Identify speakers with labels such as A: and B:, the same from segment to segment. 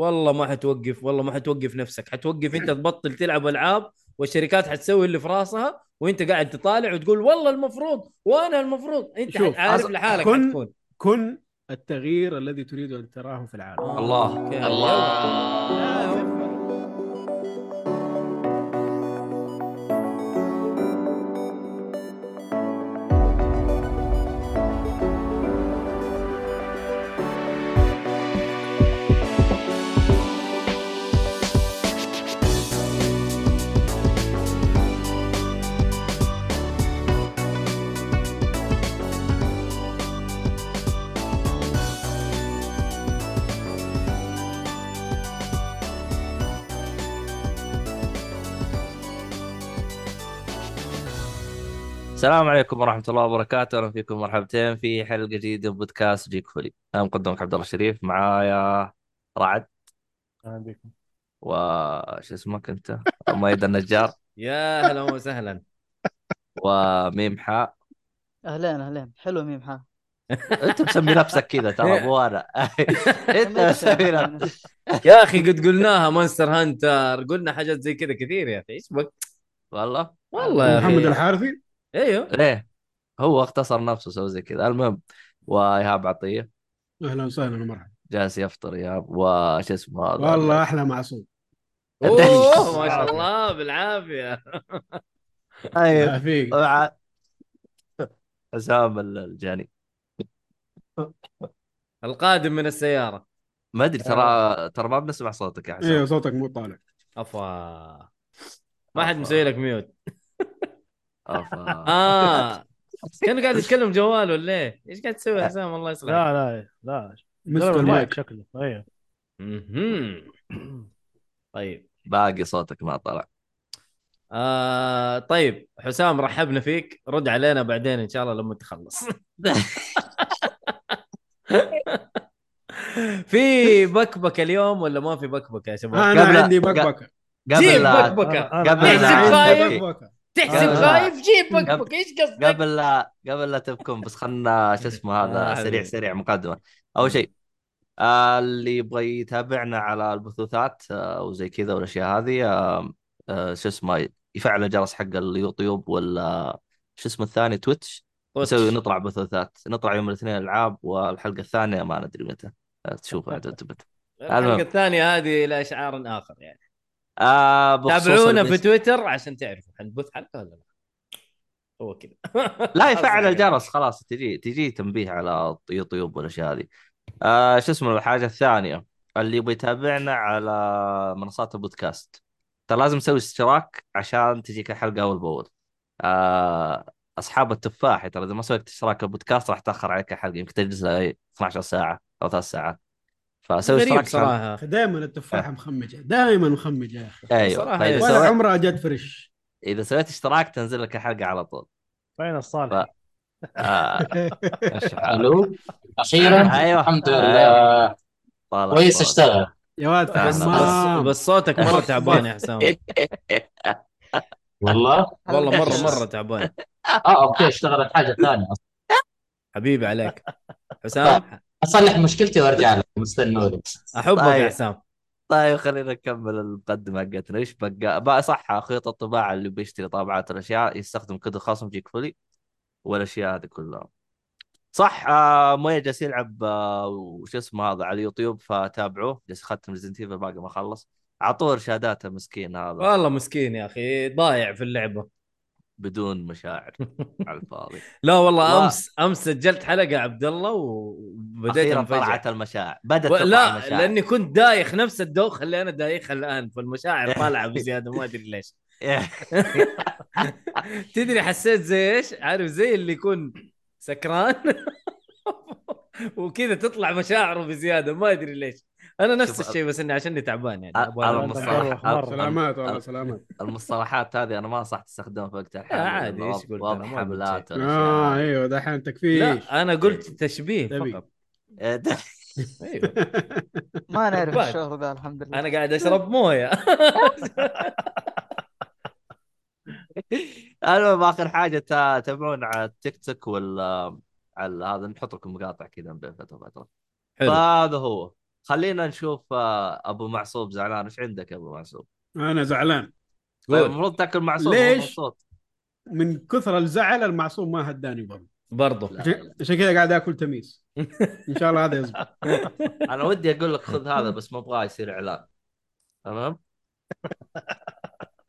A: والله ما حتوقف والله ما حتوقف نفسك حتوقف انت تبطل تلعب العاب والشركات حتسوي اللي في راسها وانت قاعد تطالع وتقول والله المفروض وانا المفروض انت
B: شوف،
A: عارف
B: أص-
A: لحالك
B: كن-
A: حتكون
B: كن التغيير الذي تريد ان تراه في العالم
C: الله
A: أوكي.
C: الله السلام عليكم ورحمة الله وبركاته، أهلا فيكم مرحبتين في حلقة جديدة من بودكاست جيك فولي، أنا مقدمك عبد الله الشريف معايا رعد وش اسمك أنت؟ ميد النجار
A: يا هلا وسهلا
C: وميم حاء،
D: اهلين اهلين حلو ميم حا
C: أنت مسمي نفسك كذا ترى مو أنا
B: إيه،
C: أنت مسمي نفسك
A: يا اخي قد قلناها مونستر هانتر قلنا حاجات زي كذا كثير يا اخي ايش بك
C: والله
A: والله يا
B: محمد
A: اخي
B: الحارثي
A: ايوه
C: ليه؟ هو اختصر نفسه سوى زي كذا، المهم وإيهاب عطية
B: اهلا وساهلا ومرحبا
C: جالس يفطر إيهاب وش اسمه هذا
B: والله احلى معصوم
A: اوه ما شاء الله بالعافيه
C: أيوه
B: ما فيك
C: وع- حسام الجاني
A: القادم من السياره
C: ما ادري ترى ترى ما بنسمع صوتك
A: إيه،
C: يا حسام
B: ايوه صوتك مو طالع
A: افا ما حد
C: أفا.
A: مسوي لك ميوت
C: أفا.
A: اه كانه قاعد يتكلم جواله ولا ايه؟ ايش قاعد تسوي يا حسام الله يصلحك؟
E: لا لا لا
B: مسك
E: لا،
B: المايك
E: شكله
F: أيوه.
E: ايوه
A: مهم. طيب
C: باقي صوتك ما طلع
A: آه طيب حسام رحبنا فيك رد علينا بعدين ان شاء الله لما تخلص في بكبكه اليوم ولا ما في بكبكه يا شباب؟
B: انا
C: قبل-
B: عندي
C: قبل-
B: بكبكه
A: جيب
C: آه، قبل لا
A: بكبكه
E: أنا- أنا-
C: قبل
A: احسب
B: انا عندي
A: خايف
C: لا
B: بكبكه
A: تحسب
C: قبل-
A: خايف جيب
C: قبل-
A: بكبكه ايش قصدك؟
C: قبل لا قبل لا تبكم بس خلنا شو اسمه
A: آه،
C: هذا سريع
A: حبيبي.
C: سريع مقدمه اول شيء آه، اللي يبغى يتابعنا على البثوثات آه، وزي كذا والاشياء هذه آه، آه، شو اسمه يفعل الجرس حق اليوتيوب ولا شو اسمه الثاني تويتش نسوي نطلع بثوثات نطلع يوم الاثنين العاب والحلقه الثانيه ما ندري متى آه، تشوفها عاد تثبت
A: الحلقه الثانيه هذه لاشعار اخر يعني
C: آه بخصوص
A: تابعونا في
C: البث-
A: تويتر عشان تعرفوا حنبث حلقه ولا لا هو كذا
C: لا يفعل
A: يعني.
C: الجرس خلاص تجي تجي تنبيه على يوتيوب والاشياء هذه آه شو اسمه الحاجه الثانيه اللي يبغى يتابعنا على منصات البودكاست ترى لازم تسوي اشتراك عشان تجيك الحلقه اول باول آه اصحاب التفاحه ترى اذا ما سويت اشتراك البودكاست راح تاخر عليك الحلقه يمكن تجلس لها إيه، 12 ساعه او ثلاث ساعات فسوي
A: غريب
C: اشتراك عشان-
A: صراحه
B: دائما التفاحه مخمجه دائما مخمجه يا اخي
C: ايوه
A: صراحة
C: فإذا
A: إيه.
B: ولا
C: سويت-
B: عمرها جت فريش
C: اذا سويت اشتراك تنزل لك الحلقه على طول
E: فين
C: لا.
E: الصالح؟
C: آه ماشي حالك.
G: الو اخيرا
C: ايوه
G: أيوة. الحمد
C: أيوه.
G: لله
C: طالع
G: كويس
C: صوت.
G: اشتغل
B: يا آه. ولد
C: بس-
A: آه، بس,
B: فهمان.
A: بس صوتك مره تعبان يا حسام
G: والله
A: والله مره مره تعبان
G: اه اوكي اشتغلت حاجه ثانيه
A: حبيبي عليك حسام
G: اصلح مشكلتي وارجع لك مستنوني
A: احبك
C: طيب.
A: يا حسام
C: طيب خلينا نكمل المقدمة حقتنا ايش بقى بقى صح خيوط الطباعة اللي بيشتري طابعات الاشياء يستخدم كود خاص جيك فولي والاشياء هذه كلها صح آه مويه جالس يلعب آه وش اسمه هذا على اليوتيوب فتابعوه جالس ختم ريزنت ايفل باقي ما خلص عطوه ارشاداته مسكين هذا
A: والله مسكين يا اخي ضايع في اللعبه
C: بدون مشاعر على الفاضي
A: لا والله
C: لا.
A: امس امس سجلت حلقه عبد الله وبديت
C: اخيرا
A: انفجع
C: طلعت المشاعر بدت
A: و-
C: تطلع
A: لا
C: المشاعر
A: لاني كنت دايخ نفس الدوخه اللي انا دايخها الان فالمشاعر طالعه بزياده ما ادري ليش
C: إيه.
A: تدري حسيت زي ايش؟ عارف زي اللي يكون سكران وكذا تطلع مشاعره بزياده ما ادري ليش انا نفس
C: شوف،
A: الشيء بس اني عشان تتعبان يعني
C: أ-
A: أبغى
C: أنا
A: أنام.
C: مصطلح-
B: سلامات والله سلامات
C: المصطلحات هذه انا ما انصح تستخدمها في وقت الحالي
A: لا، عادي،
C: لأنه
A: إيش قلت أنا؟
C: وضع
A: ما قلت
C: حملات
B: اه
C: والاشياء
B: ايوه دحين تكفيش
A: لا آه. انا قلت تشبيه فقط
C: هذه.
A: ايوه
D: ما نعرف
A: بعد.
D: الشهر ذا الحمد لله
A: انا قاعد اشرب مويه
C: المهم اخر حاجه تا- تابعونا على التيك توك ولا على هذا نحط لكم مقاطع كذا من بين فتره وفتره
A: حلو
C: فهذا هو خلينا نشوف آه، ابو معصوب زعلان ايش عندك يا ابو معصوب؟
B: انا زعلان
C: طيب
A: قول
C: المفروض تاكل معصوب
B: ليش؟
C: هو مبسوط.
B: من كثر الزعل المعصوم ما هداني برضه
A: برضو
C: لا،
B: عشان
C: لا.
B: عشان كذا قاعد اكل تميس ان شاء الله هذا يزبط
C: انا ودي اقول لك خذ هذا بس ما ابغاه يصير اعلان تمام؟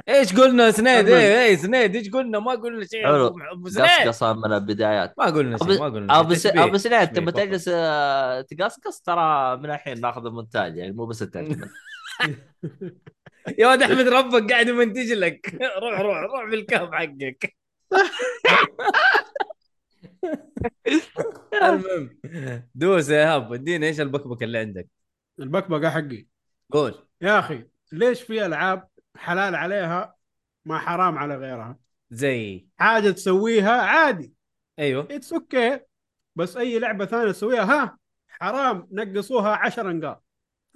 A: ايش قلنا يا سنيد
B: أمل.
A: ايه ايه سنيد ايش قلنا ما قلنا شيء
C: حلو.
A: ابو سنيد
C: قصقصه من البدايات
A: ما قلنا شيء ما قلنا
C: ابو س...
A: تشبيه.
C: ابو سنيد
A: تشبيه
C: تبى
A: فقط.
C: تجلس آه، تقصقص ترى من الحين ناخذ المونتاج يعني مو بس الترجمه
A: يا ولد احمد ربك قاعد يمنتج لك روح روح روح بالكهف حقك المهم دوس يا ايهاب ادينا ايش البكبك اللي عندك
B: البكبكه حقي
A: قول
B: يا اخي ليش في العاب حلال عليها ما حرام على غيرها
A: زي
B: حاجه تسويها عادي
A: ايوه
B: اتس اوكي بس اي لعبه ثانيه تسويها ها حرام نقصوها 10 نقاط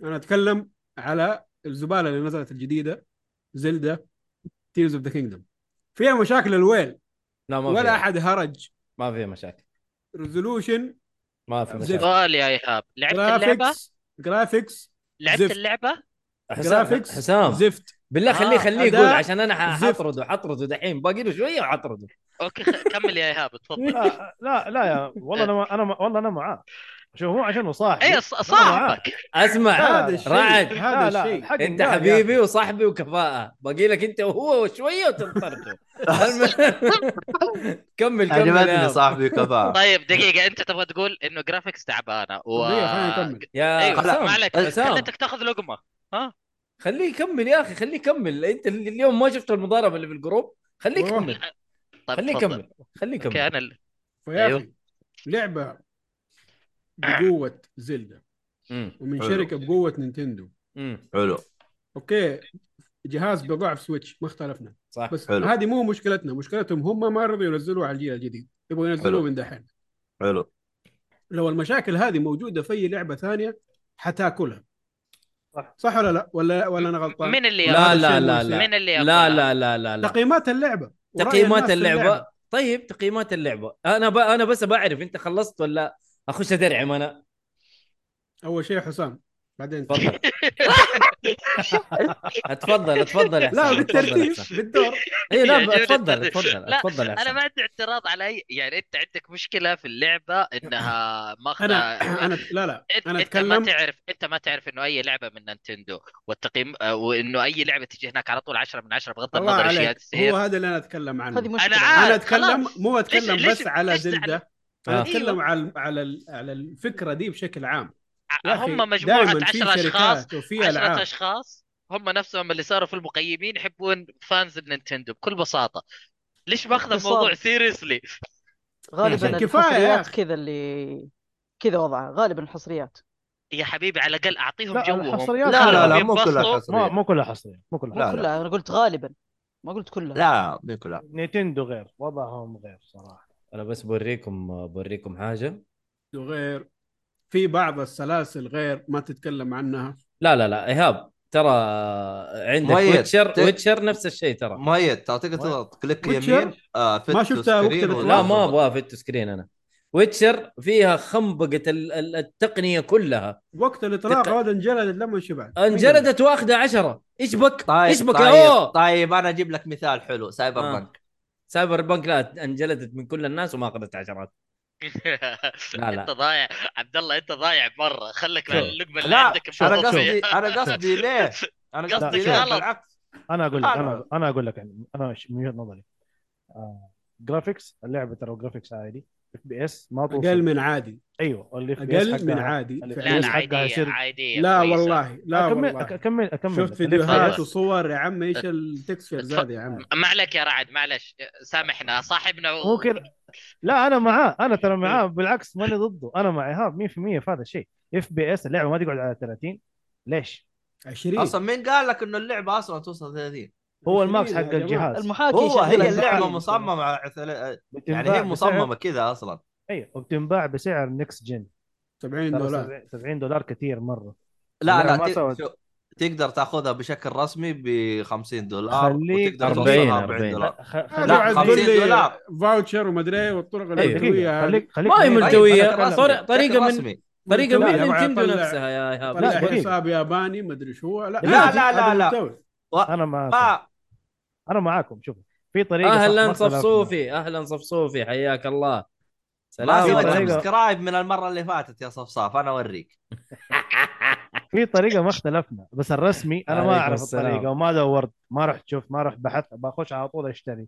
B: انا اتكلم على الزباله اللي نزلت الجديده زلدة تيرز اوف ذا كينجدم فيها مشاكل الويل
A: لا ما
B: ولا
A: ولا احد
B: احد هرج
A: ما في مشاكل
B: ريزولوشن
A: ما في مشاكل
B: آه،
E: سؤال يا ايهاب لعبت اللعبه
B: جرافيكس جرافيكس
E: لعبت
B: زفت.
E: اللعبه
A: حسام
B: جرافيكس
A: حسام
B: زفت
A: بالله خليه
E: آه،
A: خليه يقول
B: أداء
A: عشان انا ح-
B: زفت.
A: حطرده حطرده دحين باقي له شويه وحطرده
E: اوكي خ- كمل يا ايهاب تفضل
F: لا لا لا يا والله انا ما- انا ما- والله انا معاه شوف مو عشانه صاحبي
E: اي إيه، صاحبك
A: اسمع
B: هذا الشيء
A: رعد.
F: لا
B: هذا
F: لا
B: الشيء
F: الحق
A: انت
F: قال يا أخي.
A: حبيبي وصاحبي وكفاءه باقي لك انت وهو وشويه وتنطرده المهم- كمل كمل
C: عجبتني
A: يا أبو.
C: صاحبي كفاءه
E: طيب دقيقه انت تبغى تقول انه جرافيكس تعبانه و
B: دقيقة، خليني أكمل.
A: يا
E: ايوه
A: حسام
E: ما
B: آه،
E: عليك
A: حسام
E: خليتك تاخذ
B: طيب.
E: لقمه
A: خليه يكمل يا اخي خليه يكمل انت اللي اليوم ما شفت المضاربه اللي في الجروب خليه
B: والله.
A: يكمل
E: طيب
A: خليه
E: تفضل.
A: يكمل خليه
E: اوكي
A: يكمل
E: انا اللي...
B: فيا
E: أيوه.
B: اخي لعبه بقوه زلدة
A: مم.
B: ومن
C: حلو.
B: شركه بقوه نينتندو
A: مم.
C: حلو
B: اوكي جهاز بضعف سويتش ما اختلفنا
A: صح
B: بس
C: حلو.
B: هذه مو مشكلتنا مشكلتهم هم ما رضوا ينزلوه على الجيل الجديد يبغوا ينزلوه
C: حلو.
B: من دحين
C: حلو
B: لو المشاكل هذه موجوده في اي لعبه ثانيه حتاكلها صح صح ولا لا ولا ولا انا غلطان
E: مين اللي
A: لا
E: ياكل؟
A: لا
B: الشيء
A: لا
B: المسيء.
A: لا
E: مين اللي ياكل؟
A: لا لا لا لا لا
B: تقييمات اللعبه ورأي
A: تقييمات
B: الناس في
A: اللعبه طيب تقييمات اللعبه انا ب... انا بس بعرف انت خلصت ولا اخش ادرعم انا
B: اول شيء حسام بعدين
A: تفضل اتفضل اتفضل يا
B: لا
A: حسام، اتفضل يا
B: بالترتيب
A: حسام.
B: بالدور
A: اي إيه، لا
E: يعجبني
A: اتفضل
E: الترتيب.
A: اتفضل
E: لا،
A: اتفضل يا
E: انا
A: حسام.
E: ما عندي اعتراض على اي يعني انت عندك مشكله في اللعبه انها ما
B: انا
E: آه،
B: انا لا لا
E: انت
B: انا
E: انت ما
B: اتكلم
E: تعرف انت ما تعرف انه اي لعبه من نينتندو والتقييم آه، وانه اي لعبه تجي هناك على طول 10 من 10 بغض
B: الله
E: النظر ايش قاعد
B: عليك هو
E: تصير
B: هذا اللي انا اتكلم عنه
D: هذه مشكله
E: عارف.
B: انا
E: آه،
B: اتكلم
E: خلاص.
B: مو اتكلم
E: ليش-
B: بس على
E: ليش إيوه. زعلان؟
B: زلده انا
A: آه.
B: اتكلم على على ال- على الفكره دي بشكل عام يا أخي،
E: آه، هم مجموعه
B: دايماً في
E: 10 اشخاص
B: شركات وفي
E: 10
B: العاب
E: اشخاص هم نفسهم اللي صاروا في المقيمين يحبون فانز النينتندو بكل بساطه ليش ماخذ
D: بالضبط.
E: الموضوع سيريسلي
D: غالبا
B: عشان كفاية يا
D: الحصريات
B: أخي.
D: كذا اللي كذا وضعها غالبا الحصريات
E: يا حبيبي على الاقل اعطيهم
F: لا،
E: جوهم
F: الحصريات-
C: لا لا لا مو
E: ينبسطوا.
C: كلها
F: ما
C: حصريه
F: مو كلها حصريه مو
D: مو
F: كلها
C: لا، لا.
D: كلها انا قلت غالبا ما قلت كلها
C: لا مو كلها
F: نينتندو غير وضعهم غير صراحه
A: انا بس بوريكم بوريكم حاجه
B: وغير في بعض السلاسل غير ما تتكلم عنها
A: لا لا لا ايهاب ترى عندك
C: مؤيد،
A: ويتشر
C: ت-
A: ويتشر نفس الشيء ترى
C: مؤيد ترى تقدر تضغط كليك
B: ويتشر؟
C: يمين آه فت
B: ما شفتها وقت
C: وسكرين
B: الإطلاق.
A: لا ما
C: وضغط.
A: ابغاها فيت سكرين انا ويتشر فيها خنبقه ال- ال- التقنيه كلها
B: وقت
A: تك-
B: الاطلاق هذا انجلدت لما انشبعت
A: انجلدت واخده عشرة ايش بك ايش
C: طيب
A: بك
C: طيب,
A: اوه
C: طيب انا اجيب لك مثال حلو سايبر
A: آه.
C: بنك
A: سايبر بنك لا انجلدت من كل الناس وما اخذت عشرات لا، لا.
E: انت ضايع عبد الله انت ضايع مره خلك مع
F: شوف.
E: اللقمه اللي
C: لا
E: عندك
C: انا
E: مبسوط فيها.
C: قصدي انا قصدي ليه انا قصدي
F: قصدك
C: ليه
E: غلط.
C: بالعكس
F: انا اقول لك
C: أنا-
F: انا انا اقول لك يعني انا ش- من وجهه نظري آه جرافيكس اللعبه ترى جرافيكس عادي اف بي اس ما توصل
B: اقل من عادي
F: ايوه الاف بي اس
B: اقل من عادي
F: لا،
E: لا
B: فعلاً.
E: لا
F: حقها
E: عادية
F: يصير-
E: عادية
B: لا
E: كويسة.
B: والله لا
F: اكمل
B: والله
F: اكمل اكمل
B: شفت
E: خلاص.
B: فيديوهات وصور يا عم ايش التكسفيرز
E: اتفضل.
B: هذه يا عم
E: ما عليك يا رعد معلش سامحنا صاحبنا و-
F: مو كذا لا انا معاه انا
B: إيه.
F: ترى معاه بالعكس ماني ضده انا مع ايهاب 100% في هذا الشيء اف بي اس اللعبه ما تقعد على 30 ليش؟
B: 20
C: اصلا مين قال لك انه اللعبه اصلا توصل 30
F: هو
B: 20
F: الماكس
B: يا
F: حق
B: جماعة.
F: الجهاز
D: المحاكي
C: هو
D: شغلة
C: هي
D: زعلان.
C: اللعبه مصممه على ثل-
F: بتنباع
C: يعني هي
F: بسعر-
C: مصممه كذا اصلا
F: ايوه وبتنباع بسعر نكس جن
B: 70
F: ترى
B: دولار
F: 70 70 دولار كثير مره
C: لا
F: لا،
C: لا
F: ما
C: ت-
F: سوت.
C: شو- تقدر تاخذها بشكل رسمي ب 50 دولار
F: خليك
C: وتقدر
A: 40
C: توصلها 40
A: 40
C: دولار
F: خ- خ-
B: آه،
C: لا،
B: قاعد تقول
C: 50
B: لي
C: دولار. طيب،
B: فاوتشر ومدري والطرق
A: أيوة.
F: أيوه، دقيقة،
B: العلوية هذه.
F: خليك خليك
A: ما هي
F: بعيد.
A: ملتوية.
C: طيب،
A: طريقة
C: بشكل
A: من-
C: رسمي.
A: طريقه ما
B: لا، طلع-
A: نينتندو
B: طلع-
A: نفسها يا ايهاب
B: طلع
F: دقيقة.
B: حساب ياباني مدري شو لا
C: لا،
B: عادي،
C: لا، لا،
B: هذا
C: لا.
B: محتوى.
F: انا معاكم
C: ما
F: انا معاكم شوف في طريقه صح، ما
A: اهلا
F: اختلفنا.
A: صفصوفي اهلا صفصوفي حياك الله
C: ما
A: سلام
F: سويت
C: سويت
A: عليكم.
F: طريقة.
C: سبسكرايب من المره اللي فاتت يا صفصاف انا اوريك
F: في طريقه ما اختلفنا بس الرسمي انا ما
A: عليكم
F: اعرف
A: السلام.
F: الطريقه وما دورت ما رحت شفت ما رحت بحثت بخش على طول اشتري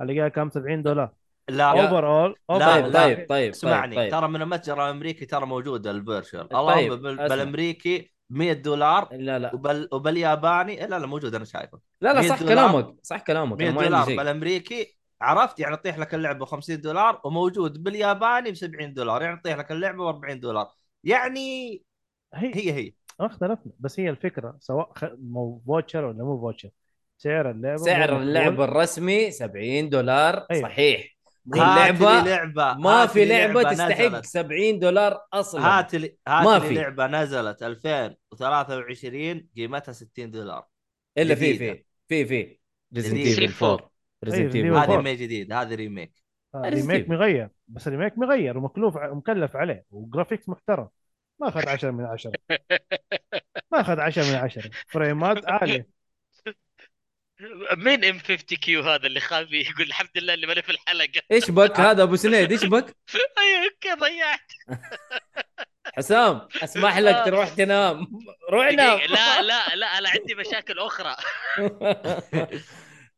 F: الاقيها كم 70 دولار
C: لا
F: اوفر اول
A: طيب
C: لا، لا.
A: طيب طيب
C: اسمعني
A: طيب
C: ترى من المتجر الامريكي ترى موجود الفيرشوال
A: طيب،
C: اللهم بال-
A: أسمع.
C: بالامريكي 100 دولار
A: لا لا
C: وبال... وبالياباني لا لا موجود انا شايفه
A: لا لا
C: 100
A: صح
C: دولار.
A: كلامك صح كلامك
C: 100
A: أنا ما عندي
C: دولار
A: شيء
C: بالامريكي عرفت يعني تطيح لك اللعبه 50 دولار وموجود بالياباني ب 70 دولار يعني تطيح لك اللعبه ب 40 دولار يعني
F: هي
C: هي هي
F: ما اختلفنا بس هي الفكره سواء خ... مو فوتشر ولا مو فوتشر سعر اللعبه مو
A: سعر
F: مقبول.
A: اللعبه الرسمي 70 دولار
F: أيوة.
A: صحيح دي
C: هات طيب. لي
A: اللعبه
C: لعبه
A: ما
C: هات
A: في
C: لي
A: لعبه تستحق
C: نزلت.
A: 70 دولار اصلا
C: هات لي هات
A: ما
C: لي
A: في.
C: لعبه نزلت 2023 قيمتها 60 دولار
A: الا في في
C: جديدة.
A: في في
C: جديدة. طيب،
A: ريزنت
E: Resident Evil
A: 4
F: أيوة،
A: ريزنت
F: Resident
A: ايفل
F: Evil.
C: هذه
A: 4
C: ما هي جديد هذه ريميك
F: آه،
A: Resident
F: ريميك
A: Evil.
F: مغير بس الريميك مغير ومكلوف ع- مكلف عليه وجرافيكس محترم ما اخذ 10 من 10 ما اخذ 10 من 10 فريمات عاليه
E: مين ام 50 كيو هذا اللي خافي يقول الحمد لله اللي مالي في الحلقه
A: ايش بك هذا ابو سنيد ايش بك
E: ايوه اوكي ضيعت
A: حسام اسمح لك تروح تنام روح نام
E: دقيقة، إيه، لا لا لا انا عندي مشاكل اخرى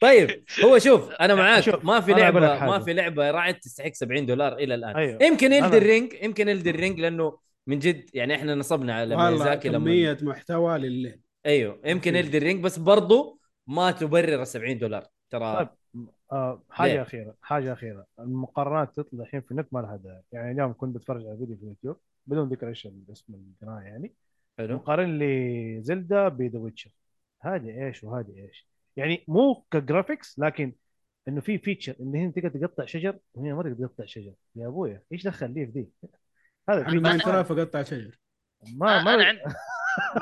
A: طيب هو شوف انا معاك
F: شوف،
A: ما في
F: أنا أقول لك
A: لعبه ما
F: حاجة.
A: في لعبه يا رعد تستحق 70 دولار الى الان
F: ايوه
A: يمكن
F: أنا-
A: يلد الرينج يمكن يلد الرينج لانه من جد يعني احنا نصبنا على
B: والله
A: ميازاكي لما
B: كمية محتوى لليل
A: ايوه يمكن يلد الرينج بس برضو ما تبرر ال 70 دولار ترى
F: طيب. آه حاجه
A: ليه؟
F: اخيره حاجه اخيره المقارنات تطلع الحين في النت ما لها داعي يعني اليوم كنت بتفرج على فيديو في اليوتيوب بدون ذكر ايش اسم القناه يعني
A: حلو
F: مقارن لي زلدا بذا ويتشر هذه ايش وهذه ايش يعني مو كجرافيكس لكن انه في فيتشر ان هنا تقدر تقطع شجر وهنا ما تقدر تقطع شجر يا ابويا ايش دخل لي في دي؟ هذا
B: انا
F: الفيتشر.
B: ماينكرافت اقطع يعني شجر
F: ما
E: انا
F: ما
E: عندي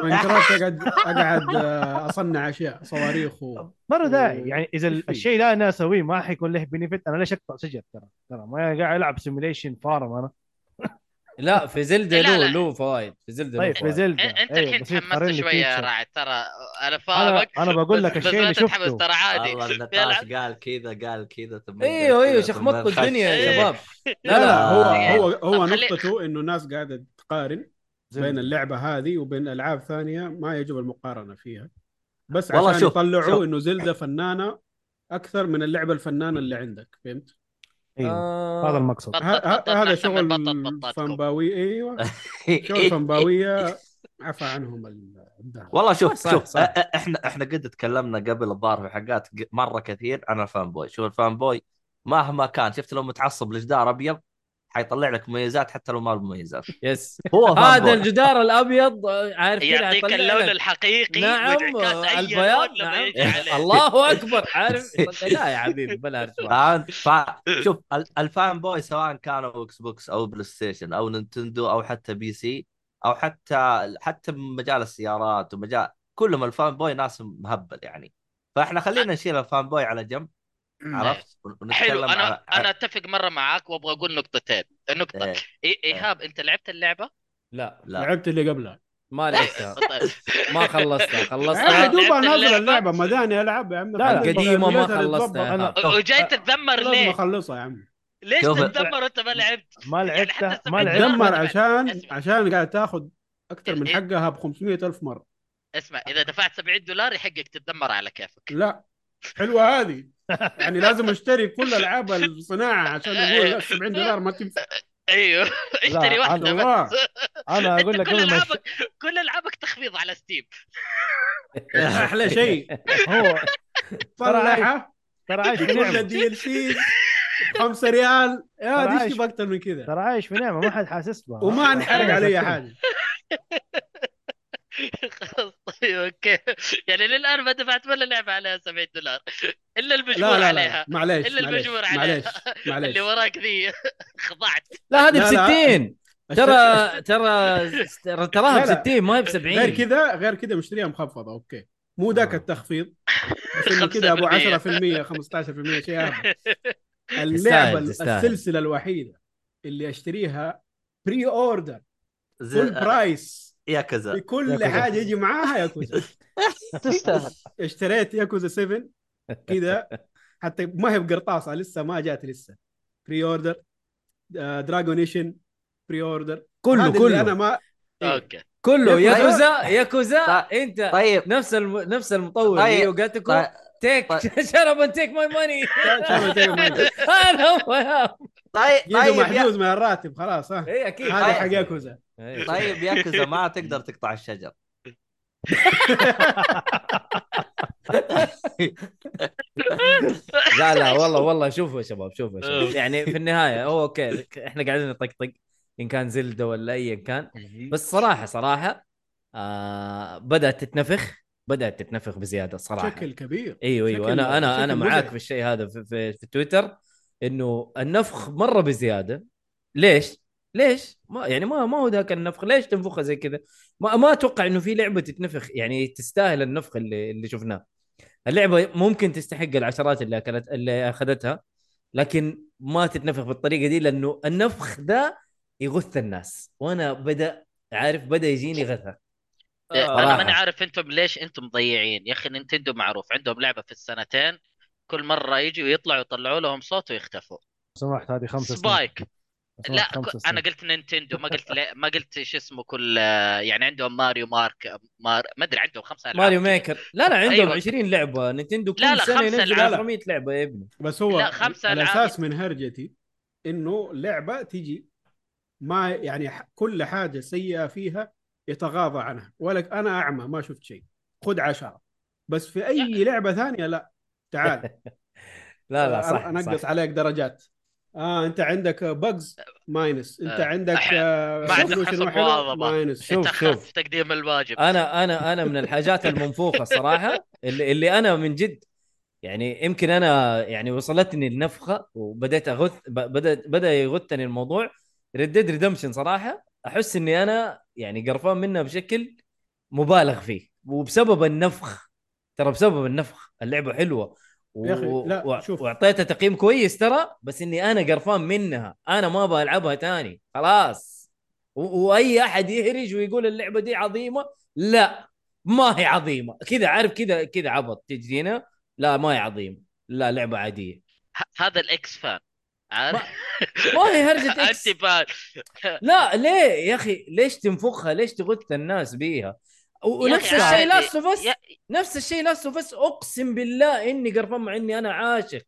B: ماينكرافت اقعد اقعد آه، اصنع اشياء صواريخ و...
F: ما له داعي يعني اذا
B: إيش فيه؟
F: الشيء ده انا اسويه ما حيكون له بنفيت انا ليش اقطع شجر ترى ترى ما قاعد العب سيميليشن فارم انا
A: لا في زلدة
E: لا،
A: له
E: لا.
A: له فوائد في زلدة له
F: طيب في
A: فوائد
F: زلدا
E: انت الحين تحمست شويه
F: راعي
E: يا رعد ترى انا
F: انا
E: فاهمك
F: انا بقول
E: بس-
F: لك
E: بس
F: الشيء
E: لا
F: اللي
E: تتحمس
F: شفته
E: ترى عادي
C: والله
E: يلا.
C: النتاش قال كذا قال كذا ثم
A: ايوه ايوه
C: ثم
A: شخمطوا
C: خش.
A: الدنيا يا
E: إيه.
A: شباب
B: لا لا آه، هو
E: يعني
B: هو هو
E: طب خلي-
B: نقطته انه الناس قاعدة تقارن بين اللعبة هذه وبين العاب ثانية ما يجب المقارنة فيها بس
C: والله
B: عشان
C: شوف- شوف.
B: يطلعوا انه زلدة فنانة اكثر من اللعبة الفنانة اللي عندك فهمت؟
F: ايوه
A: آه،
F: هذا المقصد
E: بطل-
B: ه- ه-
E: بطل
B: هذا
E: أحسن من
B: شغل
E: بطل إيه، بطاتكم.
B: فنباوي ايوه شغل فنباويه عفى عنهم ال- الدهر
C: والله شوف
A: صح،
C: شوف
A: صح.
C: أ- أ- احنا احنا قد تكلمنا قبل الظاهر في حلقات ق- مره كثير عن الفان بوي شوف الفان بوي مهما كان شفت لو متعصب لجدار ابيض حيطلع لك مميزات حتى لو ما له مميزات
A: يس
C: هو فان
A: هذا
C: بوي
A: الجدار الابيض آه، عارف كذا
E: يعني يعطيك
A: حيطلع
E: اللون
A: لك.
E: الحقيقي
A: نعم
E: وانعكاس
A: آه،
E: أي
A: البياض
E: لون لما
A: نعم
E: يجي عليه.
A: الله اكبر عارف لا يا حبيبي بلا ارتباط
C: فهمت؟ فا- شوف ال- الفان بوي سواء كانوا اكس بوكس او بلاي ستيشن او نينتندو او حتى بي سي او حتى حتى مجال السيارات ومجال كلهم الفان بوي ناس مهبل يعني فاحنا خلينا نشيل الفان بوي على جنب عرفت ونتكلم
E: حلو انا
C: على-
E: انا اتفق مره معاك وابغى اقول نقطتين نقطه
C: إيه.
E: إي- ايهاب انت لعبت اللعبه؟
A: لا
C: لا
B: لعبت اللي قبلها
A: ما لعبتها
E: طيب.
A: ما خلصتها
B: انا
A: خلصتها
E: عادي.
B: دوب
E: لعبت
B: نازل
E: اللعبة.
B: اللعبه ما داني العب يا عم
F: لا، لا.
A: القديمة ما
B: خلصتها
A: خلصتها
F: أنا-
A: أنا...
E: وجاي تتذمر
B: لازم
E: ليه؟
B: اخلصها يا عم
E: ليش
C: شوف-
E: تتذمر وانت ما لعبت؟
F: ما
E: يعني حتى
F: لعبتها ما
E: السبعينات
F: لعبتها
B: تدمر
E: أنا-
B: عشان
E: أسمع.
B: عشان قاعد تاخذ اكثر من
E: إيه.
B: حقها ب 500 الف مره
E: اسمع اذا دفعت 70 دولار يحقك تتذمر على كيفك
B: لا حلوه هذه يعني لازم اشتري كل العاب الصناعه عشان
E: إيه؟
B: اقول لا، 70 دولار ما تنفع
E: ايوه اشتري
F: أنا-
E: واحده بس
B: الله.
F: انا اقول لك
E: كل
F: قبل ما يش-
E: العابك كل العابك تخفيض على ستيم
C: إيه.
B: احلى شيء
F: هو
B: طلعها
F: ترى عايش في
B: كل
F: نعمه
B: الدي ال سيز 5 ريال
F: ترى
B: يا دي
F: عايش.
B: ايش اكثر من كذا
F: ترى عايش في نعمه ما حد حاسس بها
B: وما انحرق علي حاجه
E: خلاص طيب اوكي يعني للان ما دفعت ولا لعبه عليها 70 دولار الا
B: لا
E: المجبور
B: لا لا
E: عليها
B: معليش
E: إلا
B: معليش،
E: المجبور عليها.
B: معليش معليش
E: اللي وراك ذي خضعت
A: لا هذه
B: لا،
A: ب
B: لا.
A: 60 ترى ترى تراها
B: لا،
A: ب
B: لا.
A: 60 ما هي ب
B: غير
A: 70
B: كذا غير كذا مشتريها مخفضه اوكي مو ذاك
A: آه.
B: التخفيض بس انه كذا ابو 10% 15% شيء هذا
A: تستاهل،
B: اللعبه
A: تستاهل.
B: السلسله الوحيده اللي اشتريها بري اوردر فول
C: زل...
B: برايس
C: يا كذا
B: بكل
A: ياكوزا.
B: حاجه يجي معاها ياكوزا
D: تستاهل
B: اشتريت ياكوزا 7 كذا حتى ما هي بقرطاسه لسه ما جات لسه آه، بري اوردر دراجونيشن بري اوردر
A: كله
B: انا
A: كله
B: ما
E: اوكي
A: كله
C: ياكوزا.
A: ياكوزا ياكوزا
C: طيب.
A: انت
C: طيب
A: نفس الم... نفس المطور
C: طيب.
A: اللي هو جاتكو
C: طيب.
A: تيك
C: طيب.
A: شرب اند تيك ماي ماني
B: جيده
A: انا هو يا-
C: طيب طيب يا-
B: محجوز من الراتب خلاص ها
A: اي اكيد
B: هذا حق ياكوزا
A: إيه.
C: طيب ياكوزا ما تقدر تقطع الشجر
A: لا لا والله والله شوفوا يا شباب شوفوا يا شباب
E: أوف.
A: يعني في النهايه هو اوكي احنا قاعدين نطقطق ان كان زلده ولا ايا كان بس صراحه صراحه آه بدات تتنفخ بدات تتنفخ بزياده صراحه
B: بشكل كبير
A: ايوه ايوه
B: بشكل-
A: انا انا انا
B: بشكل
A: معاك
B: مزعج.
A: في الشيء هذا في, في, في تويتر انه النفخ مره بزياده ليش؟ ليش؟ ما يعني ما ما هو ذاك النفخ ليش تنفخها زي كذا؟ ما ما اتوقع انه في لعبه تتنفخ يعني تستاهل النفخ اللي اللي شفناه. اللعبه ممكن تستحق العشرات اللي اكلت اللي اخذتها لكن ما تتنفخ بالطريقه دي لانه النفخ ده يغث الناس وانا بدا عارف بدا يجيني غثه
E: انا
A: صراحة.
E: آه، ماني عارف انتم ليش انتم مضيعين يا اخي نينتندو معروف عندهم لعبه في السنتين كل مره يجوا يطلعوا يطلعوا لهم صوت ويختفوا
F: سمحت هذه خمسة
E: سبايك لا
F: خمسة
E: ك- انا قلت نينتندو ما قلت لا ما قلت شو اسمه كل يعني عندهم ماريو مارك مار ما ادري عندهم خمسة ألعاب
A: ماريو
E: كده.
A: ميكر لا لا عندهم
E: أيوة.
A: أيوة. 20 لعبه نينتندو كل
E: لا، لا،
A: سنه
E: خمسة
A: ينزل
E: ألعاب.
A: 400 لعبه يا ابني
B: بس هو
E: لا، خمسة ألعاب.
B: الاساس من هرجتي انه لعبه تجي ما يعني ح- كل حاجه سيئه فيها يتغاضى عنها ولك انا اعمى ما شفت شيء خد عشرة بس في اي لعبه ثانيه لا تعال
A: لا لا صح
B: انقص
A: صح
B: عليك درجات اه انت عندك بجز ماينس انت
E: آه،
B: عندك
E: أح-
B: آه،
E: ما عندك
B: شوف وش
E: حسب
B: المحل،
E: مواظبة.
B: ماينس
A: شوف،
E: تأخرت
A: شوف.
E: في تقديم الواجب
A: انا انا انا من الحاجات المنفوخه صراحه اللي, اللي انا من جد يعني يمكن انا يعني وصلتني النفخه وبدأت اغث ب- بدأت بدا يغثني الموضوع ردد ريدمشن صراحه احس اني انا يعني قرفان منها بشكل مبالغ فيه وبسبب النفخ ترى بسبب النفخ اللعبه حلوه و...
B: يا أخي، لا،
A: و...
B: شوف.
A: واعطيتها تقييم كويس ترى بس اني انا قرفان منها انا ما ابغى العبها تاني خلاص و... واي احد يهرج ويقول اللعبه دي عظيمه لا ما هي عظيمه كذا عارف كذا كذا عبط تجينا لا ما هي عظيمه لا لعبه عاديه
E: ه- هذا الاكس فان عارف
A: ما هي هرجه اكس
E: انت فان
A: لا ليه يا اخي ليش تنفخها ليش تغث الناس بيها و-
E: يا
A: ونفس
E: أخي
A: الشيء
E: عادي.
A: لاست اوف اس
E: يا-
A: نفس الشيء لاست اوف اس اقسم بالله اني قرفان مع اني انا عاشق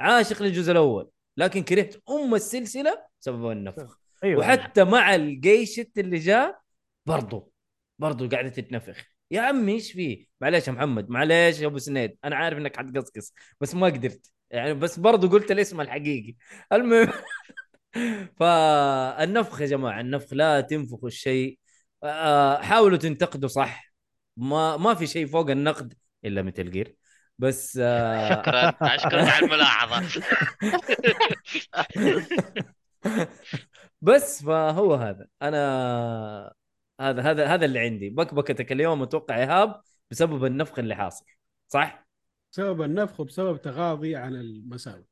A: عاشق للجزء الاول لكن كرهت ام السلسله بسبب النفخ
F: أيوة.
A: وحتى مع الجيشت اللي جاء برضو برضو قاعده تتنفخ يا عمي ايش فيه معليش يا محمد معليش يا ابو سنيد انا عارف انك حتقصقص بس ما قدرت يعني بس برضو قلت الاسم الحقيقي المهم فالنفخ يا جماعه النفخ لا تنفخوا الشيء آه، حاولوا تنتقدوا صح ما ما في شيء فوق النقد الا مثل جير بس آه،
E: شكرا اشكرك على الملاحظه
A: بس فهو هذا انا هذا هذا هذا اللي عندي بكبكتك اليوم اتوقع ايهاب بسبب النفخ اللي حاصل صح؟
B: بسبب النفخ وبسبب تغاضي عن المساوئ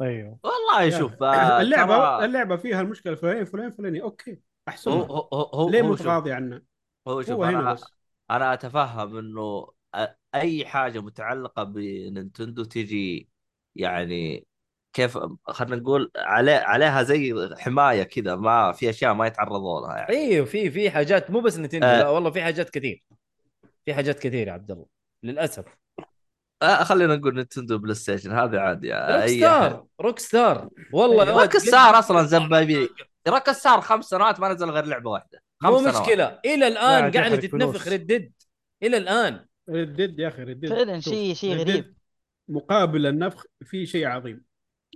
F: ايوه
C: والله
B: يا
C: شوف آه،
B: اللعبه
C: ترى-
B: اللعبه فيها المشكله فلان فلان فلاني اوكي
C: هو
B: احسن
C: هو هو
B: ليه
C: هو شوف-
B: متغاضي عنها
C: هو شوف
B: هو هنا
C: انا
B: بس
C: انا اتفهم انه أ- اي حاجه متعلقه بنينتندو تيجي يعني كيف خلينا نقول عليه عليها زي حمايه كذا ما في اشياء ما يتعرضوا لها يعني
A: ايوه في في حاجات مو بس نتندو
C: آه.
A: لا والله في حاجات كثير في حاجات كثير يا عبد الله للاسف
C: آه خلينا نقول نينتندو بلاي ستيشن هذا عادي
A: روك
C: اي أحد.
A: ستار روك ستار والله يا
C: روك
A: ولد،
C: ستار اصلا زبابي روك ستار خمس سنوات ما نزل غير لعبه واحده خمس
A: مو
C: سنوات
A: مشكله الى
F: لا،
A: الان قاعده
F: تحرق فلوس.
A: تتنفخ ردد الى الان
B: ردد يا اخي ردد
D: فعلا
B: شوف،
D: شيء شيء
B: ردد
D: غريب
B: مقابل النفخ في شيء عظيم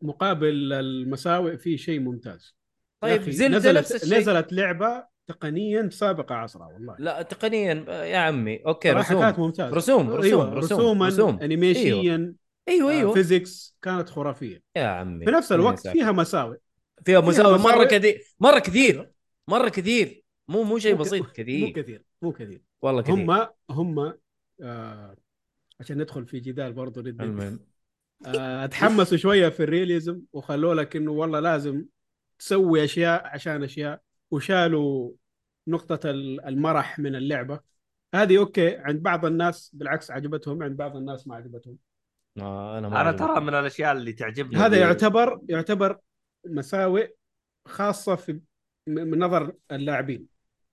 B: مقابل المساوئ في شيء ممتاز يا
A: طيب
B: أخي،
A: زلده
B: نزلت
A: نفس الشيء
B: نزلت لعبه تقنيا سابقه عصرها والله
A: لا تقنيا آه، يا عمي اوكي
B: صراحه
A: رسوم
B: كانت ممتازه
A: رسوم رسوم
B: ايوه
A: رسوم
B: رسوما
A: رسوم.
B: انيميشيا
A: ايوه
B: آه،
A: ايوه
B: فيزيكس كانت خرافيه
A: يا عمي
B: في نفس الوقت
A: فيها
B: فيها مساوئ
A: فيها مساوئ مره
B: مساوئ.
A: كثير مره كثير مره كثير مو مو شيء
B: مو ك-
A: بسيط
B: مو
A: كثير
B: كثير مو كثير
A: والله كثير
B: هم هم آه عشان ندخل في جدال برضه ردد
A: المهم
B: آه، تحمسوا شويه في الرياليزم وخلوا لك انه والله لازم تسوي اشياء عشان اشياء وشالوا نقطة ال- المرح من اللعبة هذه اوكي عند بعض الناس بالعكس عجبتهم عند بعض الناس ما عجبتهم
A: آه انا ما
C: انا
A: أعرف.
C: ترى من الاشياء اللي تعجبني
B: هذا
C: في-
B: يعتبر يعتبر مساوئ خاصة في م- من نظر اللاعبين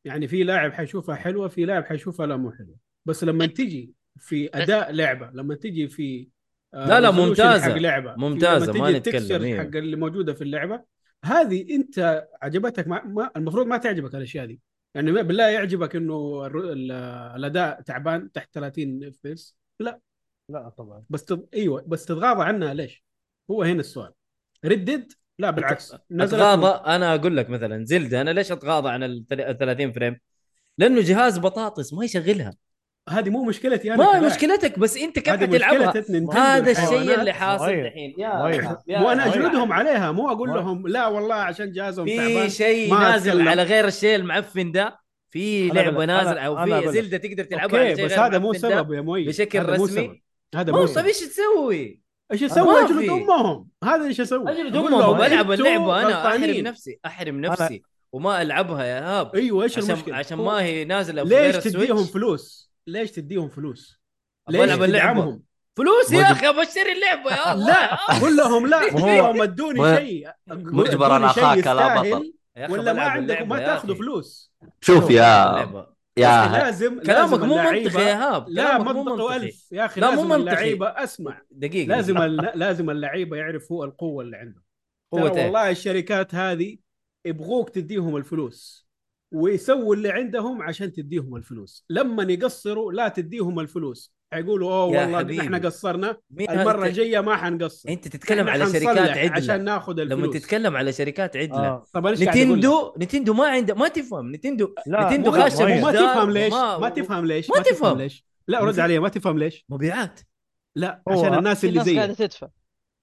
B: يعني في لاعب حيشوفها حلوة في لاعب حيشوفها لا مو حلوة بس لما
A: إيه.
B: تجي في أداء لعبة لما تجي في آه،
A: لا، لا،
B: resolution
A: ممتازة.
B: حق لعبة في-
A: ممتازة،
B: لما
A: ما
B: تجي
A: نتكلم،
B: التكستشر
A: إيه.
B: حق اللي موجودة في اللعبة هذه أنت عجبتك ما ما المفروض ما تعجبك الأشياء دي يعني ما- بالله يعجبك انه الر- ال- الاداء تعبان تحت 30 اف اس
F: لا طبعا
B: بس تض... ايوه بس تتغاضى عنها ليش؟ هو هنا السؤال ردد لا بالعكس نزلت من-
A: اتغاضى انا اقول لك مثلا زلده انا ليش اتغاضى عن ال 30 فريم؟ لانه جهاز بطاطس ما يشغلها
B: هذه مو مشكلتي انا
A: ما
B: كلاعب.
A: مشكلتك بس انت كيف
B: هذه
A: حتلعبها
B: مشكلة نينتندو
A: هذا
B: الحيوانات.
A: الشيء اللي حاصل
F: صغير.
A: الحين
F: صغير.
A: يا
B: وانا
F: أجلد
B: اجلدهم عليها مو اقول
F: ما-
B: لهم لا والله عشان جهازهم تعبان
A: في شيء
B: ما أتكلم.
A: نازل على غير الشيء المعفن ده في
F: أنا
A: لعبه
F: بلد-
A: نازله
F: أنا-
A: او
F: أنا
A: في
F: بلد.
A: زلده تقدر تلعبها على
B: اوكي
A: شيء
B: بس
A: غير
B: هذا مو
A: المعفن ده
B: سبب يا مويد
A: بشكل
B: هذا مو سبب.
A: رسمي
B: هذا
A: مو
B: مو
A: طيب
B: سبب
A: ايش تسوي؟
B: ايش
A: ما
B: اسوي اجلد
A: في.
B: امهم هذا ايش اسوي
A: اجلد
B: أقول
A: امهم
B: لهم
A: العب
B: أنتوا
A: اللعبه انا احرم
B: غلطانين.
A: نفسي احرم نفسي وما العبها يا هاب
B: ايوه ايش
A: عشان
B: المشكله
A: عشان ما هي نازله في
B: ليش
A: غير
B: تديهم
A: السويتش.
B: فلوس ليش تديهم فلوس
A: أبغى
B: ليش
A: ألعب اللعبة.
B: تدعمهم
A: فلوس يا
C: مجب-
A: اخي ابغى اشتري اللعبه يا الله
B: لا قول لهم لا
F: وهو-
B: قول لهم ادوني
C: و-
B: شيء
C: مجبر أنا
B: ادوني شيء
C: أخاك لا
B: يستاهل
C: بطل.
A: يا أخي
B: ولا ما
A: بلعب
B: عندكم ما
A: اللعبة يا
B: تاخذوا
A: أخي.
B: فلوس
C: شوف يا
A: اللعبة.
B: يا أخي
C: يا
B: لازم
A: كلامك
B: لازم
A: مو
B: اللعيبة-
A: منطقي يا هاب
B: لا
A: كلامك مو
B: منطقه
A: منطقي
B: ألف يا اخي
A: لا، مو
B: لازم
A: منطقي. إيه،
B: اللعيبه اسمع
A: دقيقه
B: لازم الل- لازم اللعيبه يعرفوا القوه اللي عندهم ترى
A: قوة إيه؟
B: والله الشركات هذه يبغوك تديهم الفلوس ويسووا اللي عندهم عشان تديهم الفلوس لما يقصروا لا تديهم الفلوس حيقولوا اوه
A: يا
B: والله
A: حبيبي.
B: احنا قصرنا
A: مين هذا
B: المره
A: أنت-
B: الجايه ما حنقصر
A: انت تتكلم
B: إحنا
A: على شركات
B: حنصلح
A: عدله
B: عشان ناخذ الفلوس
A: لما تتكلم على شركات عدله
F: آه.
B: طب أنا إيش قاعد أقول لك؟
A: نتندو نتندو ما عنده ما تفهم نتندو
F: لا
A: نتندو
F: مو- مو
A: خاشة
F: هي.
B: ما
A: مجدار.
B: تفهم ليش
A: ما-
B: ما تفهم ليش
A: ما تفهم.
B: ليش لا رد علي ما تفهم ليش
A: مبيعات
B: لا
F: هو-
B: عشان الناس
D: في
B: اللي
D: ناس قاعده
B: زيك
D: تدفع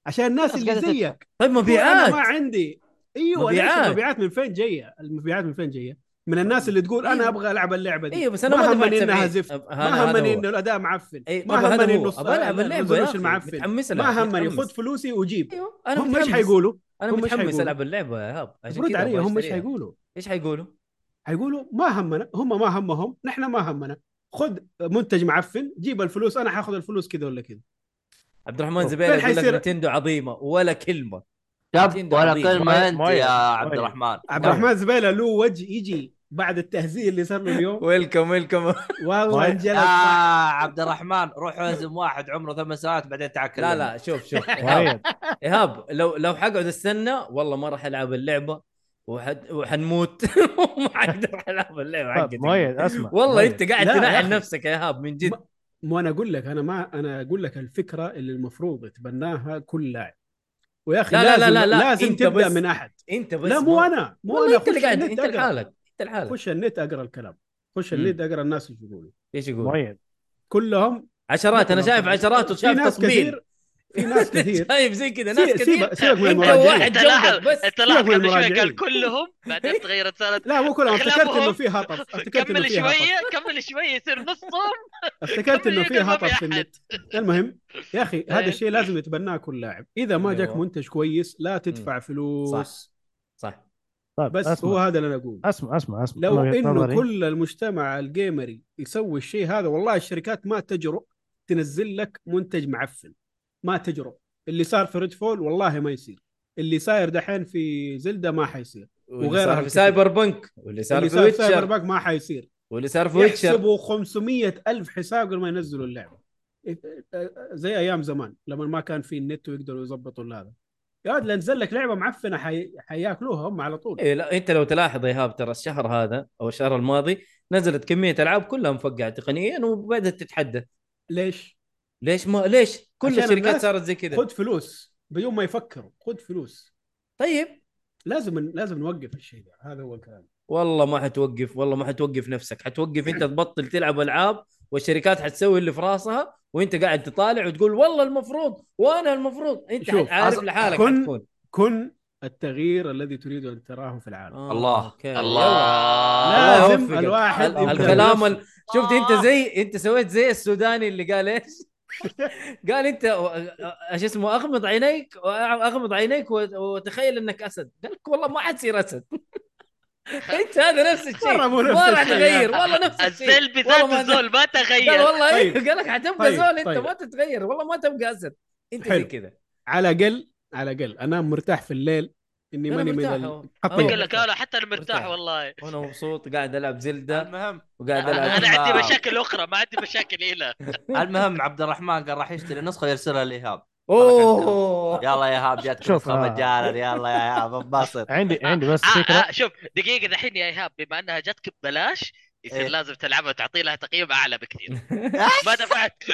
B: عشان الناس
D: ناس
B: اللي
D: قاعدة تدفع.
B: زيك
A: طيب
B: انا ما
A: مبيعات
B: عندي ايوه ليش
A: مبيعات.
B: المبيعات من فين جايه المبيعات من فين جايه من الناس اللي تقول انا
A: أيوة.
B: ابغى العب اللعبه دي
A: ايوه بس انا
B: ما
A: ما
B: همني
A: دفعت
B: انها
A: 70.
B: زفت.
A: أب- هذا-
B: ما
A: هذا
B: همني
A: هو.
B: انه الاداء معفن
A: اي
B: ما
A: طب هذا
B: همني
A: هو.
B: النص-
A: ابغى العب اللعبه يا
B: الريزولوشن
A: اخي
B: معفن.
A: متحمس لها
B: ما همني
A: متحمس.
B: خذ فلوسي وجيب
A: ايوه انا
B: هم ايش
A: متحمس.
B: حيقولوا؟
A: انا
B: هم إيش
A: متحمس
B: حيقولوا؟
A: العب اللعبة يا هاب عشان
B: رد
A: كذا
B: علي
A: أبغى
B: هم ايش
A: أشتريها.
B: حيقولوا؟
A: ايش حيقولوا؟
B: حيقولوا ما همنا هم ما همهم نحن ما همنا خذ منتج معفن جيب الفلوس انا حاخذ الفلوس كذا ولا كذا
A: عبد الرحمن
B: أوف.
A: زبير
B: فين
A: يقول لك
B: حيصير؟
A: نتندو عظيمه ولا كلمه
C: شب ولا كلمه انت
F: مؤيد.
C: يا عبد
F: مؤيد.
C: الرحمن
A: آه.
B: عبد الرحمن زبيله له وجه يجي بعد التهزيء اللي صار له اليوم
A: ويلكم ويلكم
B: والله
F: طيب.
B: انجلد
C: يا
A: آه.
B: صح.
C: عبد الرحمن روح اهزم واحد عمره ثمان ساعات بعدين تعال
A: لا
C: كلمني.
A: لا شوف شوف إيهاب
F: مؤيد
B: طيب.
A: إيهاب لو لو حقعد استنى والله ما راح العب اللعبه وحد وحنموت ما حقدر العب اللعبه
B: طيب،
F: طب،
A: حقتي
F: مؤيد اسمع
A: والله
F: مؤيد.
A: انت قاعد
B: لا، يا
A: تنعل
B: أخي.
A: نفسك يا ايهاب من جد
B: ما- مو انا اقول لك انا ما انا اقول لك الفكره اللي المفروض يتبناها كل لاعب ويا اخي
A: لا، لا،
B: لازم
A: لا، لا، لا،
B: لازم
A: أنت
B: تبدا
A: بس.
B: من احد
A: انت بس
B: لا مو
A: ما-
B: انا مو
A: والله
B: انا
A: انت اللي
B: خش
A: قاعد
B: النت
A: انت
B: أقرأ.
A: لحالك انت لحالك
B: خش النت اقرا الكلام خش
A: مم.
B: النت اقرا الناس ايش يقولوا
A: ايش يقول؟
F: مؤيد
B: كلهم
A: عشرات انا
B: كلهم.
A: شايف عشرات
B: طيب. في
A: وشايف
B: ناس
A: تصميم
B: كثير في ناس كثير
A: شايف زي كذا ناس
B: سيب-
A: كثير
B: سيب- سيبك من
A: انت
B: المراجعين
A: واحد
E: انت لاحظ
A: جنبك بس
E: انت لاحظ
B: سيبك من
E: قبل شوي
B: المراجعين.
E: قال كلهم بعدين تغيرت صارت
B: لا مو كلهم افتكرت انه
E: أغلبهم.
B: في هطف افتكرت انه
E: كمل
B: في هطف
E: شويه كمل شويه يصير نصهم
B: افتكرت انه في
E: كمل ما في
B: هطف في
E: أحد.
B: النت المهم يا اخي هذا
E: إيه.
B: الشيء لازم يتبناه كل لاعب اذا ما جاك
A: أيوة.
B: منتج كويس لا تدفع فلوس
A: صح
F: طيب
B: بس هو هذا اللي انا اقوله
F: اسمع اسمع اسمع
B: لو
F: أنا وجهة
B: انه
F: نظري-
B: كل المجتمع الجيمري يسوي الشيء هذا والله الشركات ما تجرؤ تنزل لك منتج معفن ما تجرؤ اللي صار في ريد فول والله ما يصير اللي صاير دحين في زلدة ما حيصير وغيرها
A: واللي صار في
B: الكثير.
A: سايبر بنك واللي صار
B: اللي
A: في
B: صار في سايبر
A: ويتشر
B: باك ما حيصير
A: واللي صار في ويتشر
B: يحسبوا 500 ألف حساب قبل ما ينزلوا اللعبة إيه، زي أيام زمان لما ما كان في النت ويقدروا يظبطوا هذا يا ولد لنزل لك لعبة معفنة حي... حياكلوها هم على طول
A: إيه لا انت لو تلاحظ يا هاب ترى الشهر هذا او الشهر الماضي نزلت كميه العاب كلها مفقعه تقنيا وبدات تتحدث
B: ليش؟
A: ليش ما ليش كل
B: عشان
A: الشركات
B: الناس
A: صارت زي كذا
B: خذ فلوس بدون ما يفكروا خذ فلوس
A: طيب
B: لازم لازم نوقف الشيء ده هذا هو الكلام
A: والله ما حتوقف والله ما حتوقف نفسك حتوقف انت تبطل تلعب العاب والشركات حتسوي اللي في راسها وانت قاعد تطالع وتقول والله المفروض وانا المفروض انت
B: شوف،
A: عارف
C: أص-
A: لحالك
B: كن-
A: حتكون
B: كن التغيير الذي تريد ان تراه في العالم
A: آه،
C: الله.
A: أوكي.
E: الله
A: الله
B: لازم
A: يوفقك.
B: الواحد
A: ال-
B: يبدأ
A: الكلام
B: بنفسه.
A: ال... شفت انت زي انت سويت زي السوداني اللي قال ايش؟ قال انت و- ايش اسمه اغمض عينيك اغمض عينيك وت- وتخيل انك اسد قال لك والله ما حتصير اسد انت هذا نفس الشيء
B: مرة مو نفس
A: ما راح
B: الشيء.
A: تغير والله نفس الشيء
E: الزلبي
A: والله
E: ذات
A: ما أدري.
E: الزول ما
A: قال
E: تغير
A: والله
B: طيب.
A: ايه قال لك حتبقى
B: طيب،
A: زول انت
B: طيب.
A: ما تتغير والله ما تبقى اسد انت زي
B: حلو.
A: كذا
B: على الاقل على الاقل انام مرتاح في الليل اني
A: أنا
B: ماني من
A: مرتاح آه.
B: ال-
A: أهو.
B: حقيقي.
E: قال لك انا حتى انا مرتاح
A: مرتاح.
E: والله
A: وانا مبسوط قاعد العب زلدة
C: المهم
A: وقاعد
E: انا
A: العب
E: أنا عندي
C: آه.
E: مشاكل اخرى ما عندي مشاكل هنا
C: المهم عبد الرحمن قال راح يشتري نسخه ويرسلها لايهاب
A: اوه
C: يلا يا ايهاب جاتك
F: شوف،
C: نسخه
F: آه.
C: مجانا يلا يا ايهاب انبسط
F: عندي عندي بس
E: آه
F: فكره
E: آه شوف دقيقه دحين يا ايهاب بما انها جتك ببلاش يصير
C: إيه.
E: لازم تلعبها وتعطي لها تقييم اعلى بكثير ما دفعت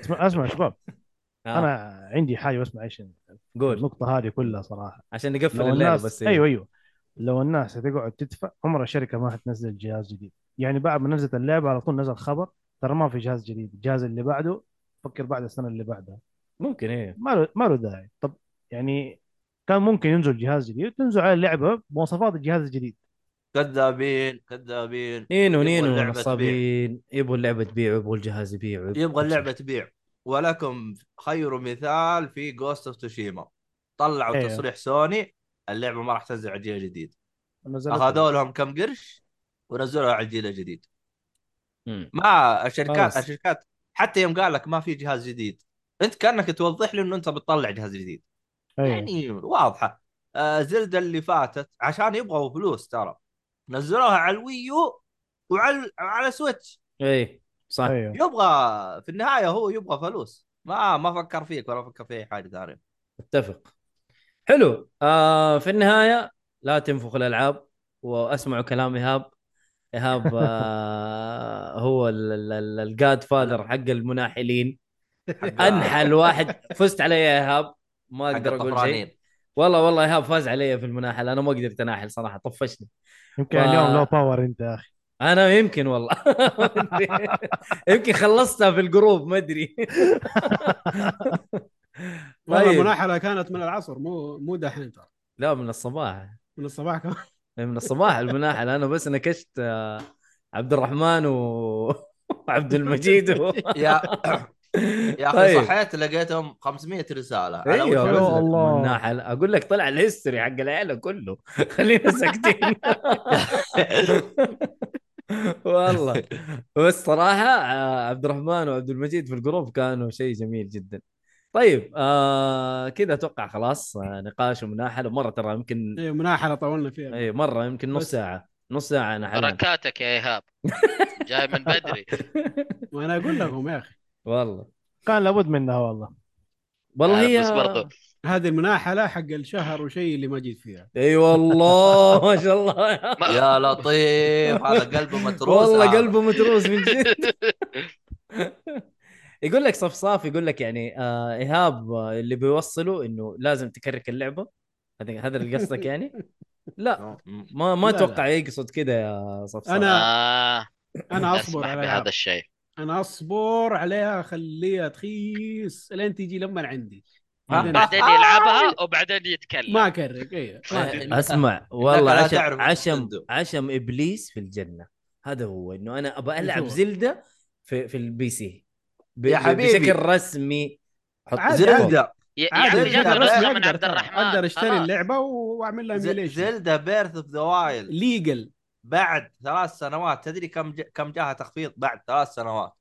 F: اسمع اسمع يا شباب
A: آه،
F: انا عندي حاجه بس معلش
A: قول
F: النقطه هذه كلها صراحه
A: عشان نقفل
F: لو
A: الليله
F: الناس
A: بس
B: أيوة.
F: ايوه ايوه لو الناس هتقعد تدفع عمر الشركه ما حتنزل جهاز جديد يعني بعد ما نزلت اللعبه على طول نزل خبر ترى ما في جهاز جديد الجهاز اللي بعده فكر بعد السنه اللي بعدها
A: ممكن ايه
F: ما له ما له داعي طب يعني كان ممكن ينزل جهاز جديد تنزل على اللعبه بمواصفات الجهاز الجديد
C: كذابين كذابين
A: نينو
C: يبغوا
A: نينو
C: اللعبة
A: نصابين يبغوا اللعبه تبيع يبغوا الجهاز يبيع يبغوا-
C: يبغى اللعبه تبيع ولكم خير مثال في جوست اوف توشيما طلعوا
F: أيوه.
C: أيوه. تصريح سوني اللعبه ما راح تنزل على جيل جديد
F: نزلت
C: اخذوا لهم كم قرش ونزلوها على الجيل الجديد
A: مم.
C: ما الشركات
A: خلاص.
C: الشركات حتى يوم قال لك ما في جهاز جديد انت كانك توضح لي انه انت بتطلع جهاز جديد
F: أيوه.
C: يعني واضحه آه زلدة اللي فاتت عشان يبغوا فلوس ترى نزلوها على الويو وعلى على سويتش
A: ايه صح
F: ايوه
C: يبغى في النهايه هو يبغى فلوس ما ما فكر فيك ولا فكر في اي حاجه ثانيه
A: اتفق حلو آه في النهايه لا تنفخوا الالعاب واسمعوا كلام ايهاب ايهاب آه هو الجاد فادر حق المناحلين انحل واحد فزت علي يا ايهاب ما اقدر اقول شيء والله والله ايهاب فاز علي في المناحل انا ما قدرت اناحل صراحه طفشني
F: يمكن
A: و-
F: اليوم لو باور انت يا اخي
A: انا يمكن والله يمكن خلصتها في الجروب ما ادري
B: والله
A: طيب.
B: المناحله كانت من العصر مو مو دحين ترى
A: لا من الصباح
B: من الصباح كمان
A: من الصباح المناحل انا بس نكشت آه، عبد الرحمن و- وعبد المجيد و...
C: يا يا اخي
A: طيب.
C: صحيت لقيتهم 500 رساله على
A: ايوه
C: وجه
A: أقول لك
F: يا الله.
A: مناحل اقول لك طلع الهيستوري حق العيله كله خلينا ساكتين والله بس صراحه آه، عبد الرحمن وعبد المجيد في الجروب كانوا شيء جميل جدا طيب آه كذا اتوقع خلاص آه، نقاش ومناحل ومره ترى يمكن
B: ايوه مناحله طولنا فيها
A: اي مره يمكن نص
B: بس.
A: ساعه نص ساعه انا حلان
E: بركاتك يا ايهاب جاي من بدري
B: وانا اقول لكم يا اخي
A: والله
F: كان لابد منها والله
A: والله هي
E: آه، بس برضو
B: هذه المناحله حق الشهر وشيء اللي ما جيت فيها
A: اي والله ما شاء الله
E: ما-
C: يا لطيف هذا قلبه متروس
A: طيب. والله
C: هذا.
A: قلبه متروس من جد يقول لك صفصاف يقول لك يعني آه ايهاب آه، اللي بيوصله انه لازم تكرك اللعبه هذا هذا اللي قصدك يعني لا
C: مم.
A: ما ما
B: لا،
A: اتوقع يقصد كذا يا صفصاف
B: أنا-
E: آه
B: انا اصبر
E: اسمح
B: على
E: بهذا
B: الألعاب.
E: الشيء
B: انا اصبر عليها خليها تخيس لين تجي لما عندي
A: آه،
B: بعدين
E: بعدين يلعبها وبعدين يتكلم
B: ما إيه. اكرك اي
A: اسمع آه، والله
C: لا
A: عشم
C: تعرف
A: عشم
C: نتندو.
A: عشم ابليس في الجنه هذا هو انه انا ابى العب
B: هو.
A: زلده في في البي سي ب-
C: يا
A: ب-
C: حبيبي.
A: بشكل رسمي حط
B: عادي، عادي.
C: زلدة
E: يا يعني يا
B: عادي
E: عمي
C: جات
B: أنا
E: جاته
B: رسمي
E: نسخه
B: أقدر
E: من عبد
B: ترى.
E: الرحمن
B: اقدر اشتري
E: خلاص.
B: اللعبة واعمل
A: يعني.
B: لها
C: ز-
B: ايميليشن
C: زلدة بيرث اوف ذا وايلد
B: ليجل
C: بعد ثلاث سنوات تدري كم ج... كم جاها تخفيض بعد ثلاث سنوات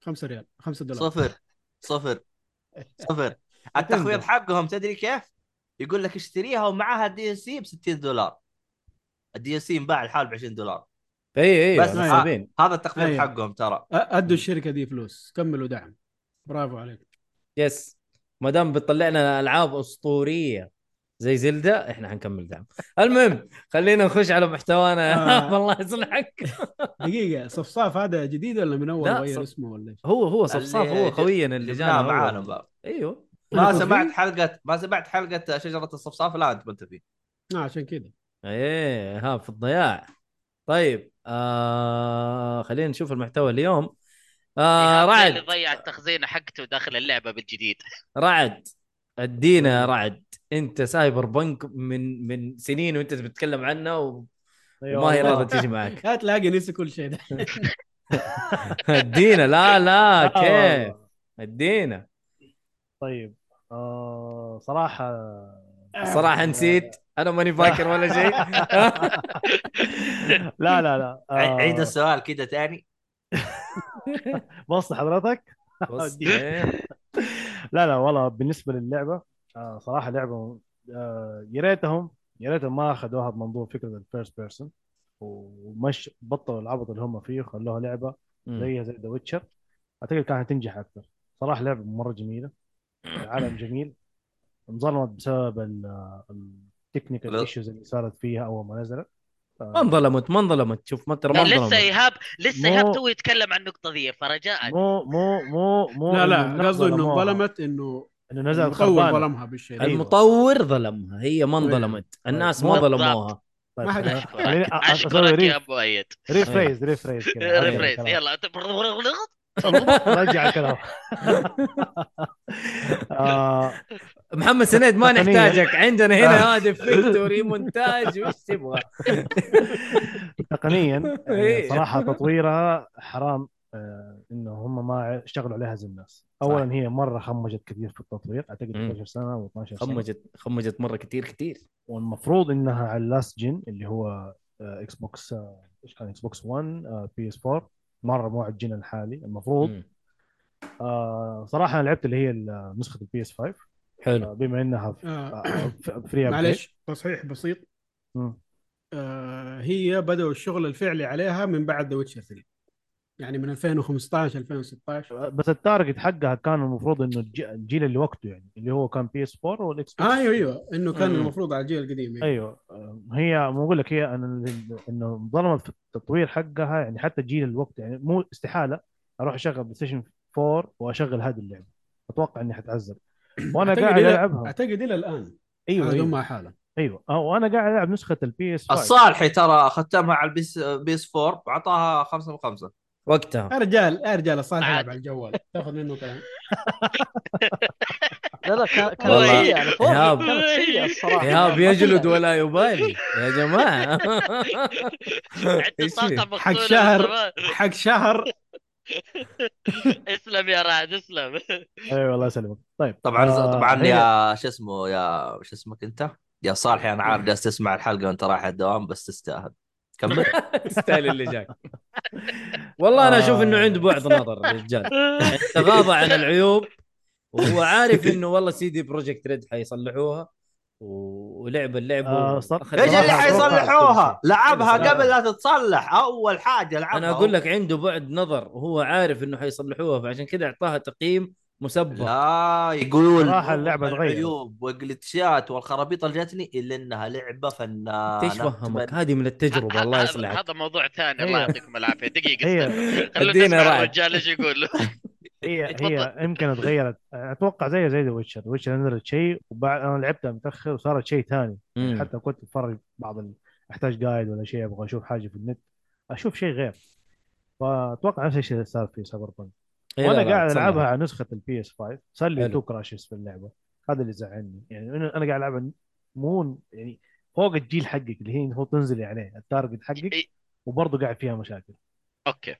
B: 5 ريال 5 دولار
C: صفر صفر صفر التخفيض حقهم تدري كيف؟ يقول لك اشتريها ومعاها الدي اس سي ب 60 دولار الدي اس سي انباع الحال ب 20 دولار
A: اي اي
C: بس
A: أنا
B: ع-
A: صابين.
C: هذا التخفيض
B: أيوه.
C: حقهم ترى
B: أ- ادوا الشركة دي فلوس كملوا دعم برافو عليك
A: يس ما دام بتطلعنا العاب اسطوريه زي زلدة احنا حنكمل دعم المهم خلينا نخش على محتوانا
B: آه.
A: الله يصلحك
B: دقيقة صفصاف هذا جديد ولا من اول
A: لا،
B: غير
A: صف-
B: اسمه ولا ايش؟
A: هو هو صفصاف
C: اللي
A: هو
C: ج-
A: خويا اللي
C: جبناها
A: جانا هو.
C: معانا بقى.
A: ايوه
C: ما
B: كنت
C: سمعت
B: فيه؟
C: حلقه ما سمعت حلقه شجره الصفصاف لا انت ما انت فيه
B: آه، عشان كذا
A: ايه ها في الضياع طيب آه خلينا نشوف المحتوى اليوم آه
E: إيهاب زي اللي
A: رعد
E: ضيع التخزينه حقته داخل اللعبه بالجديد
A: رعد ادينا يا رعد انت سايبر بنك من من سنين وانت بتتكلم عنه وما
F: أيوة
A: هي
F: والله.
A: راضيه تيجي معك
B: لا تلاقي نسي كل شيء ده
A: ادينا لا لا
F: آه
A: كيف
F: والله.
A: ادينا
F: طيب آه صراحه
A: صراحه نسيت انا ماني فاكر ولا شيء
F: لا لا لا آه،
C: عيد السؤال كذا ثاني
F: بص حضرتك
A: بص، إيه.
F: لا لا والله بالنسبه للعبه آه، صراحه لعبه آه، يا ريتهم يا ريتهم ما اخذوها بمنظور فكره الفيرست بيرسون ومش بطلوا العبط اللي هم فيه وخلوها لعبه زيها زي ذا ويتشر اعتقد كانت تنجح اكثر صراحه لعبه مره جميله عالم جميل انظلمت بسبب التكنيكال
C: لا.
F: ايشوز اللي صارت فيها اول ما نزلت
A: ما انظلمت ما انظلمت شوف ما ترى ما
E: لسه
A: انظلمت
E: ايهاب لسه ايهاب
F: مو-
E: تو يتكلم عن النقطه ذي فرجاء
F: مو مو مو مو
B: لا
F: إنه
B: لا
F: النقطة
B: قصده انه
F: ظلموها.
B: انظلمت انه
F: انه نزلت
B: المطور
F: خربانه
B: ظلمها بالشيء
F: أيوة.
B: ده.
A: المطور ظلمها هي ما
F: طيب.
A: انظلمت الناس ما
F: مو-
A: ظلموها
F: طيب،
B: ما حد
F: خليني-
B: يشكرك.
F: خليني أ- أ- أسوي
E: اشكرك يا
F: ريف-
E: ابو ايد
F: ريفريز ريفريز كده. أرجع
E: ريفريز
F: الكلام.
E: يلا
F: يعني رجع الكلام آه،
A: محمد سند ما
F: تقنية. آه.
A: نحتاجك عندنا هنا هادف فيكتوري مونتاج وش تبغى
F: تقنيا
A: إيه.
F: آه، صراحه تطويرها حرام آه، انه هم ما اشتغلوا عليها زي الناس اولا هي مره خمجت كثير في التطوير اعتقد
A: مم.
F: 12 سنه او 12 سنه
A: خمجت خمجت مره كثير كثير
F: والمفروض انها على اللاست جن اللي هو آه، اكس بوكس آه، ايش كان اكس بوكس 1 آه، بي اس 4 مره مو على الجن الحالي المفروض آه، صراحه انا لعبت اللي هي ال- نسخه البي اس 5
A: حلو
F: آه، بما انها في-
B: آه،
F: آه، في- فري
B: معلش تصحيح بسيط
F: مم.
B: آه، هي بدأوا الشغل الفعلي عليها من بعد ذا ويتشر 3 يعني من 2015 2016
F: بس التارجت حقها كان المفروض انه الج- الجيل اللي وقته يعني اللي هو كان بي اس 4 والاكس بوكس
B: ايوه ايوه انه كان
A: مم.
B: المفروض على الجيل القديم أيوة.
F: ايوه آه، هي مو اقول لك هي انا انه انظلمت في التطوير حقها يعني حتى الجيل الوقت يعني مو استحاله اروح اشغل بلاي ستيشن 4 واشغل هذه اللعبه اتوقع اني حتعذب وانا
B: أعتقد
F: قاعد
B: إلى-
F: العبها
B: اعتقد الى الان
F: ايوه
B: هذا
F: ايوه
B: مع حاله
F: ايوه آه، وانا قاعد العب نسخه البي اس 5
C: الصالحي ترى ختمها على البيس بيس 4 اعطاها خمسة من خمسة
A: وقتها
F: آه.
B: يا رجال يا رجال الصالح
E: عاد.
B: يلعب على الجوال تاخذ منه كلام
D: لا لا كان- كانت
A: والله.
D: سيئه على فور
A: إيهاب.
D: كانت سيئه الصراحه
A: ايهاب
D: ما
A: يجلد
D: كلها.
A: ولا يبالي يا جماعه
E: عنده
A: إيش
E: طاقه
A: فيه؟
E: مقتوله
B: حق شهر.
E: بالصباح.
B: حق شهر
E: اسلم يا رعد اسلم
F: ايوه الله يسلمك طيب
C: طبعا
F: آه،
C: طبعا
F: هي-
C: يا شو اسمه يا شو اسمك انت يا صالحي انا عارف جالس تسمع الحلقه وانت رايح الدوام بس تستاهل كمل
A: تستاهل اللي جاك والله انا اشوف انه عنده بعد نظر الرجال تغاضى عن العيوب وهو عارف انه والله سيدي بروجكت ريد حيصلحوها و- ولعب اللعبه
F: آه،
A: و-
F: صر-
A: أخذ
C: ايش اللي
A: راحة.
C: حيصلحوها؟ لعبها
A: صراحة.
C: قبل لا تتصلح اول حاجه لعبها
A: انا اقول لك عنده بعد نظر وهو عارف انه حيصلحوها فعشان كذا اعطاها تقييم مسبق
C: لا يقولون
F: صراحة اللعبة تغيرت.
C: العيوب والجلتشات والخرابيط اللي جاتني الا انها لعبه فنانه
A: انت ايش فهمك هذه من التجربه الله يصلحك
E: هذا موضوع ثاني الله
F: هي.
E: يعطيكم العافيه دقيقه
F: هي
E: استنى.
A: ادينا
E: خلونا نسمع
A: رعد.
E: الرجال ايش يقول
F: هي إيه، هي
E: اتفضل.
F: يمكن اتغيرت اتوقع زي زي ذا ويتشر ويتشر نزلت شيء وبعد انا لعبتها متاخر وصارت شيء ثاني
A: مم.
F: حتى كنت اتفرج بعض ال... احتاج جايد ولا شيء ابغى اشوف حاجه في النت اشوف شيء غير فاتوقع نفس الشيء اللي صار في سايبر بانك
A: إيه، لا،
F: وانا
A: لا،
F: قاعد
A: تصلح.
F: العبها على نسخه البي اس 5 صار لي
A: حلو.
F: تو كراشز في اللعبه هذا اللي زعلني يعني انا أنا قاعد العبها مو يعني فوق الجيل حقك اللي هي المفروض تنزلي عليه التارجت حقك
E: إيه.
F: وبرضه قاعد فيها مشاكل
E: اوكي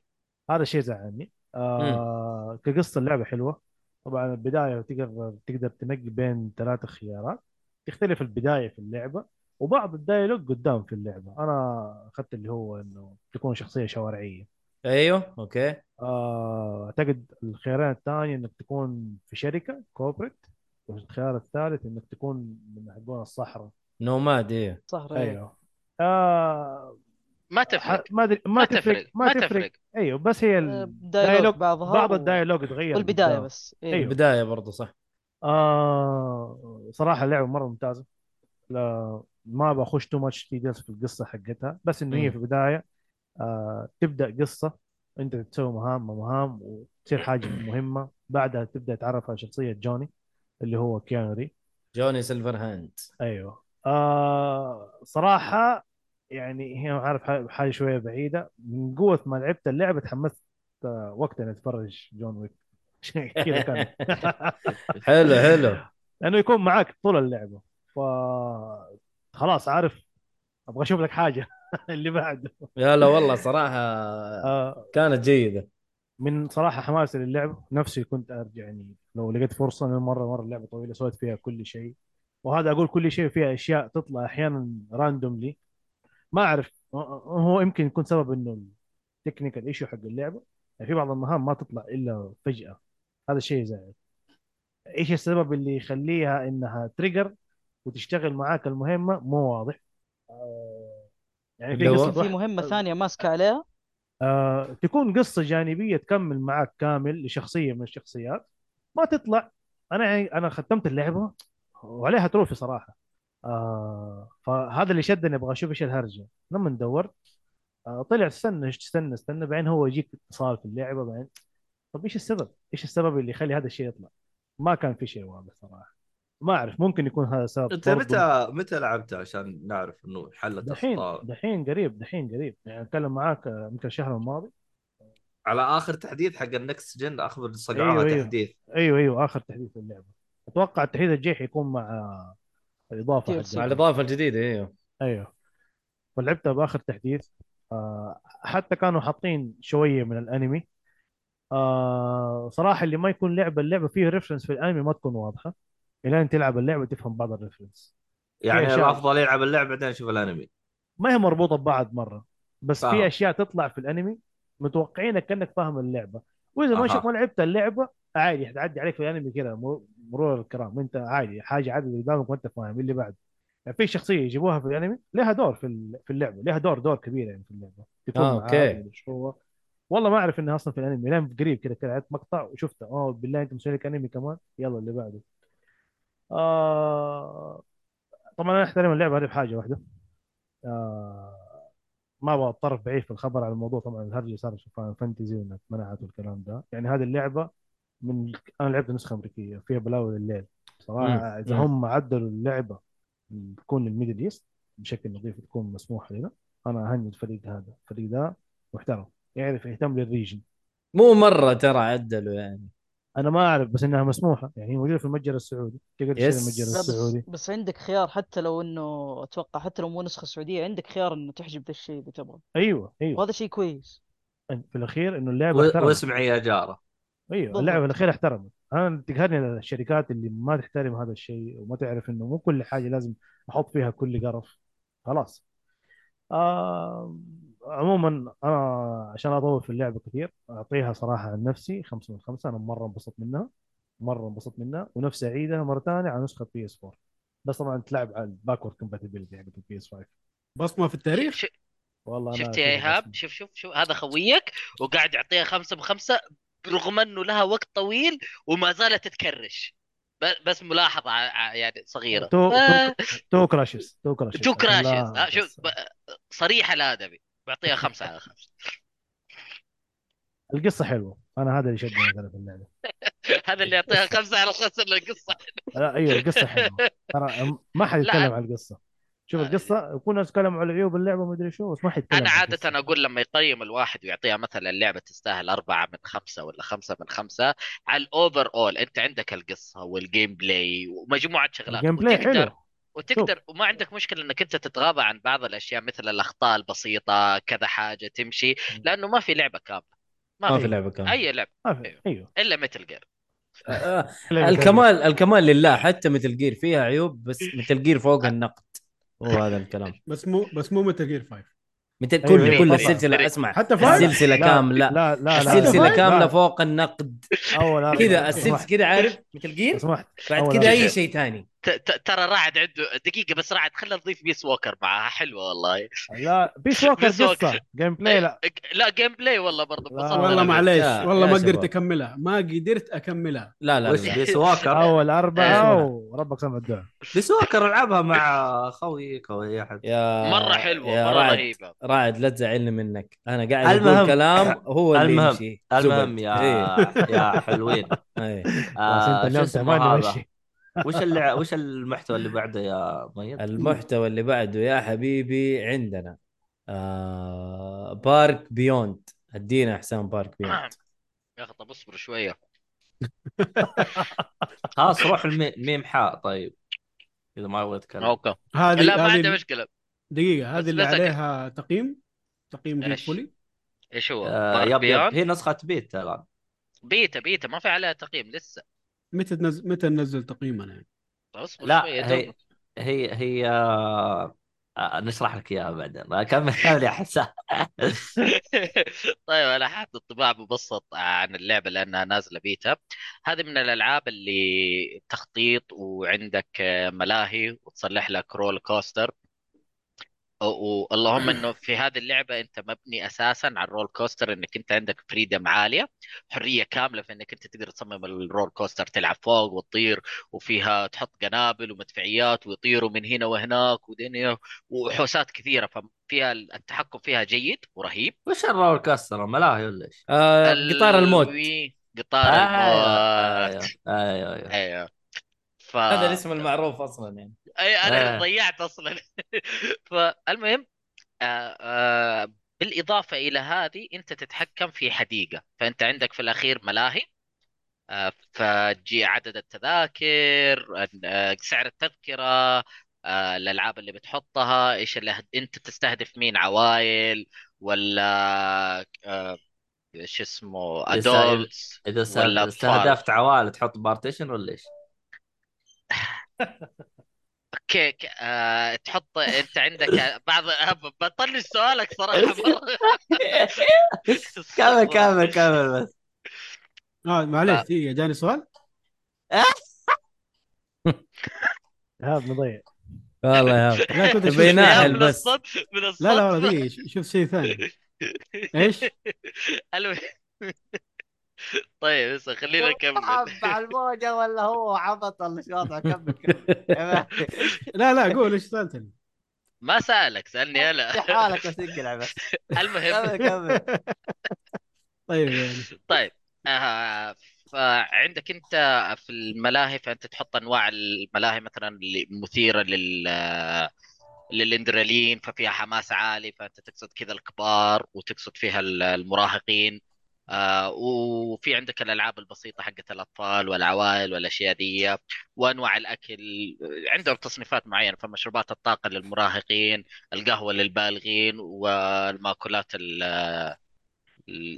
F: هذا الشيء زعلني آه كقصه اللعبه حلوه طبعا البدايه تقدر تقدر تنقي بين ثلاثة خيارات تختلف البدايه في اللعبه وبعض الدايلوج قدام في اللعبه انا اخذت اللي هو انه تكون شخصيه شوارعيه
A: ايوه اوكي
F: آه اعتقد الخيارين الثاني انك تكون في شركه كوربريت والخيار الثالث انك تكون من حقون الصحراء
A: نوماد ايه
D: سهرة،
C: أيوه.
D: إيه.
F: ايوه آه
E: ما
F: ح-
E: تفرق
F: ما ادري ما تفرق ما تفرق
E: تفرق
F: ايوه بس هي
D: آه،
F: ال-
D: دايلوج
F: دايلوج-
D: بعضها
F: بعض
D: و-
F: الدايلوج تغير
D: والبدايه
F: قدام.
D: بس إيه.
B: أيوه.
F: أيوة.
A: البدايه برضه صح
F: آه صراحة اللعبة مرة ممتازة لا ما بخش تو ماتش ديتيلز في القصة حقتها بس انه هي
A: مم.
F: في البداية آه تبدأ قصة انت تسوي مهام مهام وتصير حاجة مهمة بعدها تبدأ تعرف على شخصية جوني اللي هو كيانري
A: جوني سيلفر هاند
F: ايوه آه صراحة يعني هي عارف ح- حاجة شوية بعيدة من قوة ما لعبت اللعبة تحمست آه وقتها اني اتفرج جون ويك عشان كذا كان
A: حلو حلو
F: لانه يكون معاك طول اللعبه ف خلاص عارف ابغى اشوف لك حاجه اللي بعده
A: يا لا والله صراحه
F: آه،
A: كانت جيده
F: من صراحه حماسي للعبه نفسي كنت ارجع يعني لو لقيت فرصه انا مره مره اللعبه طويله سويت فيها كل شيء وهذا اقول كل شيء فيها اشياء تطلع احيانا راندوملي ما اعرف هو يمكن يكون سبب انه التكنيكال ايشو حق اللعبه يعني في بعض المهام ما تطلع الا فجاه هذا الشيء زائد ايش السبب اللي يخليها انها تريجر وتشتغل معاك المهمه مو واضح آه، يعني في
A: اللي هو-
F: قصه
A: واحد-
D: في
F: واحد-
D: مهمه ثانيه ماسكه عليها
F: آه، تكون قصة جانبية تكمل معك كامل لشخصية من الشخصيات ما تطلع أنا يعني أنا ختمت اللعبة وعليها تروفي صراحة آه فهذا اللي شدني أبغى أشوف إيش الهرجة لما دورت آه طلع استنى استنى استنى بعدين هو يجيك اتصال في اللعبة بعدين طب إيش السبب؟ إيش السبب اللي يخلي هذا الشيء يطلع؟ ما كان في شيء واضح صراحة ما أعرف ممكن يكون هذا سبب
C: انت
F: برضو.
C: متى متى لعبتها عشان نعرف انه حلت
F: دحين
C: اخطاء
F: دحين قريب دحين قريب يعني أتكلم معاك آه، يمكن الشهر الماضي
C: على اخر تحديث حق النكست جن اخبر صقعوها
F: أيوه، أيوه.
C: تحديث
F: ايوه ايوه اخر تحديث للعبه اتوقع التحديث الجاي حيكون مع الاضافه
D: DLC.
A: مع
F: حقتها.
A: الاضافه الجديده ايوه
F: ايوه ولعبتها باخر تحديث آه حتى كانوا حاطين شويه من الانمي آه صراحه اللي ما يكون لعبه اللعبه فيه ريفرنس في الانمي ما تكون واضحه الى ان تلعب اللعبه تفهم بعض الريفرنس
C: يعني
F: أشياء.
C: الافضل يلعب اللعبه بعدين يشوف الانمي
F: ما هي مربوطه ببعض مره بس
C: فاهم.
F: في اشياء تطلع في الانمي متوقعينك كانك فاهم اللعبه واذا ما
C: أها.
F: شفت ما لعبت اللعبه عادي حتعدي عليك في الانمي كذا مر- مرور الكرام انت عادي حاجه عادي اللي قدامك وانت فاهم اللي بعد يعني في شخصيه يجيبوها في الانمي لها دور في ال- في اللعبه لها دور دور كبير يعني في اللعبه تكون
A: آه،
F: معاه
A: أوكي.
F: ومدري شو هو والله ما اعرف انها اصلا في الانمي لين قريب كذا كذا عدت مقطع وشفته اه بالله انت مسوي لك انمي كمان يلا اللي بعده آه طبعا انا احترم اللعبه هذه بحاجه واحده آه ما ابغى اتطرف بعيد في الخبر على الموضوع طبعا الهرجه صار في فاينل فانتزي وانها اتمنعت والكلام ده يعني هذه اللعبه من انا لعبت نسخه امريكيه فيها بلاوي الليل صراحه
A: مم.
F: اذا
A: مم.
F: هم عدلوا اللعبه تكون الميدل ايست بشكل نظيف تكون مسموحه لنا انا اهني الفريق هذا الفريق ده محترم يعرف يهتم للريجن
A: مو مره ترى عدلوا يعني
F: انا ما اعرف بس انها مسموحه يعني هي موجوده في المتجر السعودي تقدر تشتري
A: يس.
F: المتجر
D: لا بس
F: السعودي
D: بس عندك خيار حتى لو انه اتوقع حتى لو مو نسخه سعوديه عندك خيار انه تحجب ذا الشيء اذا تبغى
F: ايوه ايوه
D: وهذا شيء كويس
F: في الاخير انه اللعبه
C: و-
F: احترمت
C: واسمعي يا جاره
F: ايوه
D: بالضبط.
F: اللعبه الاخير احترمت انا تقهرني الشركات اللي ما تحترم هذا الشيء وما تعرف انه مو كل حاجه لازم احط فيها كل قرف خلاص آه عموما انا عشان اطول في اللعبه كثير اعطيها صراحه عن نفسي خمسة من خمسة انا مره انبسطت منها مره انبسطت منها ونفسي اعيدها مره ثانيه على نسخه بي اس 4 بس طبعا تلعب على الباكورد كومباتيبلتي حقت البي اس 5
B: بصمه في التاريخ
E: ش-
F: والله انا
E: شفت يا
F: أشوفها
E: ايهاب
F: بس-
E: شوف شوف شوف هذا خويك وقاعد يعطيها خمسة بخمسة رغم انه لها وقت طويل وما زالت تكرش ب- بس ملاحظة ع- ع- يعني صغيرة
F: تو
E: آه،
F: تو تو كراشز تو كراشز
E: تو
F: عشان
E: كراشز
F: لا-
E: آه، شوف ب- صريحة الادبي بعطيها خمسة على خمسة
F: القصه حلوه انا هذا اللي شدني مثلا في اللعبه
E: هذا اللي يعطيها خمسة على خمسة القصة
F: لا ايوه القصه حلوه ترى ما حد يتكلم
E: لا.
F: عن القصه شوف
E: آه.
F: القصه يكون الناس يتكلموا على عيوب اللعبه وما ادري شو بس ما حد يتكلم
E: انا
F: عن
E: عاده
F: القصة.
E: اقول لما يقيم الواحد ويعطيها مثلا اللعبه تستاهل أربعة من خمسة ولا خمسة من خمسة على الاوفر اول انت عندك القصه والجيم بلاي ومجموعه شغلات
F: الجيم بلاي
E: وتقدر
F: حلو
E: وتقدر وما عندك مشكله انك انت تتغاضى عن بعض الاشياء مثل الاخطاء البسيطه كذا حاجه تمشي لانه ما في لعبه كامله
A: ما
E: ما
A: في
E: في
A: لعبه كامله
E: اي لعبه
F: ما في-
E: أيوه.
F: ايوه
E: الا متل جير
A: آه، الكمال الكمال لله حتى مثل جير فيها عيوب بس مثل جير فوق النقد هو هذا الكلام
B: بس مو بس مو متل جير 5
A: مثل
F: أيوه،
A: كل
F: أيوه،
A: كل
F: طبعاً.
A: السلسله اسمع
B: حتى فايف
A: السلسله
F: لا،
A: كامله
F: لا لا لا
A: السلسله
F: لا.
A: كامله
F: لا.
A: فوق النقد
F: اول أربعة.
A: كذا
F: لو
A: السلسله
F: سمحت،
A: كذا عارف مثل
F: لو
A: جير
F: سمحت
A: بعد
F: أول
A: كذا
F: أربعة.
A: اي شيء ثاني
E: ت- ت- ترى راعد عنده دقيقه بس راعد خلينا نضيف بيس ووكر معاها حلوه والله
F: لا بيس ووكر
E: بيس ووكر.
F: قصه جيم بلاي لا
E: لا جيم بلاي والله برضه
F: لا،
E: انبسطت
B: والله
E: أنا.
B: معليش
A: آه، يا-
B: والله
A: يا
B: ما قدرت
A: شباب.
B: اكملها ما قدرت اكملها
A: لا لا, لا,
C: بس
A: لا.
C: بيس
E: أيوة.
C: واكر
F: اول اربعه
A: إيه.
F: وربك سمع الدعاء
C: بيس واكر العبها مع خويك او اي احد
A: يا
E: مره حلوه
A: يا
E: مره
A: رعد
E: رهيبه
A: رعد لا تزعلني منك انا قاعد
C: المهم-
A: اقول كلام هو اللي
C: المهم-
A: يمشي
C: المهم
A: زبد.
C: يا
A: إيه.
C: يا حلوين
A: إيه.
F: خلاص انت
C: آه شو
F: اليوم
C: اسمه
F: تعبان
C: هذا
F: ماشي
C: وش اللي وش المحتوى اللي بعده يا ميت؟
A: المحتوى اللي بعده يا حبيبي عندنا آه بارك بيوند ادينا حسام بارك بيوند
E: يا اخي طب اصبر شويه
C: خلاص روح المي- ميم حاء طيب اذا ما يبغى يتكلم
E: اوكي
B: هذه
E: لا ما
B: هذه-
E: عنده مشكله
B: دقيقه هذه
E: بس
B: اللي
E: بس أك-
B: عليها تقييم تقييم جيك
E: إيش؟
B: فولي
E: ايش هو؟
C: آه
E: بارك
C: يب يب
E: بيوند
C: هي نسخه بيتا الان
E: بيتا بيتا ما في عليها تقييم لسه
B: متى تنزل متى ننزل تقييمنا يعني
E: اصبر
C: لا
E: شوي،
C: هي هي هي آه، آه، نشرح لك اياها بعدين كمل كمل يا حسام
E: طيب انا حاطط انطباع مبسط عن اللعبه لانها نازله بيتا هذه من الالعاب اللي تخطيط وعندك آه، ملاهي وتصلح لك رول كوستر و- واللهم انه في هذه اللعبه انت مبني اساسا على الرول كوستر انك انت عندك فريدم عاليه حريه كامله في انك انت تقدر تصمم الرول كوستر تلعب فوق وتطير وفيها تحط قنابل ومدفعيات ويطيروا من هنا وهناك ودنيا وحوسات كثيره ففيها التحكم فيها جيد ورهيب
C: وش الرول كاستر ملاهي ولا ايش؟
A: آه قطار الموت آه،
E: الوي- قطار
C: ايوه
E: الموت
C: ايوه ايوه
E: ايوه ف
A: أيوه. هذا الاسم المعروف اصلا يعني
E: أي
C: آه.
E: انا ضيعت اصلا فالمهم آه، آه، بالاضافه الى هذه انت تتحكم في حديقه فانت عندك في الاخير ملاهي آه، فتجي عدد التذاكر آه، سعر التذكره آه، الالعاب اللي بتحطها ايش اللي هت- انت تستهدف مين عوائل ولا آه، شو اسمه
C: إذا-
E: ادولتس
C: اذا
E: ولا
C: است-
E: اطفال
C: استهدفت عوائل تحط بارتيشن ولا ايش؟
E: كيك آه، تحط انت عندك بعض آه، بطلش سؤالك صراحه مره
C: كمل كمل كمل بس
B: اه معليش
E: آه.
B: دقيقه جاني سؤال
F: هذا مضيع
A: والله يا هاب.
B: لا توتر، شوف-
A: بيناها
E: لا
A: ناهل
E: من
A: بس.
E: الصدق من
B: لا لا
E: الصدق
B: والله دقيقه ش- شوف شيء ثاني ايش؟
E: المهم طيب بس خلينا نكمل
C: على الموجه ولا هو عبط ولا شو وضعه كمل كمل يعني
B: لا لا قول ايش سالتني؟
E: ما سالك سالني انا
C: حالك بس انقلع بس
E: المهم
C: كمل كمل
B: طيب يعني
E: طيب آه فعندك انت في الملاهي فانت تحط انواع الملاهي مثلا اللي مثيره لل للاندرالين ففيها حماس عالي فانت تقصد كذا الكبار وتقصد فيها ال- المراهقين آه وفي عندك الالعاب البسيطه حقت الاطفال والعوائل والاشياء دي وانواع الاكل عندهم تصنيفات معينه فمشروبات الطاقه للمراهقين القهوه للبالغين والمأكولات ال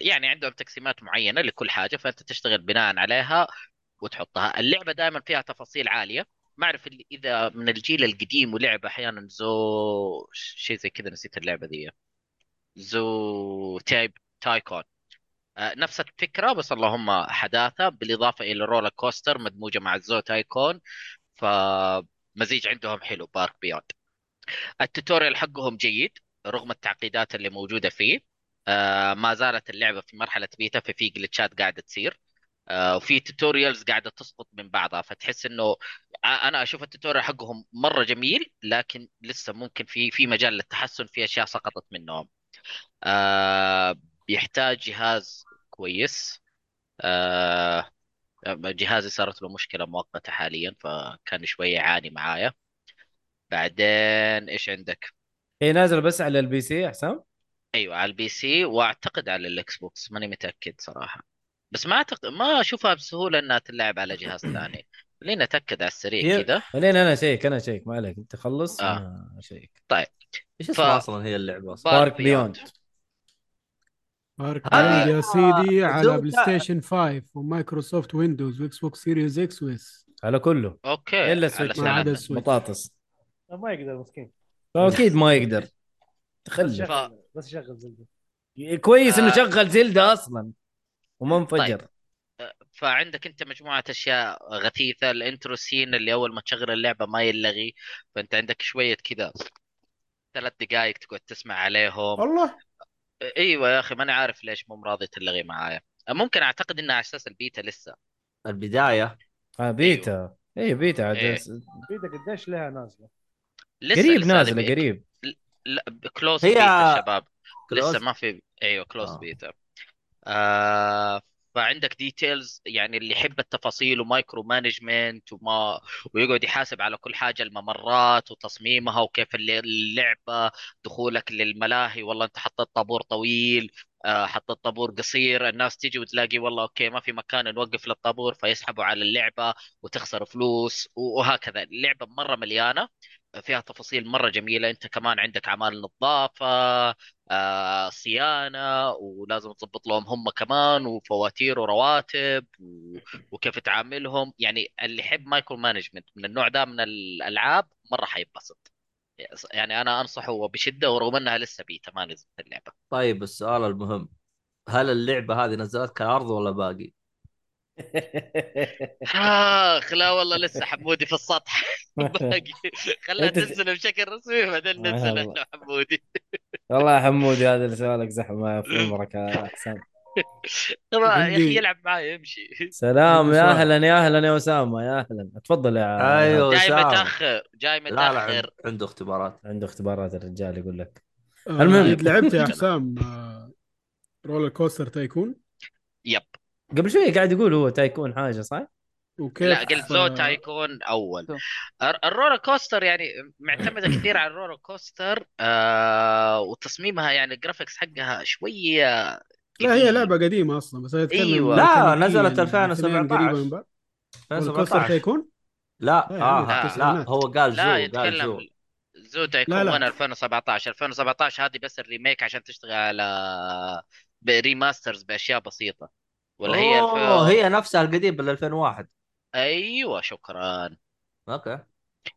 E: يعني عندهم تقسيمات معينه لكل حاجه فانت تشتغل بناء عليها وتحطها اللعبه دائما فيها تفاصيل عاليه ما اعرف ال- اذا من الجيل القديم ولعبه احيانا زو شيء زي كذا نسيت اللعبه دي زو تايب تايكون آه، نفس الفكره بس اللهم حداثه بالاضافه الى الرولر كوستر مدموجه مع الزو تايكون فمزيج عندهم حلو بارك بيوند التوتوريال حقهم جيد رغم التعقيدات اللي موجودة فيه آه ما زالت اللعبة في مرحلة بيتا ففي جلتشات قاعدة تصير آه وفي توتوريالز قاعدة تسقط من بعضها فتحس انه ع- انا اشوف التوتوريال حقهم مرة جميل لكن لسه ممكن في في مجال للتحسن في اشياء سقطت منهم آه بيحتاج جهاز كويس آه جهازي صارت له مشكلة مؤقتة حاليا فكان شوية يعاني معايا بعدين ايش عندك
A: هي نازله إيه، بس على البي سي يا حسام
E: ايوه على البي سي واعتقد على الاكس بوكس ماني متاكد صراحه بس ما أعتقد ما اشوفها بسهوله انها تلعب على جهاز ثاني خلينا نتاكد على السريع
A: هي-
E: كذا
A: خليني انا اشيك انا اشيك ما عليك انت خلص
E: آه.
A: انا اشيك
C: ايش اسمه اصلا هي اللعبه اصلا؟
A: بارك بيوند
B: بارك
E: آه.
B: يا سيدي على
C: زوم
B: بلاي
C: تا-
B: ستيشن 5 ومايكروسوفت ويندوز واكس بوكس سيريز اكس ويس
A: على كله
E: اوكي
A: الا
E: إيه، على
A: سويتش
B: ما عدا
E: سلامتك
B: السويتش
A: بطاطس
F: ما يقدر مسكين
A: اكيد ما يقدر
F: بس
A: تخلف
F: شغل بس شغل زلده
A: كويس انه
E: آه. طيب.
A: شغل زلدة اصلا وما انفجر
E: فعندك انت مجموعه اشياء غثيثه الانترو سين اللي اول ما تشغل اللعبه ما يلغي فانت عندك شويه كذا ثلاث دقائق تقعد تسمع عليهم
B: والله
E: ايوه يا اخي ماني عارف ليش مو راضي تلغي معايا ممكن اعتقد انها على اساس البيتا لسه
C: البدايه
A: آه بيتا اي بيتا عاد
E: إيه.
F: بيدا قديش لها نازله
E: لسه
A: قريب
E: لسه هذه
A: نازله
E: بي-
A: قريب
E: لا كلوز
C: هي-
E: بيتا شباب لسه
C: Close.
E: ما في ايوه كلوز
C: آه.
E: بيتا آه فعندك ديتيلز يعني اللي يحب التفاصيل ومايكرو مانجمنت وما ويقعد يحاسب على كل حاجه الممرات وتصميمها وكيف اللي- اللعبه دخولك للملاهي والله انت حطيت طابور طويل آه، حط الطابور قصير الناس تيجي وتلاقي والله اوكي ما في مكان نوقف للطابور فيسحبوا على اللعبه وتخسر فلوس و- وهكذا اللعبه مره مليانه فيها تفاصيل مره جميله انت كمان عندك اعمال نظافه آه، صيانه ولازم تضبط لهم هم كمان وفواتير ورواتب و- وكيف تعاملهم يعني اللي يحب مايكرو مانجمنت من النوع ده من الالعاب مره حيتبسط يعني انا انصحه بشده ورغم انها لسه بيتا ما نزلت اللعبه
C: طيب السؤال المهم هل اللعبه هذه نزلت كعرض ولا باقي؟
E: اخ لا والله لسه حمودي في السطح باقي خلها
A: أنت-
E: تنزل بشكل رسمي بعدين
A: آه
E: ننزل
A: والله.
E: انا وحمودي
A: والله يا حمودي هذا اللي سؤالك زحمه في عمرك يا حسام
E: ترى يا
B: عندي-
E: اخي يلعب معاي يمشي
A: سلام
B: عندي
A: يا
B: سؤال.
A: اهلا يا اهلا يا اسامه يا اهلا تفضل يا
C: ايوه
E: جاي
C: سام.
E: متاخر جاي
C: لا لا عند-
E: متاخر
C: عنده اختبارات
A: عنده اختبارات الرجال يقول لك
B: آه،
A: المهم.
B: قد لعبت يا حسام آه، رولر كوستر تايكون
E: يب
A: قبل شوي قاعد يقول هو تايكون حاجه صح؟
B: وكيف
E: لا قلت زو
B: آه،
E: تايكون اول
D: زو.
E: الر- الرولر كوستر يعني معتمده كثير على الرولر كوستر آه وتصميمها يعني الجرافيكس حقها شويه
B: لا هي
E: قديم.
B: لعبه قديمه اصلا بس أنا اتكلم
E: أيوة.
C: لا،
B: ميكانيكياً،
C: نزلت
B: الاثنين
C: 2017.
B: قريبة يعني من بعض رولر كوستر
C: 2017
B: تايكون
C: لا
B: لا يا عمي،
C: اه
B: التسعينات.
C: لا هو قال زو
E: لا
C: قال زو
E: يتكلم زو تايكون
B: لا، لا.
E: 1 2017 2017 هذه بس الريميك عشان تشتغل على بريماسترز باشياء بسيطه ولا هي الف...
C: اوه هي نفسها القديم بال 2001
E: ايوه شكرا
C: اوكي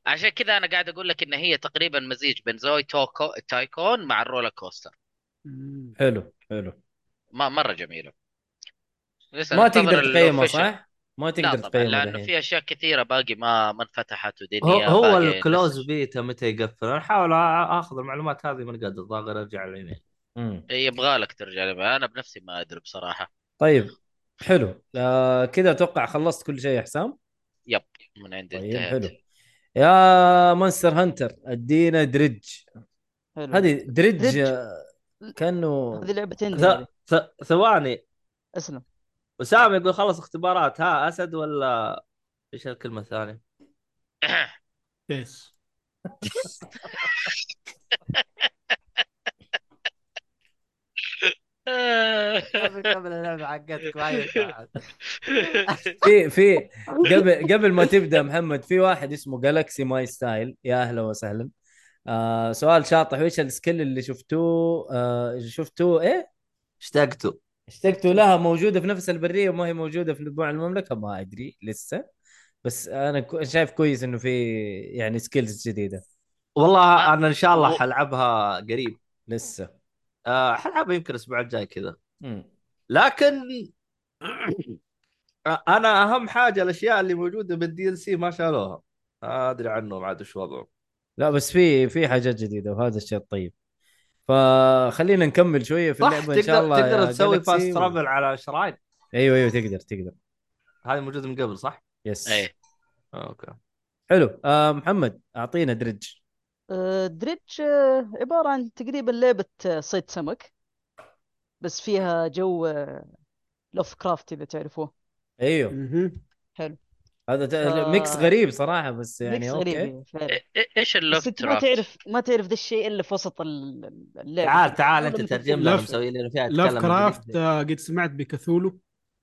E: عشان كذا انا قاعد اقول لك ان هي تقريبا مزيج بين زوي توكو تايكون مع الرولر كوستر
B: مم.
A: حلو حلو
E: ما مره جميله لسه
A: ما
E: ننتظر
A: تقدر تقيمه
E: الأوفيشال.
A: صح؟ ما
E: لا
A: تقدر
E: طبعا
A: تقيمه
E: لانه
A: الحين
E: في اشياء كثيره باقي ما ما انفتحت
C: هو
E: ودنيا
C: هو
E: باقي
C: الكلوز
E: لسه.
C: بيتا متى يقفل انا احاول أ- اخذ المعلومات هذه من قد الظاهر ارجع الايميل
A: مم.
E: إيه، يبغى لك ترجع لي. انا بنفسي ما ادري بصراحه
A: طيب حلو آه كذا اتوقع خلصت كل شيء يا حسام
E: يب من عندي
A: طيب
E: انتهت
A: حلو يا مونستر هانتر ادينا درج
D: حلو
A: هذه درج
D: درج.
A: آه، كانه
D: هذه لعبه اندي
C: ث-
D: هذه.
C: ث- ثواني
D: اسلم
C: اسامه يقول خلص اختبارات ها اسد ولا ايش الكلمه الثانيه؟
B: يس
H: قبل اللعبه حقتك ما
A: في في قبل قبل ما تبدا محمد في واحد اسمه جالكسي ماي ستايل يا اهلا وسهلا آه سؤال شاطح وش السكيل اللي شفتوه آه شفتوه ايه
C: اشتقته
A: اشتقتوا لها موجوده في نفس البريه وما هي موجوده في طباع المملكه ما ادري لسه بس انا كو- شايف كويس انه في يعني سكيلز جديده
C: والله انا ان شاء الله
E: و-
C: حلعبها قريب
A: لسه
C: آه، حلعبها يمكن الاسبوع الجاي كذا
A: مم.
C: لكن انا اهم حاجه الاشياء اللي موجوده بالدي ال سي ما شالوها ما ادري عنهم عاد وش وضعه
A: لا بس في في حاجات جديده وهذا الشيء الطيب فخلينا نكمل شويه في
C: صح
A: اللعبه ان شاء
C: تقدر
A: الله يا
C: تقدر تسوي
A: جالكسي
C: فاست
A: و-
C: ترافل على شراين
A: ايوه ايوه تقدر تقدر
C: هذه موجوده من قبل صح؟
A: يس
E: ايه
C: اوكي
A: حلو آه محمد اعطينا درج
D: آه، دريدج آه، عبارة عن تقريبا لعبة آه، صيد سمك بس فيها جو لوف كرافت إذا تعرفوه
A: ايوه
B: مهم.
A: هذا ت...
D: آه،
A: ميكس غريب صراحه بس يعني
D: ميكس
A: اوكي
D: غريب فعلا
E: إيه- إيه- ايش
D: بس
E: اللوف
D: أنت ما
E: ترافت؟
D: تعرف ما تعرف ذا الشيء إلا في وسط ال- ال- اللعبة
C: تعال
D: كده.
C: تعال
D: أول
C: انت
D: ما
C: ترجم
D: تدخل-
C: لنا
B: لف-
C: مسوي لنا فيها
B: لاف
C: تتكلم
B: كرافت
C: بالإنجليزي.
B: آه، قد سمعت بكثولو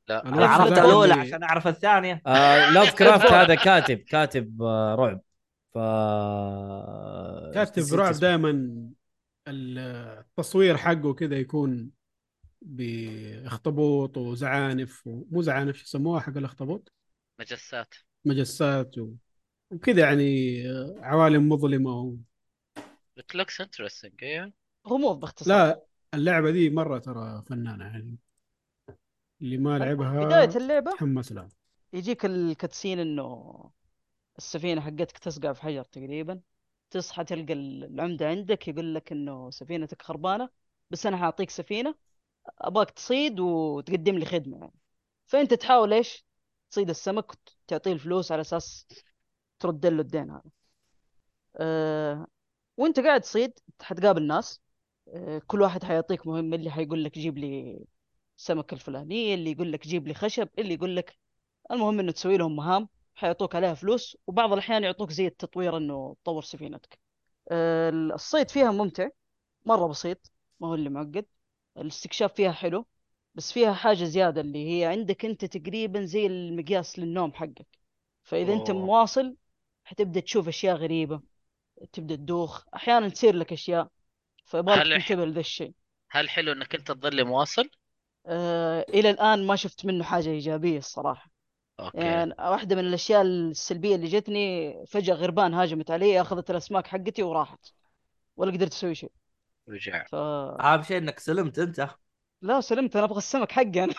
E: لا
B: أنا
C: انا
B: لف
C: عرفت
B: ذاك
C: الاولى
B: اللي-
C: عشان اعرف الثانيه
A: آه لاف كرافت
E: فوق.
A: هذا كاتب كاتب آه رعب ف
B: كاتب
A: نسيت
B: رعب
A: اسمه.
B: دائما التصوير حقه كذا يكون باخطبوط وزعانف ومو زعانف شو يسموها حق الاخطبوط
E: مجسات
B: مجسات و... وكذا يعني عوالم مظلمه و...
E: it looks interesting ايه
D: غموض باختصار
B: لا اللعبه دي مره ترى فنانه يعني اللي ما لعبها
D: بداية اللعبة
B: تحمس لها
D: يجيك الكاتسين إنه السفينة حقتك تسقع في حجر تقريبا تصحى تلقى العمدة عندك يقول لك إنه سفينتك خربانة بس أنا حأعطيك سفينة أباك تصيد وتقدم لي خدمة يعني فأنت تحاول إيش تصيد السمك وتعطيه الفلوس على أساس ترد له الدين هذا أه وأنت قاعد تصيد حتقابل ناس أه كل واحد حيعطيك مهمة اللي حيقول لك جيب لي السمكة الفلانية اللي يقول لك جيب لي خشب اللي يقول لك المهم إنه تسوي لهم مهام حيعطوك عليها فلوس وبعض الأحيان يعطوك زي التطوير إنه تطور سفينتك أه الصيد فيها ممتع مرة بسيط ما هو اللي معقد الاستكشاف فيها حلو بس فيها حاجة زيادة اللي هي عندك أنت تقريبا زي المقياس للنوم حقك فإذا أنت
E: أوه.
D: مواصل حتبدأ تشوف أشياء غريبة تبدأ تدوخ أحيانا تصير لك أشياء فيبغالك
E: هل الح-
D: تنتبه لذا الشيء
E: هل حلو انك انت تظل مواصل؟
D: أه إلى الآن ما شفت منه حاجة إيجابية الصراحة
E: اوكي
D: يعني واحدة من الأشياء السلبية اللي جتني فجأة غربان هاجمت علي أخذت الأسماك حقتي وراحت ولا قدرت أسوي شيء
E: رجع
D: ف...
C: اهم شيء انك سلمت انت
D: لا سلمت انا ابغى السمك حقي انا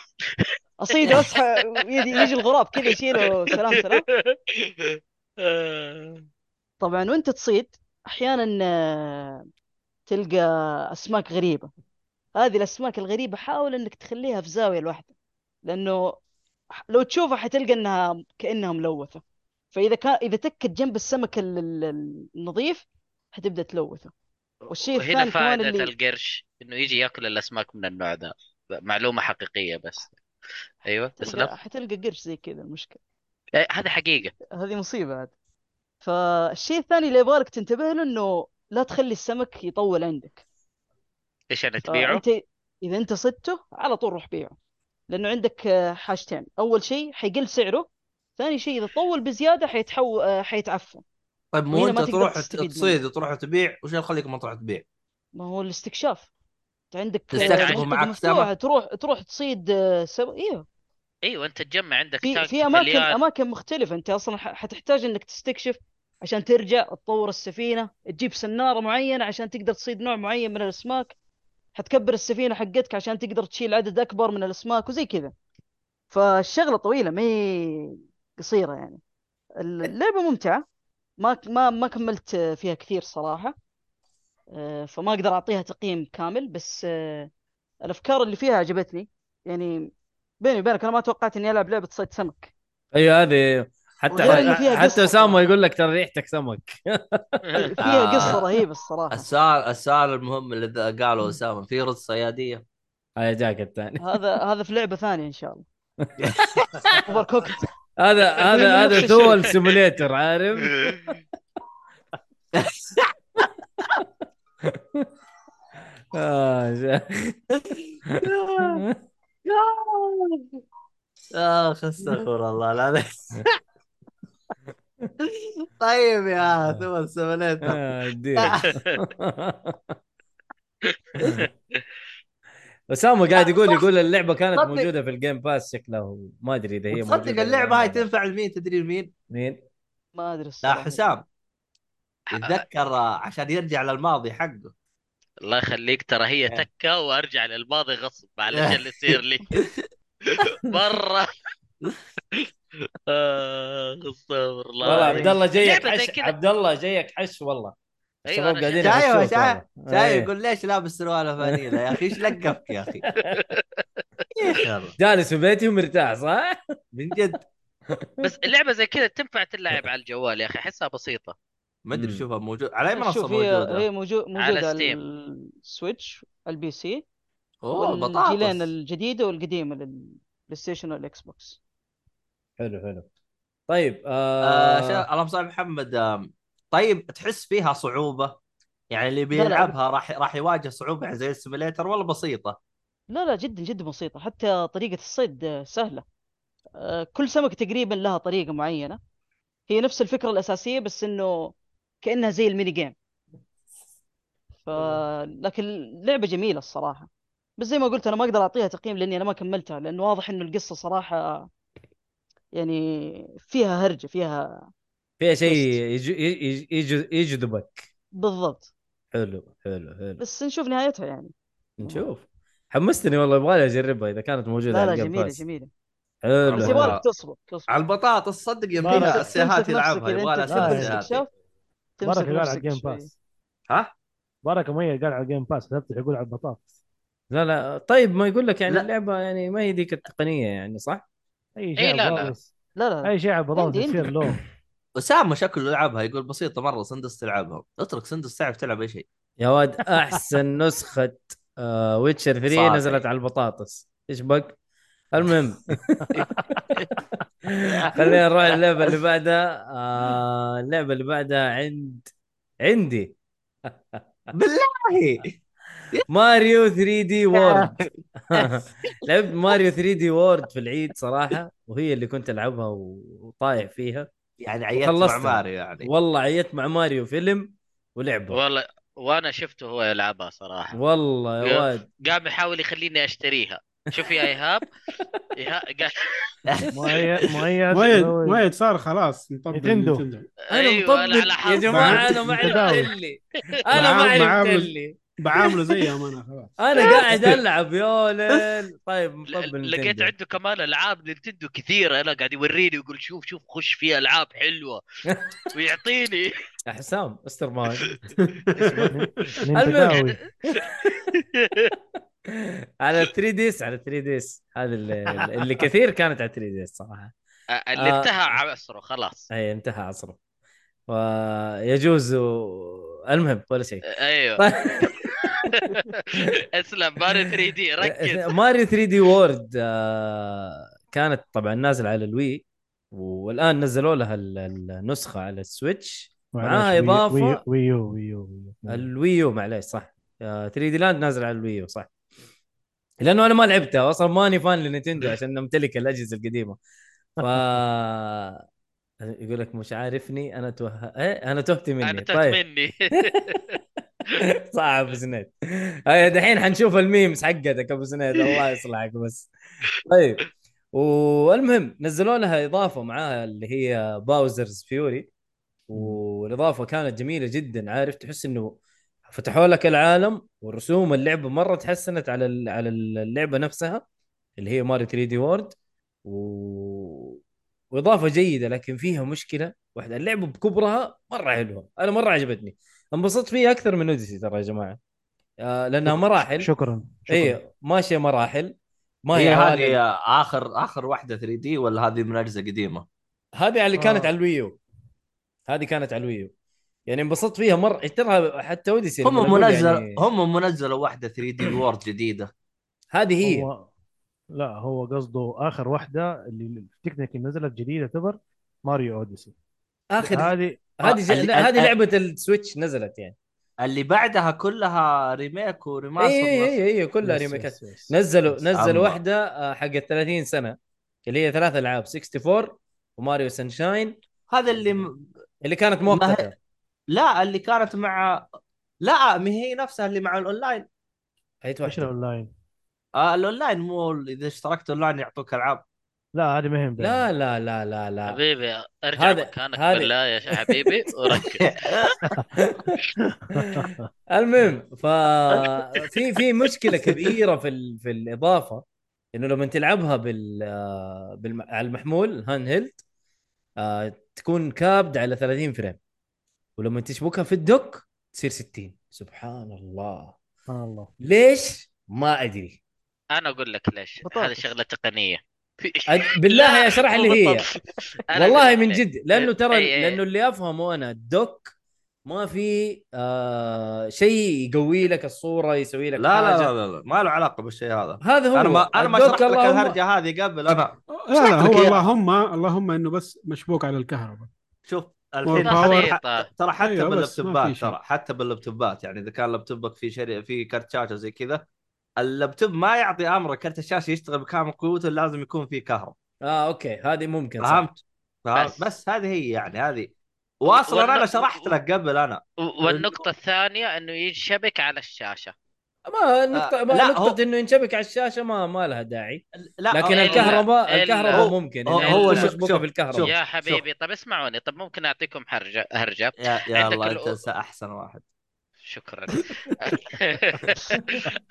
D: اصيده اسحب يجي يجي الغراب كذا يشيله سلام سلام طبعا وانت تصيد احيانا آه، تلقى اسماك غريبه هذه الاسماك الغريبه حاول انك تخليها في زاويه لوحدها لانه لو تشوفها حتلقى انها كانها ملوثه فاذا كان اذا تكت جنب السمك ال- ال- ال- النظيف حتبدا تلوثه والشيء
E: وهنا
D: الثاني كمان
E: فائدة
D: اللي-
E: القرش انه يجي ياكل الاسماك من النوع ذا معلومة حقيقية بس ايوه تسلم
D: حتلقى حتلقى قرش زي كذا المشكله
E: إيه، هذا حقيقة
D: هذه مصيبة عاد فالشيء الثاني اللي يبغالك تنتبه له انه لا تخلي السمك يطول عندك
E: ايش
D: آه،
E: انا تبيعه؟
D: فانت اذا انت صدته على طول روح بيعه لانه عندك آه، حاجتين اول شيء حيقل سعره ثاني شيء اذا طول بزيادة حيتحو آه، حيتعفن
C: طيب مو
D: وهنا
C: انت
D: ما تقدر
C: تروح
D: تستفيد منه.
C: تصيد وتروح تبيع وش اللي يخليك ما تروح تبيع؟
D: ما هو الاستكشاف انت عندك آه،
C: تستكشفه
D: منطقة
C: معك
D: مفتوحة
C: سمك.
D: تروح تروح تصيد آه، سم... ايوه
E: ايوه انت تجمع عندك
D: في
E: تاك
D: في اماكن
E: مليار
D: اماكن مختلفه انت اصلا ح- حتحتاج انك تستكشف عشان ترجع تطور السفينه تجيب سناره معينه عشان تقدر تصيد نوع معين من الاسماك حتكبر السفينه حقتك عشان تقدر تشيل عدد اكبر من الاسماك وزي كذا فالشغله طويله ما هي قصيره يعني اللعبه ممتعه ما ما ما كملت فيها كثير صراحه أه، فما اقدر اعطيها تقييم كامل بس أه، الافكار اللي فيها عجبتني يعني بيني وبينك انا ما توقعت اني العب لعبه صيد سمك
A: ايوه هذه حتى
D: وغير إنه فيها
A: حتى
D: قصة
A: اسامه
D: طبعاً.
A: يقول لك ترى ريحتك سمك
D: فيها قصة
C: آه.
D: رهيبة الصراحة
C: السؤال السؤال المهم اللي ذا- قاله اسامه في رز صياديه
A: هاي جاك الثاني
D: هذا هذا في لعبة ثانية إن شاء الله اوفر كوكت
A: هذا هذا هذا دول سيموليتر عارف آه جاك.
C: اخ استغفر آه، الله العظيم
H: طيب
C: آه.
H: يا ثم سمنيت
A: آه، اديك اسامه قاعد يقول يقول اللعبه كانت
H: تصدق-
A: موجوده في الجيم باس شكلها ما ادري اذا هي
C: تصدق
A: موجودة
C: اللعبه هاي
A: ولا لا.
C: تنفع لمين تدري لمين؟
A: مين؟
D: ما أدري
C: لا
D: الصراحة
C: حسام يتذكر آه، عشان يرجع للماضي حقه
E: الله يخليك ترى هي
A: آه.
E: تكة وارجع للماضي غصب معلش اللي يصير لي مرة آه، استغفر الله
A: والله
E: العظيم
A: عبد الله جايك
E: لعبة زي
A: حش
E: كذا.
A: عبد الله جايك حش والله
E: أيوة،
A: الشباب
E: أنا
A: قاعدين
C: شايف.
A: يحشوك
C: شايف-
A: والله.
C: شايف
A: إيه.
C: يقول ليش لابس سروال فانيلا يا اخي ايش لقفك يا اخي؟ يا أخي والله.
A: جالس في بيتي ومرتاح صح؟
C: من جد
E: بس اللعبة زي كذا تنفع تلعب على الجوال يا أخي أحسها بسيطة
C: ما ادري
A: مم.
C: شوفها موجود على اي منصه
D: شوف هي
C: موجوده؟
D: هي موجو- موجودة
E: Steam.
D: السويتش البي سي
C: اوه
D: والجيلين
C: بطاطس
D: الجديدة والقديمة للبلاي ستيشن والإكس بوكس
A: حلو حلو طيب
C: آه
A: آه
C: شا... اللهم صل على محمد آم، طيب تحس فيها صعوبه يعني اللي
D: لا.
C: بيلعبها راح راح يواجه صعوبه يعني زي السيميليتر ولا بسيطه
D: لا لا جدا جدا بسيطة حتى طريقة الصيد آه، سهلة آه، كل سمكة تقريبا لها طريقة معينة هي نفس الفكرة الأساسية بس إنه كأنها زي الميني جيم ف... لكن لعبة جميلة الصراحة بس زي ما قلت أنا ما أقدر أعطيها تقييم لأني أنا ما كملتها لأنه واضح إنه القصة صراحة يعني فيها هرجة فيها
A: فيها شيء
D: بس.
A: يج- يج- يج- يجذبك
D: بالضبط
A: حلو حلو حلو
D: بس نشوف نهايتها يعني
A: نشوف حمستني والله يبغى لي اجربها اذا كانت موجوده
D: لا
A: على
D: لا
A: الجيم
D: جميلة
A: باس.
D: جميلة
A: حلو
D: بس
C: والله.
A: حلو.
D: يبغالك تصبر تصبر
C: على البطاطس صدق
F: بارك.
C: يمديها السيهات
D: إيه، تمسك نفسك
C: يلعبها
D: إذا
C: يبغى
D: أنت
C: لها
D: تسوي
F: آه.
C: سيهات
D: الاستكشاف تمسك
F: بركه قال على
D: نفسك
F: الجيم
D: شوي
F: باس
C: ها؟
F: بركه مية قال على الجيم باس لا تفتح يقول على البطاطس
A: لا لا طيب ما يقول لك يعني
C: لا.
A: اللعبه يعني ما هي ذيك التقنيه يعني صح؟
F: اي
E: إي
F: شيء
E: لا،
F: على
E: لا.
F: البطاطس
D: لا لا
F: اي شيء على البطاطس
D: عندي- عندي.
F: يصير له
C: اسامه شكله لعبها يقول بسيطه مره سندس تلعبها اترك سندس تعرف تلعب اي شيء
A: يا واد احسن نسخه آه ويتشر 3
C: صافي.
A: نزلت على البطاطس ايش بك؟ المهم خلينا نروح اللعبه اللي بعدها آه اللعبه اللي بعدها عند عندي
C: بالله
A: ماريو 3 دي وورد لعبت ماريو 3 دي وورد في العيد صراحه وهي اللي كنت العبها وطايع فيها
C: يعني عيت مع
A: وخلصتها.
C: ماريو يعني
A: والله عيت مع ماريو فيلم ولعبه
E: والله وانا شفته هو يلعبها صراحه
A: والله يا واد
E: قام يحاول يخليني اشتريها شوف يا ايهاب إيها- قال
F: مؤيد مؤيد
B: وايد
F: لو-
B: وايد صار خلاص مطبق
F: نينتندو.
B: نينتندو.
A: انا
E: أيوة، أنا على
A: مطبق يا
E: حظ.
A: جماعه انا ما
F: متداول.
A: عرفت اللي انا ما
B: معامل-
A: عرفت
B: معامل.
A: اللي
B: بعامله زيهم انا خلاص
A: انا قاعد العب يا ليل طيب مطبق
E: ل- لقيت
A: نينتندو.
E: عنده كمان العاب نينتندو كثيره انا قاعد يوريني يقول شوف شوف خش في العاب حلوه ويعطيني
A: يا حسام استر معي
F: يعني ننتداوي.
A: على 3 ديس على 3 ديس هذا اللي, اللي كثير كانت على 3 ديس صراحه
E: آه، اللي
A: آه.
E: انتهى عصره خلاص
A: اي انتهى عصره ويجوز و... المهم ولا شيء
E: ايوه
A: طيب،
E: اسلم ماري 3 دي ركز
A: ماريو 3 دي وورد آه، كانت طبعا نازله على الوي والان نزلوا لها ال- النسخه على السويتش معاها
F: معلش، ويو-
A: آه، إضافة.
F: ويو- ويو ويو ويو
A: الويو معليش صح 3 دي لاند نازل على الويو صح لانه انا ما لعبتها اصلا ماني فان لنينتندو عشان امتلك الاجهزه القديمه ف يقول لك مش عارفني انا توه... ايه انا تهت مني
E: انا
A: أنا
E: تهت
A: طيب
E: مني
A: صعب ابو سنيد هيا دحين حنشوف الميمز حقتك ابو سنيد الله يصلحك بس طيب والمهم نزلوا لها اضافه معاها اللي هي باوزرز فيوري والاضافه كانت جميله جدا عارف تحس انه فتحوا لك العالم والرسوم اللعبه مره تحسنت على ال- على اللعبه نفسها اللي هي ماري 3 دي وورد و... واضافه جيده لكن فيها مشكله واحده اللعبه بكبرها مره حلوه انا مره عجبتني انبسطت فيها اكثر من اوديسي ترى يا جماعه آه لانها مراحل
F: شكرا شكرا
A: اي ماشيه مراحل ما
C: هي
A: هي عوالم.
C: هذه اخر اخر واحده 3 دي ولا هذه من اجزاء قديمه؟
A: هذه اللي كانت
B: آه.
A: على الويو هذه كانت على الويو يعني انبسطت فيها مره ترى حتى اوديسي لما
C: هم
A: نقول
C: منزل
A: يعني
C: هم منزلوا واحده 3 دي وورد جديده
A: هذه هي
F: هو لا هو قصده اخر واحده اللي تكنيكي نزلت جديده تعتبر ماريو اوديسي
A: اخر
F: هذه
A: هذه ج-
C: ال-
A: لا،
C: ال-
A: هذه لعبه السويتش نزلت يعني
C: اللي بعدها كلها ريميك وريماستر
A: اي اي اي إيه، كلها
F: يس-
A: ريميكات
F: يس- يس.
A: نزلوا
F: يس.
A: نزلوا
C: أما.
A: واحده آه، حقت 30 سنه اللي هي ثلاث العاب 64 وماريو سانشاين
C: هذا اللي م...
A: اللي كانت
C: ما هي-
A: مؤقته
C: لا اللي كانت مع لا ما هي نفسها اللي مع الاونلاين
A: هيت
F: ايش
A: واحده
F: الاونلاين؟
C: آه الاونلاين مو ال- اذا اشتركت اونلاين يعطوك العاب
F: لا هذه ما هي مبينة.
A: لا لا لا لا لا
E: حبيبي ارجع
A: آه. هذا-
E: مكانك
A: هذا-
E: بالله يا شا- حبيبي وركز
A: المهم ففي في مشكله كبيره في ال... في الاضافه انه لما تلعبها بال... آه، بالم... على المحمول هاند هيلد آه، تكون كابد على 30 فريم ولما تشبكها في الدوك تصير 60 سبحان الله
F: سبحان الله
A: ليش ما ادري
E: انا اقول لك ليش هذه
D: بطاطس.
E: شغله تقنيه
A: أد... بالله
E: لا،
A: يا اشرح
E: مو
A: لي هي
E: بالطبع. أنا
A: والله
E: أقول
A: من
E: لك.
A: جد لانه
E: إيه، إيه،
A: ترى
E: إيه.
A: لانه اللي افهمه انا الدوك ما في آه شيء يقوي لك الصوره يسوي لك
C: لا,
A: حاجه
C: لا لا لا لا ما له علاقه بالشيء هذا
A: هذا هو
C: انا ما انا ما
A: الدوك
C: شرحت لك
A: اللهم-
C: الهرجه هذه قبل انا
B: لا لا
C: شكلك
B: هو
C: يا-
B: اللهم اللهم انه بس مشبوك على الكهرباء
C: شوف
B: More
C: الحين
B: power.
C: حتى- ترى حتى
B: أيوة، بس ما في
C: باللابتوبات
B: شيء.
C: ترى حتى باللابتوبات يعني اذا كان لابتوبك في شري... في كرت شاشه زي كذا اللابتوب ما يعطي امر كرت الشاشه يشتغل بكامل قوته لازم يكون فيه كهرب
A: اه اوكي هذه ممكن صح
C: فهمت؟ فهمت؟
E: بس.
C: بس. بس هذه هي يعني هذه واصلا
E: والن-
C: انا شرحت لك قبل انا
E: و- والنقطة الثانية انه ينشبك على الشاشة
A: ما نقطة
C: آه،
A: ما
C: لا،
A: نقطة
C: هو-
A: انه ينشبك على الشاشة ما ما لها داعي
C: لا
A: لكن
E: إلا-
A: الكهرباء
E: إلا-
A: الكهرباء
C: هو-
A: ممكن
C: هو-
A: إنها
E: هو
A: تكون
E: شوف-
A: مشبوكة
C: شوف-
A: بالكهرباء
C: شوف.
E: يا حبيبي طب اسمعوني طب ممكن اعطيكم هرجة هرجة
C: يا يا
E: عندك
C: الله
E: الأو-
C: انت احسن واحد
E: شكرا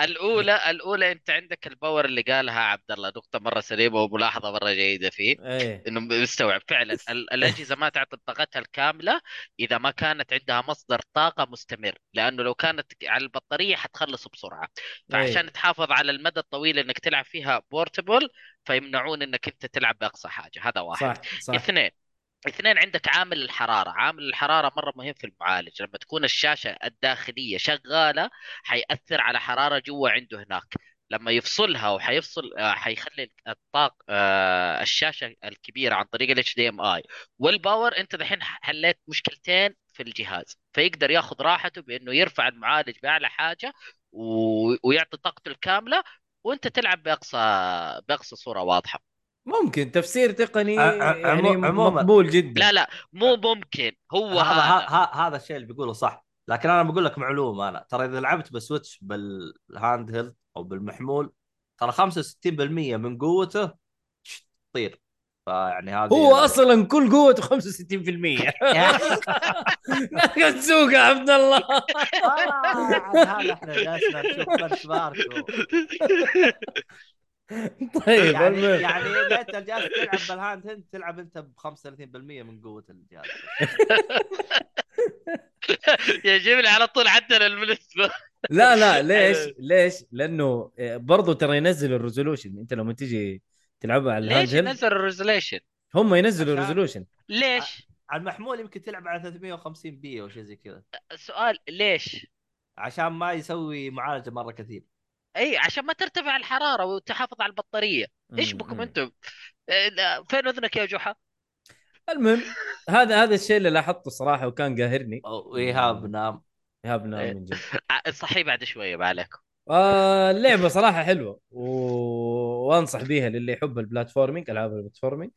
E: الاولى الاولى انت عندك الباور اللي قالها عبد الله نقطة مرة سليمة وملاحظة مرة جيدة فيه
A: ايه
E: انه مستوعب فعلا ال- الاجهزه ما تعطي طاقتها الكامله اذا ما كانت عندها مصدر طاقه مستمر لانه لو كانت على البطاريه حتخلص بسرعه فعشان تحافظ على المدى الطويل انك تلعب فيها بورتبل فيمنعون انك انت تلعب باقصى حاجه هذا واحد
A: صح صح
E: اثنين اثنين عندك عامل الحرارة عامل الحرارة مرة مهم في المعالج لما تكون الشاشة الداخلية شغالة حيأثر على حرارة جوا عنده هناك لما يفصلها وحيفصل آه، حيخلي الطاق آه، الشاشة الكبيرة عن طريق ال HDMI والباور انت دحين حليت مشكلتين في الجهاز فيقدر ياخذ راحته بانه يرفع المعالج باعلى حاجة و- ويعطي طاقته الكامله وانت تلعب باقصى باقصى صوره واضحه
A: ممكن تفسير تقني
C: ع- ع-
A: يعني
C: عمو- عموماً.
A: مقبول جدا
E: لا لا
A: آه.
E: مو ممكن هو
C: هذا
E: هذا
C: ه- ه- هذا الشيء اللي بيقوله صح لكن انا بقول لك معلومه انا ترى اذا لعبت بسويتش بالهاند هيلد او بالمحمول ترى 65% من قوته تطير فيعني هذه يعني
A: هو اصلا كل قوته 65% تسوق يا عبد الله
H: آه، عاد هذا احنا جالسنا نشوف بنش مارك
A: طيب
C: يعني
A: المهم.
C: يعني اذا انت جالس تلعب بالهاند هيلد تلعب انت ب 35% من قوه الجهاز
E: يجيبني على طول عدل البلسبه
A: لا لا
C: يعني-
A: ليش ليش لانه آه، برضو ترى ينزل الريزولوشن انت لما تيجي تلعبها على
E: ليش
A: الهاند
E: نزل الريزوليشن؟
A: هم ينزلوا
C: عشان-
A: الريزولوشن
E: ليش؟
C: على المحمول يمكن تلعب على 350 بي او شيء زي كذا
E: آه. السؤال ليش؟
C: عشان ما يسوي معالجه مره كثير
E: اي عشان ما ترتفع الحراره وتحافظ على البطاريه ايش بكم انتم؟ إيه، لا، فين اذنك يا جحا؟
A: المهم هذا هذا الشيء اللي لاحظته صراحه وكان قاهرني
C: أو- وايهاب نام
A: ايهاب نعم من جد
E: ع- آه، صحي بعد شويه ما عليكم
A: آه اللعبه صراحه حلوه و... وانصح بيها للي يحب البلاتفورمينج العاب البلاتفورمينج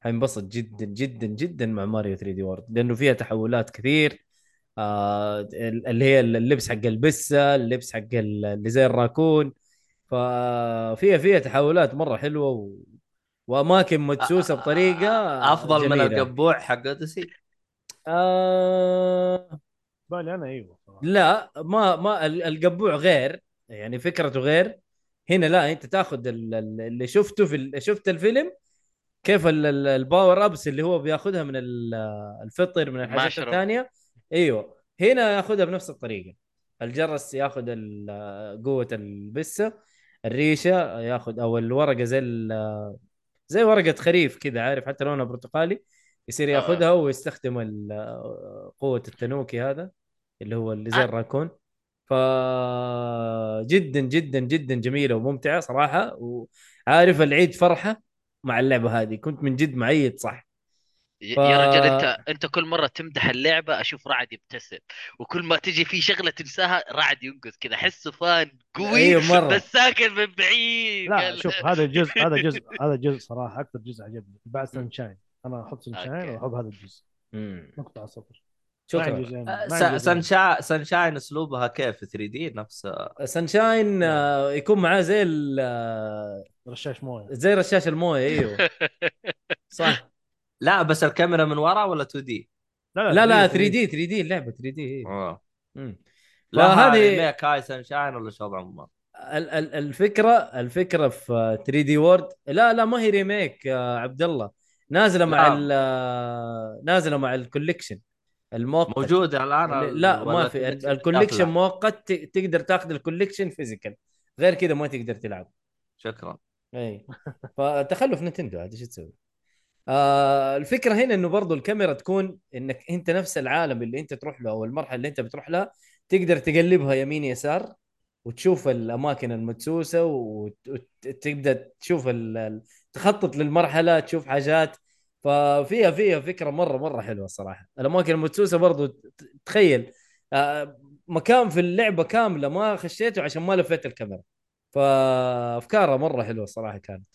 A: حينبسط جدا جدا جدا مع ماريو 3 دي وورد لانه فيها تحولات كثير آه ال- اللي هي اللبس حق البسه اللبس حق ال- اللي زي الراكون ففيها فيها تحولات مره حلوه و... واماكن مدسوسه بطريقه
C: افضل من
A: جميلة.
C: القبوع حق اوديسي
A: آه
F: بالي انا ايوه صراحة.
A: لا ما ما ال- القبوع غير يعني فكرته غير هنا لا انت تاخذ ال- ال- اللي شفته في ال- شفت الفيلم كيف ال- ال- الباور ابس اللي هو بياخذها من ال- الفطر من الحاجات
E: المشروب.
A: الثانيه ايوه هنا ياخذها بنفس الطريقه الجرس ياخذ ال- قوه البسه الريشه ياخذ او الورقه زي ال- زي ورقه خريف كذا عارف حتى لونها برتقالي يصير ياخذها ويستخدم ال- قوه التنوكي هذا اللي هو اللي زي
E: آه.
A: الراكون ف جدا جدا جدا جميله وممتعه صراحه وعارف العيد فرحه مع اللعبه هذه كنت من جد معيد صح
E: ي-
A: ف-
E: يا رجل انت انت كل مره تمدح اللعبه اشوف رعد يبتسم وكل ما تجي في شغله تنساها رعد ينقز كذا احسه فان قوي
A: ايوه مره
E: بس ساكن من بعيد
F: لا
E: قال-
F: شوف هذا الجزء هذا الجزء هذا الجزء صراحه اكثر جزء عجبني بعد سانشاين انا احب سانشاين
E: أوكي.
F: واحب هذا الجزء
A: مم.
F: نقطه على الصفر ما عندي
A: شكرا
F: جزئين. ما
C: آه،
F: عندي
C: س-
F: جزئين.
C: سنشا... سنشاين اسلوبها كيف 3 دي نفس
A: سانشاين آه، يكون معاه زي ال- آه،
F: رشاش مويه
A: زي رشاش المويه ايوه صح
C: لا بس الكاميرا من ورا ولا 2 دي؟
F: آه،
A: لا لا 3 دي 3 دي اللعبه 3 دي إيه.
C: لا
A: فهذه-
C: هذه ريميك هاي سنشاين ولا شو بعمر
A: ال- ال- الفكره الفكره في 3 دي وورد لا لا ما هي ريميك يا عبد الله نازله مع
C: نعم.
A: ال- نازله مع الكوليكشن الموقت
C: موجوده الان
A: لا
C: ولا
A: ما
C: 2D؟
A: في ال-
C: لا.
A: الكوليكشن مؤقت ت- تقدر تاخذ الكوليكشن فيزيكال غير كذا ما تقدر تلعب
C: شكرا
A: اي إيه. فتخلف نتندو عاد ايش تسوي؟ آه الفكره هنا انه برضو الكاميرا تكون انك انت نفس العالم اللي انت تروح له او المرحله اللي انت بتروح لها تقدر تقلبها يمين يسار وتشوف الاماكن المدسوسه وت- وت- وتبدا تشوف ال- ال- تخطط للمرحله تشوف حاجات ففيها فيها فكره مره مره حلوه الصراحه الاماكن المدسوسه برضو ت- تخيل آه، مكان في اللعبه كامله ما خشيته عشان ما لفيت الكاميرا فافكاره مره حلوه الصراحه كانت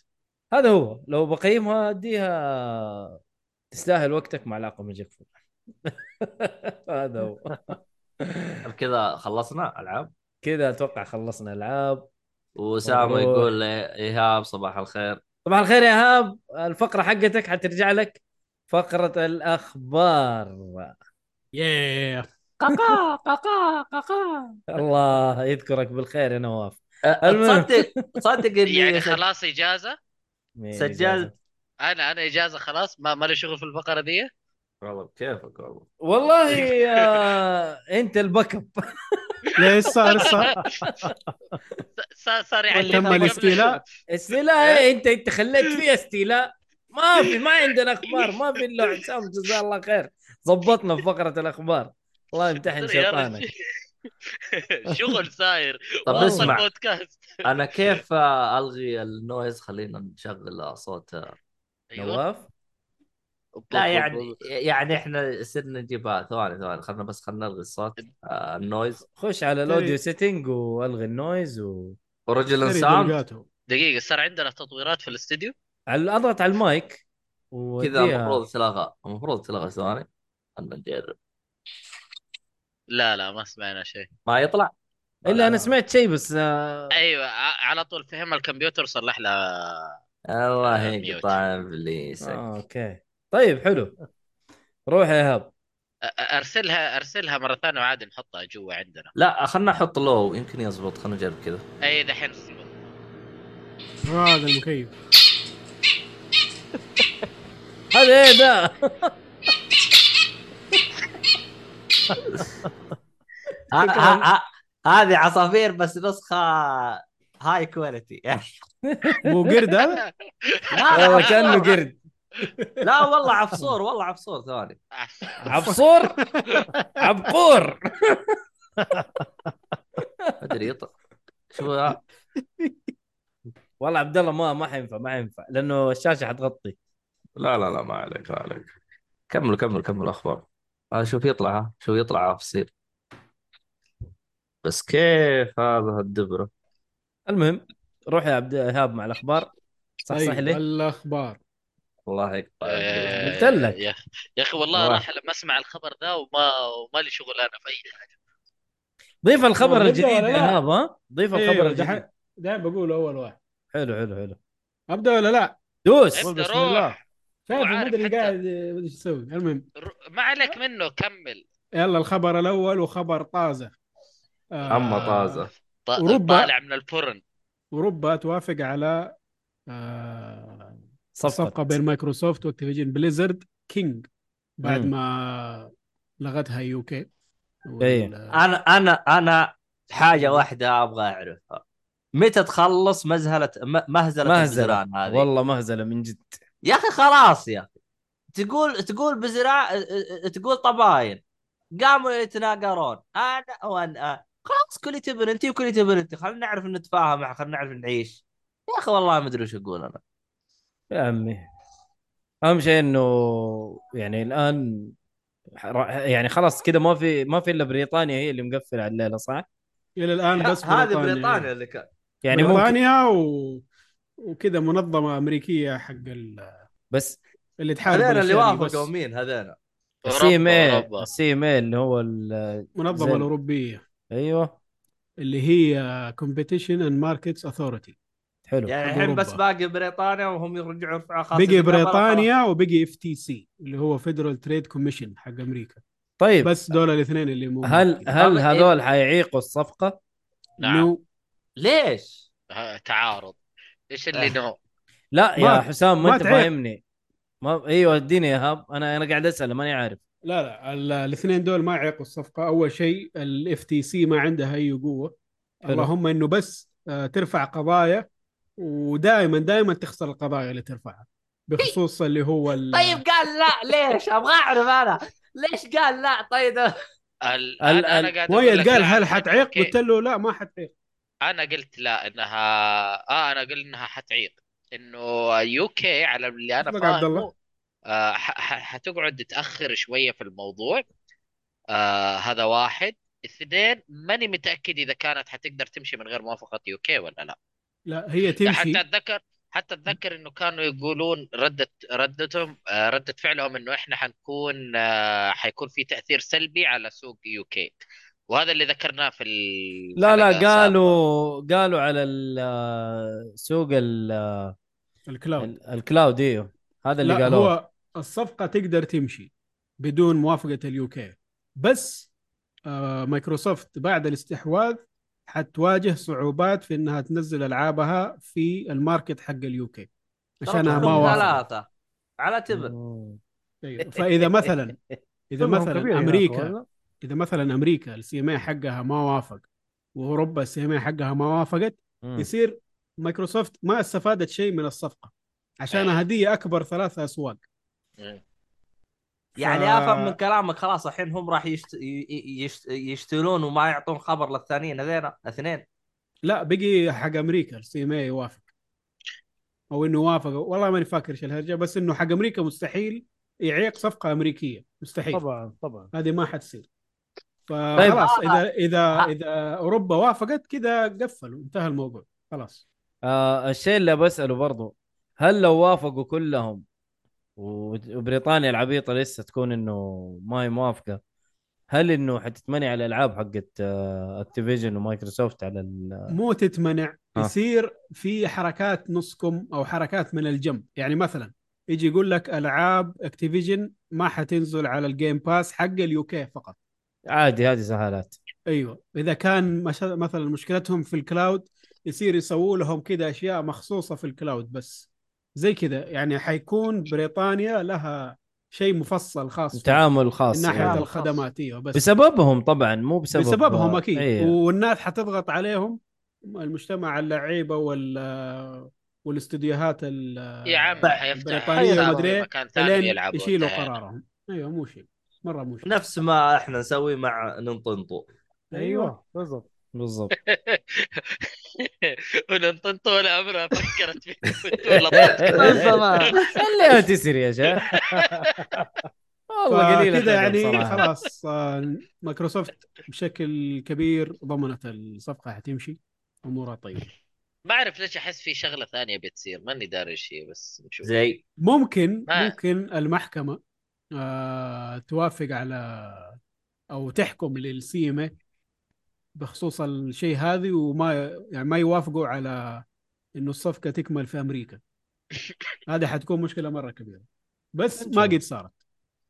A: هذا هو لو بقيمها اديها تستاهل وقتك مع علاقه من جيك فول هذا هو
C: كذا خلصنا العاب
A: كذا اتوقع خلصنا العاب
C: وسامو
A: مبروك.
C: يقول لي- ايهاب صباح الخير
A: صباح الخير يا هاب الفقره حقتك حترجع لك فقره الاخبار
B: ياه
C: قاقا قاقا قاقا
A: الله يذكرك بالخير يا نواف المهم.
C: تصدق تصدق اني
E: يعني خلاص اجازه
A: مين
C: سجلت.
E: انا انا اجازه خلاص ما ما لي شغل في الفقره دي
C: والله بكيفك والله
A: والله آه، انت الباك اب
B: ليش صار صار
E: ص- صار صار يعني يعلمها
B: تم
E: قبل
B: الاستيلاء
A: استيلاء إيه، انت انت خليت فيها استيلاء ما في ما عندنا اخبار ما في الا حسام جزاه الله خير ظبطنا في فقره الاخبار الله يمتحن
E: الشغل. يا رجل.
A: شيطانك
E: شغل ساير
C: طب
A: والله.
E: وصل
C: اسمع
E: بودكاست
C: انا كيف آه، الغي النويز خلينا نشغل آه، صوت آه،
E: ايوه
A: نواف
E: بوب-
C: لا
E: بوب-
C: يعني يعني احنا صرنا نجيبها ثواني ثواني خلنا بس خلنا نلغي الصوت آه النويز
A: خش على الاوديو سيتنج والغي النويز و
C: اوريجنال
B: اشتري
C: ساوند
B: درجاته.
E: دقيقه صار عندنا تطويرات في الاستديو
A: على- اضغط على المايك
C: كذا
A: ووديها.
C: المفروض تلغى المفروض تلغى ثواني خلنا نجرب
E: لا لا ما سمعنا شيء
C: ما يطلع
A: الا انا سمعت شيء بس آه،
E: ايوه ع- على طول فهم الكمبيوتر صلح لها
C: الله طيب،
E: آه،
C: يقطع ابليسك
A: آه، اوكي طيب حلو روح يا ايهاب
E: أ- ارسلها ارسلها مره ثانيه وعادي نحطها جوا عندنا
C: لا خلنا نحط لو يمكن يزبط خلنا نجرب كذا
E: اي دحين صبر.
B: هذا المكيف
A: هذا ايه ده
C: ه- ه- ه- آه، هذه عصافير بس نسخه هاي كواليتي
B: مو قرد هذا
A: والله كانه قرد
C: لا والله عفصور والله عفصور ثواني
A: عبصور عبقور
C: ادري يطلع شو ها؟
A: والله عبد الله ما ما حينفع ما حينفع لانه الشاشه حتغطي
C: لا لا لا ما عليك ما عليك كملوا كملوا كملوا اخبار آه شوف يطلع ها شوف يطلع عفصير بس كيف هذا الدبره
A: المهم روح يا عبد ايهاب مع الاخبار صح صح
B: طيب،
A: ليه؟
B: الاخبار
C: الله يقطع إبليسك.
E: إيه،
A: قلت لك.
E: يا أخي- يا اخي والله
C: والله.
E: راح لما اسمع الخبر ذا وما وما لي شغل انا في اي حاجه
A: ضيف الخبر
B: والله
A: الجديد
B: ولا
A: يا
B: لا؟
A: ايهاب ها ضيف الخبر
B: ايوه
A: الجديد
B: دحين دحين بقول اول واحد
A: حلو حلو حلو
B: ابدا ولا لا؟
A: دوس
E: ابدا
F: بسم
E: روح
F: الله
B: شايف
E: وعارف
B: المدري
E: حتى.
B: قاعد آه، مدري ايش يسوي المهم
E: ر- ما عليك منه كمل
B: يلا الخبر الاول وخبر طازه آه،
C: اما طازه
E: ط-
B: أوروبا.
E: طالع من الفرن
B: اوروبا توافق على آه، صفقه
A: صفقه
B: بين مايكروسوفت واكتيفيجن بليزرد كينج بعد
A: مم.
B: ما لغتها يو كي
A: إيه.
C: انا انا انا حاجه واحده ابغى اعرفها متى تخلص مزهله م- مهزله
A: مهزلة.
C: الجيران هذه
A: والله مهزله من جد
C: يا اخي خلاص يا اخي تقول تقول بزراع تقول طباين قاموا يتناقرون انا وانا آه، خلاص كلي تبن انت وكلي تبن انت خلينا نعرف نتفاهم مع- خلينا نعرف نعيش يا اخي والله ما ادري وش اقول انا
A: يا عمي اهم شيء انه يعني الان ح- يعني خلاص كذا ما في ما في الا بريطانيا هي اللي مقفله على الليله صح؟
B: الى الان بس
C: هذه بريطانيا اللي كان
A: يعني ممكن
B: بريطانيا و... وكذا منظمه امريكيه حق ال...
A: بس
B: اللي تحارب
C: هذين اللي
B: الأشياء دي
C: وافقوا
B: بس.
C: مين هذين
A: السي ام اي
E: أوروبا.
A: السي ام اي اللي هو ال- زين.
B: المنظمه الاوروبيه
A: ايوه
B: اللي هي كومبيتيشن اند ماركتس اثورتي
A: حلو
C: يعني
B: حق
C: الحين بس
B: أوروبا.
C: باقي بريطانيا وهم يرجعوا يرفعوا خاصة
B: بقي بريطانيا وبقي اف تي سي اللي هو فيدرال تريد كوميشن حق امريكا
A: طيب
B: بس دول الاثنين اللي مو
A: هل هل
C: طب-
A: هذول حيعيقوا الصفقه؟
E: نعم.
B: نو
C: ليش؟
E: ها، تعارض ايش اللي
C: آه.
E: نوع
A: لا يا
B: ما-
A: حسام ما
B: ما
A: انت
B: تعيق.
A: فاهمني ما ايوه اديني يا هاب انا انا قاعد اسال ماني عارف
B: لا لا ال- الاثنين دول ما يعيقوا الصفقه اول شيء الاف تي سي ما عندها اي قوه
A: حلو.
B: اللهم انه بس آه، ترفع قضايا ودائما دائما تخسر القضايا اللي ترفعها بخصوص اللي هو ال-
C: طيب قال لا ليش؟ ابغى اعرف انا ليش قال لا طيب
E: ال...
A: ال-
E: انا
A: ال-
E: انا قاعد
B: وهي
E: أقول لك
B: قال
E: لا،
B: هل
E: أنا-
B: حتعيق؟
E: أوكي.
B: قلت له لا ما حتعيق
E: انا قلت لا انها اه انا قلت انها حتعيق انه يو كي على اللي انا
B: اطلق عبد
E: فاهمه
B: الله.
E: آه ح- ح- حتقعد تاخر شويه في الموضوع آه هذا واحد اثنين ماني متاكد اذا كانت حتقدر تمشي من غير موافقه يو كي ولا لا
B: لا هي
E: حتى
B: تمشي
E: اتذكر حتى اتذكر انه كانوا يقولون ردة ردتهم آه، ردة فعلهم انه احنا حنكون آه، حيكون في تأثير سلبي على سوق يو كي وهذا اللي ذكرناه في
A: لا
E: الحلقة
A: لا
E: السابقة.
A: قالوا قالوا على ال- سوق ال-
B: الكلاود
A: ال- الكلاود ايوه هذا اللي
B: لا
A: قالوه
B: هو الصفقه تقدر تمشي بدون موافقه اليو كي بس آه مايكروسوفت بعد الاستحواذ حتواجه صعوبات في انها تنزل العابها في الماركت حق اليو كي عشانها ما
C: كلهم
B: وافقت
C: ثلاثة على تبن
F: مم.
B: أيوه. فاذا مثلا اذا
F: طبعاً كبير
B: مثلا
C: يعني،
F: هناك،
B: امريكا
F: ولا؟
B: اذا مثلا امريكا السي ام إيه حقها ما وافق واوروبا السي ام إيه حقها ما وافقت
A: مم.
B: يصير مايكروسوفت ما استفادت شيء من الصفقه عشان
A: إيه.
E: أيوه.
B: هديه اكبر ثلاث اسواق
E: مم.
C: يعني
B: ف-
C: افهم من كلامك خلاص الحين هم راح يشت... ي- يشت... يشترون وما يعطون خبر للثانيين هذين اثنين
B: لا بقي حق امريكا السي ام يوافق او انه وافق والله ماني فاكر ايش الهرجه بس انه حق امريكا مستحيل يعيق صفقه امريكيه مستحيل
F: طبعا طبعا
B: هذه ما حتصير فخلاص اذا اذا اذا اوروبا وافقت كذا قفلوا انتهى الموضوع خلاص
A: آه الشيء اللي بساله برضو هل لو وافقوا كلهم و- وبريطانيا العبيطه لسه تكون انه ما هي موافقه هل انه حتتمنع على الالعاب حقت اكتيفيجن ومايكروسوفت على ال...
B: مو تتمنع
A: آه.
B: يصير في حركات نصكم او حركات من الجنب يعني مثلا يجي يقول لك العاب اكتيفيجن ما حتنزل على الجيم باس حق اليوكي فقط
A: عادي هذه سهالات
B: ايوه اذا كان مش... مثلا مشكلتهم في الكلاود يصير يسووا لهم كذا اشياء مخصوصه في الكلاود بس زي كذا يعني حيكون بريطانيا لها شيء مفصل خاص فيها
A: تعامل خاص
B: من ناحيه
A: يعني.
H: تعامل.
B: الخدمات ايوه بس
A: بسببهم طبعا مو بسبب
B: بسببهم اكيد
A: أيوه.
B: والناس حتضغط عليهم المجتمع اللعيبه وال والاستديوهات ال-
E: يا عم حيفتح
B: بريطانيا
E: حساب
B: ومدري
E: في
B: إيه،
E: مكان ثاني
B: الين
E: يلعبوا
B: يشيلوا
E: انتهينا.
B: قرارهم ايوه مو شيء مره مو شيء
C: نفس ما احنا نسوي مع ننطنطو
B: أيوه. أيوة.
F: ايوه بالضبط
A: بالضبط
E: وننطنطو ولا عمرها فكرت فيه ولا
A: خليها تسر يا شيخ والله قليل
B: كذا
A: الخير
B: يعني
A: بصراحة.
B: خلاص آه، مايكروسوفت بشكل كبير ضمنت الصفقه حتمشي امورها طيبه
E: ما اعرف ليش احس في شغله ثانيه بتصير ماني داري ايش هي بس نشوف
C: زي
B: ممكن
E: آه.
B: ممكن المحكمه آه توافق على او تحكم للسي ام بخصوص الشيء هذه وما يعني ما يوافقوا على انه الصفقه تكمل في امريكا هذه حتكون مشكله مره كبيره بس ما قد صارت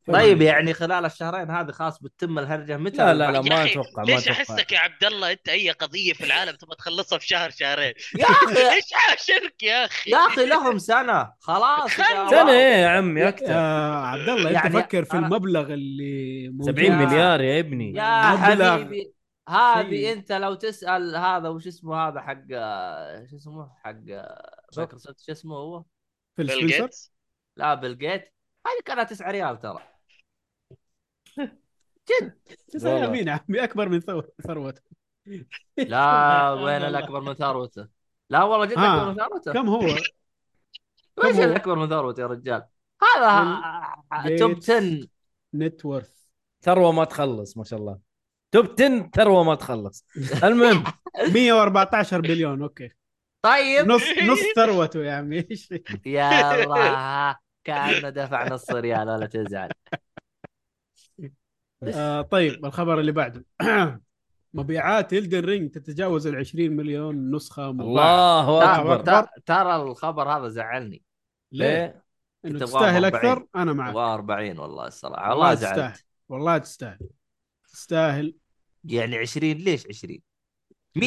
C: طيب يعني خلال الشهرين هذه خلاص بتتم الهرجه متى
A: لا لا لا
E: يا
A: ما
E: أخي،
A: اتوقع ما
E: ليش
A: اتوقع
E: احسك يا عبد الله انت اي قضيه في العالم تبغى تخلصها في شهر شهرين
C: يا اخي
E: ايش عاشرك يا اخي
C: يا اخي لهم سنه خلاص يا
A: سنه
C: واحد.
A: ايه يا عمي اكثر
B: آه عبد الله
C: يعني
B: انت فكر في
C: أنا-
B: المبلغ اللي موجود.
A: 70
C: يا-
A: مليار يا ابني
C: يا
B: مبلغ.
C: حبيبي هذه
B: شيء.
C: انت لو تسال هذا وش اسمه هذا حق شو اسمه حق مايكروسوفت شو اسمه هو؟
B: في
E: بيل
B: السبنسر
E: جيتس؟
C: لا بيل جيت هذه كانت 9 ريال ترى جد
B: تسأل
A: والله.
B: مين يا عمي اكبر من ثو- ثروته
C: لا وين الاكبر من ثروته؟ لا والله جد
B: ها.
C: اكبر من ثروته
B: آه. كم هو؟
C: وش
B: كم هو؟
C: الاكبر من ثروته يا رجال؟ هذا
B: بيل
C: توب
B: جيتس.
C: 10
B: نت ورث
A: ثروه ما تخلص ما شاء الله توب 10 ثروه ما تخلص المهم
B: 114 بليون اوكي
C: طيب
B: نص نص ثروته يا عمي ايش
C: يا الله كانه دفع نص ريال ولا تزعل
B: آه طيب الخبر اللي بعده مبيعات الدن رينج تتجاوز ال 20 مليون نسخه مباعة
A: الله
C: ترى-
A: اكبر
C: ترى- ترى الخبر هذا زعلني
B: ليه؟ انه
C: كنت أبغى
B: تستاهل
C: 40.
B: اكثر انا معك
C: 40 والله الصراحه
B: والله
C: والله
B: تستاهل
C: زعلت
B: والله تستاهل تستاهل
C: يعني 20 ليش 20 مين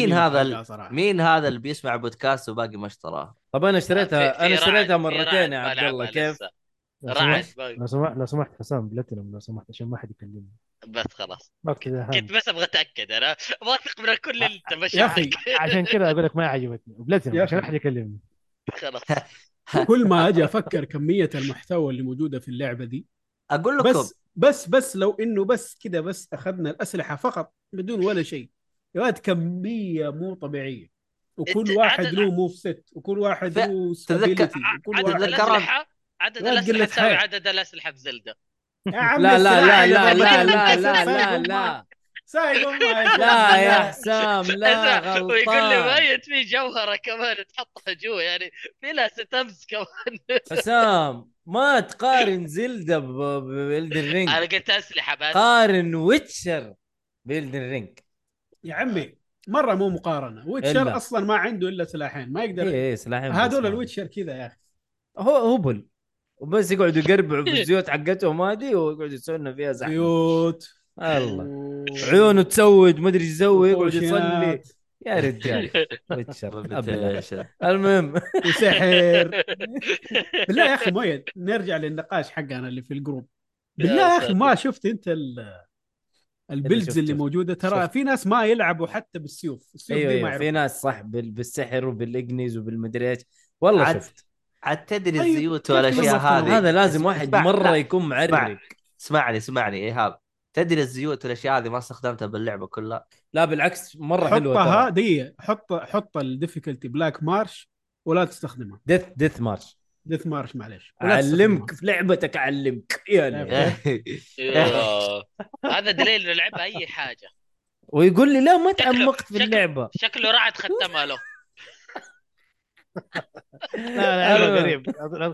B: مليون
C: هذا
B: حلقة
C: ال...
B: صراحة.
C: مين هذا اللي بيسمع بودكاست وباقي ما اشتراه
A: طب انا
E: في-
A: اشتريتها
E: في
A: انا اشتريتها
E: رعد- في رعد
A: مرتين يا
E: ما
A: عبد الله
E: لعبها
A: كيف
E: لسه.
F: لو
E: رعد
F: سمحت
E: ما-
F: لو سمحت لو سمحت حسام بلاتينوم لو سمحت عشان ما حد يكلمني
E: بس خلاص
F: ما كذا هاي.
E: كنت بس ابغى اتاكد انا واثق من الكل اللي انت ماشي
B: يا أخي،
E: معك.
F: عشان كذا اقول لك ما عجبتني بلاتينوم
B: يا
F: عشان ما
B: أخي.
F: حد يكلمني
E: خلاص
B: كل ما اجي افكر كميه المحتوى اللي موجوده في اللعبه دي
C: اقول لكم
B: بس بس بس لو انه بس كذا بس اخذنا الاسلحه فقط بدون ولا شيء يا ولد كميه مو طبيعيه
E: إنت-
B: وكل واحد
E: عدد-
B: له موف ست وكل واحد
C: ف-
B: له
C: تذكر-
B: stability، وكل
E: عدد
B: واحد
C: تذكر-
E: الاسلحه عدد
B: لا تقلة
E: الاسلحه تساوي
B: حيل.
E: عدد الاسلحه في زلده
B: يا عم
A: لا لا
B: السلاح
A: لا
B: اللي
A: لا لا
B: ضربتني
A: لا
B: بالكسر
A: لا
B: سايق
A: لا لا
B: أمها. سايق أمها
A: لا يا
B: يا
A: حسام لا
E: أسمع، ويقول لي
A: غلطان
E: ميت في جوهره كمان تحطها جوا يعني في لها ستمز كمان
A: حسام ما تقارن زلدة بإلدن
E: انا
A: رينج
E: قلت اسلحه بس
A: قارن ويتشر بإلدن رينج
B: يا عمي مره مو مقارنه ويتشر
A: إلا.
B: اصلا ما عنده الا سلاحين ما يقدر
A: اي اي إيه، سلاحين
B: هذول
A: بس.
B: الويتشر كذا يا اخي
A: هو هبل وبس يقعدوا يقربعوا في الزيوت حقتهم هذه ويقعدوا يسووا لنا فيها زحمه
B: بيوت
A: الله
B: و-
A: عيونه تسود ما ادري ايش يسوي يقعد يصلي
B: وطوشينات
A: يا رجال ويتشر أبلة.
C: Reputation.
A: المهم
B: وسحر بالله يا اخي مؤيد نرجع للنقاش حقنا اللي في الجروب بالله يا اخي ما شفت انت ال البيلدز
A: شفته.
B: اللي موجوده ترى
A: شفت.
B: في ناس ما يلعبوا حتى بالسيوف السيوف
A: ايوه
B: دي ما
A: ايوه في
B: يعرفوا
A: ناس صح بال- بالسحر وبالاجنيز وبالمدري ايش والله
C: عاد
A: شفت
C: عاد تدري
B: طيب،
C: الزيوت
B: كيف
C: والاشياء
B: لما
C: هذه
A: هذا لازم واحد
C: اسمع،
A: مره
C: لا،
A: يكون معرق
C: اسمع. اسمعني اسمعني ايهاب تدري الزيوت والاشياء هذه ما استخدمتها باللعبه كلها
A: لا بالعكس مره حلوه
B: حطها
A: ترى
B: دقيقه حط حط الديفيكولتي بلاك مارش ولا تستخدمها
A: ديث ديث مارش
B: ديث مارش معلش
A: اعلمك في لعبتك اعلمك يا لعب.
B: إيه.
C: إيه.
E: إيوه. هذا دليل انه لعبها اي حاجه
A: ويقول لي لا ما تعمقت في
E: شكله-
A: اللعبه
E: شكله رعد ختمها له
F: لا لا قريب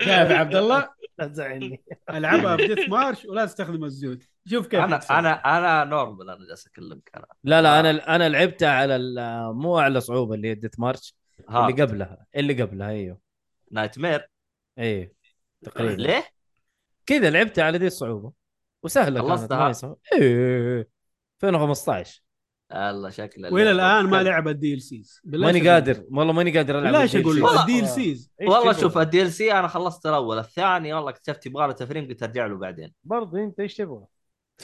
B: شايف يا عبد الله
F: لا تزعلني
B: العبها في ديث مارش ولا تستخدم الزود شوف كيف
C: انا
B: يكسب.
C: انا انا نورمال انا جالس اكلمك انا
A: لا لا انا انا لعبتها على ال- مو على صعوبه اللي هي ديث مارش اللي
C: ها
A: قبلها اللي قبلها ايوه
C: نايت مير
A: ايوه
B: طيب.
A: تقريبا
C: ليه؟
A: كذا لعبتها على ذي الصعوبه وسهله كانت
C: خلصتها؟
A: ما هي صعبة. ايوه 2015
C: الله شكله
B: والى الان ما لعب الدي ال سيز
A: ماني قادر والله ماني قادر العب
B: لا
A: الديل
B: اقول
A: شيء.
B: لك الدي ال سيز
F: إيش
C: والله
F: تبغى؟
C: شوف الدي ال سي انا خلصت الاول الثاني والله اكتشفت يبغى له تفريم قلت ارجع له بعدين
F: برضه انت ايش تبغى؟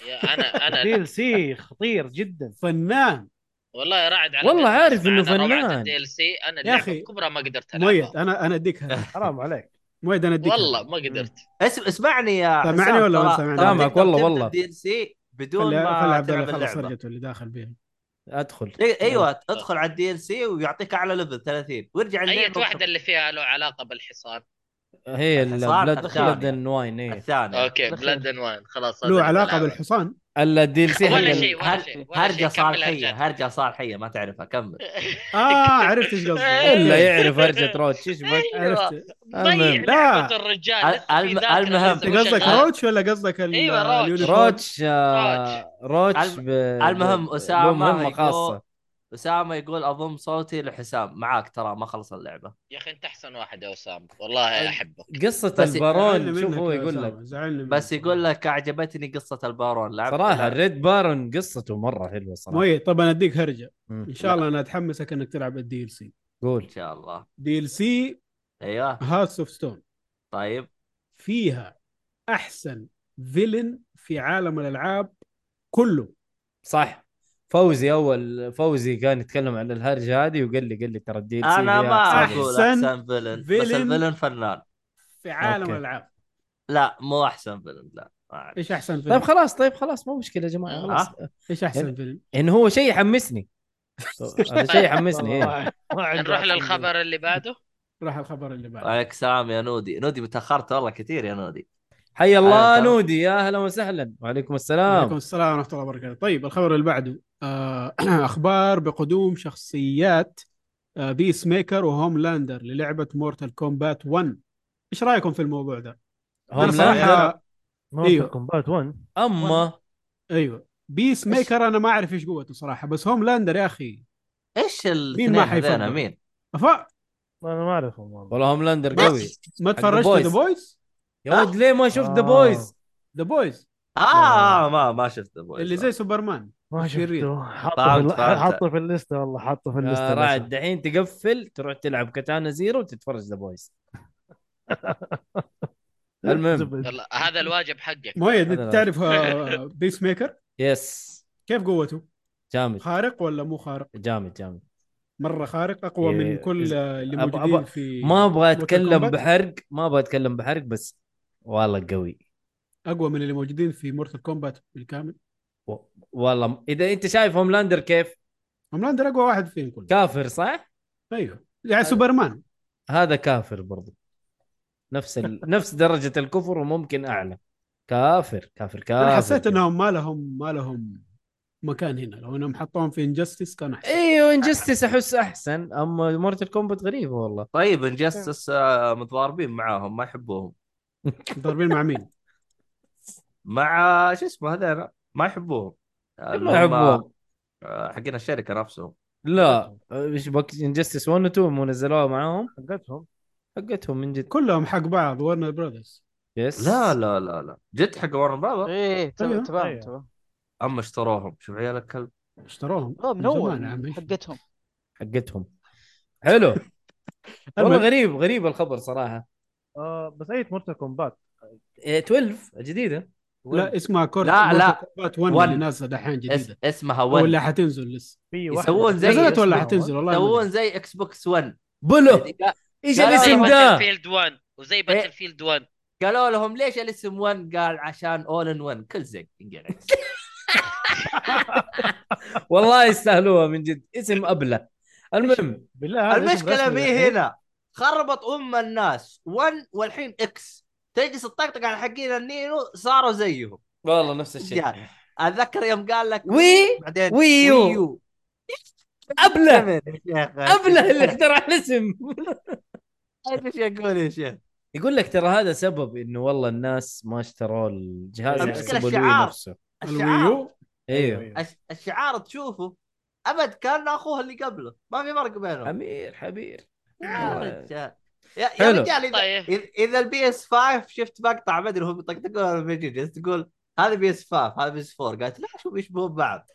E: يا انا انا
F: دي ال سي خطير جدا
B: فنان
E: والله يا راعد على
A: والله عارف إنه فنان.
E: الدي ال سي
B: أخي،
E: انا اللعبه الكبرى ما قدرت العبها
B: مؤيد انا انا اديك هذا.
F: حرام عليك
B: مؤيد انا اديك
E: والله
B: هذا.
E: ما قدرت
C: اسم اسمعني يا
B: سامعني
C: حسام،
B: ولا ما
C: ترى-
B: سامعني؟
C: ترى
A: سامعك،
C: تقدر
A: والله-
C: تبدأ
A: والله.
C: الدي ال سي بدون
B: خلي خلي
C: ما
B: عبد الله
C: تلعب
B: يخلص
C: اللعبه
B: فرجته اللي داخل بيها
A: ادخل
C: إي- ايوه ادخل على الدي ال سي ويعطيك اعلى ليفل 30 وارجع
E: اي
C: اللعبه
E: واحده اللي فيها له علاقه بالحصان
A: هي
C: الحصان
A: البلاد
C: الثاني.
A: بلاد اند واين اي
C: الثانيه
E: اوكي
D: الأخير.
E: بلاد اند وان خلاص هذا
B: له علاقه
E: اللعبة.
B: بالحصان
A: الديل سي
E: ولا
A: حق ال-
E: شيء ولا
C: هر-
E: شيء ولا شيء
C: هرجه
E: كمل
C: صالحيه
E: هرجات.
C: هرجه صالحيه ما تعرفها كمل
B: اه عرفت ايش قصدي
A: الا يعرف هرجه روتش ايش بك
E: أيوة.
B: عرفت
A: أيوة.
E: ضيع
A: المهم.
E: لعبه
B: لا.
E: الرجال
C: ال-
E: لسه في
C: الم-
E: ذاكرة،
C: المهم.
E: لسه
B: انت
E: مو
B: قصدك
E: شغال.
B: روتش ولا قصدك ال-
E: أيوة، روتش.
B: اليونيفورم؟
A: روتش آه، روتش
C: الم-
A: ب...
C: المهم
B: إيه،
A: ب-
C: أسامة
A: له مهمه
C: يقول-
A: خاصه
C: اسامه يقول اضم صوتي لحسام معاك ترى ما خلص اللعبه
E: يا اخي انت احسن واحد يا اسامه والله احبك
A: قصه
C: بس-
B: زعلني
A: البارون شوف
B: منك
A: هو
B: يا
A: يقول لك
B: أسامة، زعلني منك.
C: بس يقول لك اعجبتني قصه البارون لعب
A: صراحه
C: لعب-
A: الريد بارون قصته مره حلوه صراحه
B: مؤيد طب انا اديك هرجه
A: مم.
B: ان شاء الله انا اتحمسك انك تلعب الدي ال سي
A: قول
C: ان شاء الله
B: دي ال سي
C: ايوه
B: هاوس اوف ستون
C: طيب
B: فيها احسن فيلن في عالم الالعاب كله
A: صح فوزي اول فوزي كان يتكلم عن الهرجه هذه وقال لي قال لي ترى الديل سي
C: انا ما
B: أحسن
C: اقول احسن فيلن بس
B: فيلن.
C: الفيلن فنان
B: في عالم
A: أوكي.
B: الالعاب
C: لا مو احسن فيلن لا ما أعرف.
B: ايش احسن فيلم؟
A: طيب خلاص طيب خلاص ما مشكله يا جماعه خلاص
C: آه.
B: ايش احسن فيلم؟
A: ان هو شيء يحمسني هذا شيء يحمسني إيه.
F: والله ما- ما عنده
E: نروح
F: أحسن منه.
E: للخبر اللي بعده
B: راح الخبر اللي بعده
C: وعليك السلام يا نودي نودي تاخرت والله كثير يا نودي
A: حي الله
C: أهلاً.
A: نودي يا اهلا وسهلا وعليكم
B: عليكم
A: السلام
B: السلام ورحمه الله وبركاته طيب الخبر اللي بعده آه، اخبار بقدوم شخصيات آه، بيس ميكر وهوملاندر للعبه مورتال كومبات 1 ايش رايكم في الموضوع ده؟
A: هم
B: انا
A: لا
B: صراحه
F: مورتال
B: إيوه.
F: كومبات 1
A: اما
B: ايوه بيس ميكر انا ما اعرف ايش قوته صراحه بس هوملاندر يا اخي
C: ايش
B: مين
C: الاثنين
B: ما
C: هذين
B: حيفضل؟
C: مين
B: أفا
F: انا ما اعرفهم والله
A: والله هوملاندر
B: بس.
A: قوي
B: ما
A: The
B: تفرجت
A: Boys.
B: ذا بويز؟
A: يا ولد ليه ما شفت ذا
F: آه.
A: بويز
B: ذا بويز
C: اه ما ما شفت The Boys.
B: اللي
A: آه.
B: زي سوبرمان
F: ما
B: شرير.
F: شفته حاطه
C: فهمت،
F: في
C: فهمت.
F: حاطه في الليسته والله حاطه
A: آه،
F: في الليسته
A: يا
F: للأسف.
A: رعد دحين تقفل تروح تلعب كاتانا زيرو وتتفرج ذا بويز المهم
F: زبد.
E: يلا هذا الواجب حقك
B: مؤيد
A: هذا
B: انت تعرف آه، بيس ميكر
A: يس
B: كيف قوته؟
A: جامد
B: خارق ولا مو خارق؟
A: جامد جامد
B: مره خارق اقوى
A: إيه،
B: من كل
A: إز-
B: آه، اللي
A: أبا- أبا-
B: موجودين في
A: ما ابغى
B: Mortal
A: اتكلم
B: Kombat.
A: بحرق ما ابغى اتكلم بحرق بس والله قوي
B: اقوى من اللي موجودين في مورتال كومبات بالكامل
A: و- والله اذا انت شايف هوملاندر كيف
B: هوملاندر اقوى واحد فيهم كلهم
A: كافر صح
B: ايوه
C: أيوه.
B: يعني سوبرمان
A: هذا كافر برضو نفس ال... نفس درجه الكفر وممكن اعلى كافر كافر كافر
C: آه،
B: انا حسيت انهم ما لهم ما لهم مكان هنا لو انهم حطوهم في انجستس كان احسن
C: إيه.
A: ايوه انجستس احس احسن اما مورتال كومبات غريبه والله
C: طيب انجستس متضاربين معاهم ما يحبوهم
B: ضاربين مع مين؟
C: مع شو اسمه هذين ما يحبوهم اللي
A: ما
C: هم،
A: يحبوهم
C: آه، حقين الشركه نفسهم
A: لا ايش بك انجستس 1 و 2 مو نزلوها معاهم
F: حقتهم
A: حقتهم من جد
B: كلهم حق بعض ورنر براذرز
A: يس
C: لا لا لا لا جد حق ورن براذر
D: ايه
B: أيوة.
D: تمام تمام
F: أيوة.
D: تمام
C: اما اشتروهم شوف عيال الكلب
B: اشتروهم
D: آه، من اول
B: أيوه. زمان يا عمي.
D: حقتهم
A: حقتهم حلو والله
B: المهم.
A: غريب غريب الخبر صراحه
F: آه بس اي مورتال كومبات
A: إيه، 12 جديده
B: لا اسمها كورة
C: لا، لا.
B: كومبات 1
C: One.
B: اللي نازله دحين
C: اس...
B: جديده
C: اسمها
B: ولا
C: ون
B: حتنزل لسه
F: في
C: يسوون زي-
B: نزلت ولا
F: اسمها
B: حتنزل والله ما أدري.
C: يسوون زي اكس بوكس 1
A: بلو ايش
C: لا، لا،
A: الاسم
C: لا،
A: ده
E: فيلد 1 وزي باتل
C: إيه.
E: فيلد 1
C: قالوا لهم ليش الاسم 1 قال عشان اول ان 1 كل زق انقلع.
A: والله يستاهلوها من جد اسم ابله المهم
F: بالله هذا اسم
C: المشكله
F: رسمي إيه.
C: مي
F: دحين.
C: هنا خربت ام الناس 1 والحين اكس تجلس تطقطق على حقين النينو صاروا زيهم
A: والله نفس الشيء
C: يعني. اتذكر يوم قال لك
A: وي
C: بعدين
A: ويو.
C: ويو.
A: ابله
C: يا شيخ
A: ابله اللي اخترع الاسم
C: ايش يقول يا شيخ
A: يقول لك ترى هذا سبب انه والله الناس ما اشتروا الجهاز على
C: المشكلة
A: حسب الوي
C: الشعار.
A: نفسه
C: الشعار
B: الويو
A: ايوه
F: أيوه.
C: الش- الشعار تشوفه ابد كان اخوه اللي قبله ما في فرق بينهم
A: امير حبير
C: يا رجال يا, يا
A: حلو.
C: رجال اذا
E: طيب
C: إذا- اذا البي اس 5 شفت مقطع ما ادري هم يطقطقون ولا بيجي تقول هذا بي اس 5 هذا بي اس 4 قالت لا شوف يشبهون بعض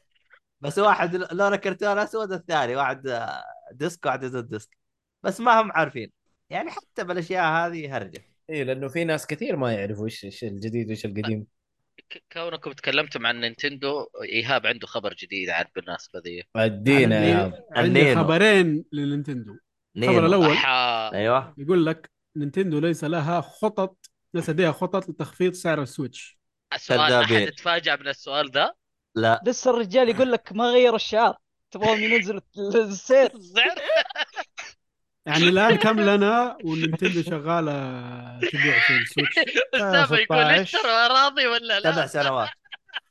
C: بس واحد لونه كرتون اسود الثاني واحد آه، ديسك واحد ازود ديسك بس ما هم عارفين يعني حتى بالاشياء هذه هرجه
A: اي لانه إيه، في ناس كثير ما يعرفوا ايش ايش الجديد وايش القديم
E: ك- كونكم تكلمتم عن نينتندو ايهاب عنده خبر جديد عاد بالمناسبه ذي
A: ادينا يا عم
B: عندي
C: النينو.
B: خبرين للنينتندو الخبر
C: نينو.
B: الاول
E: أحا.
C: ايوه
B: يقول لك نينتندو ليس لها خطط ليس لديها خطط لتخفيض سعر السويتش
E: السؤال
C: كذابين.
E: احد تفاجأ من السؤال ذا
C: لا
D: لسه الرجال يقول لك ما غير الشعار تبغون ينزل السير
E: زعر
B: يعني الان كم لنا ونينتندو شغاله تبيع في السويتش
E: استاذ يقول
F: 16.
E: اشترى راضي ولا لا
C: سبع سنوات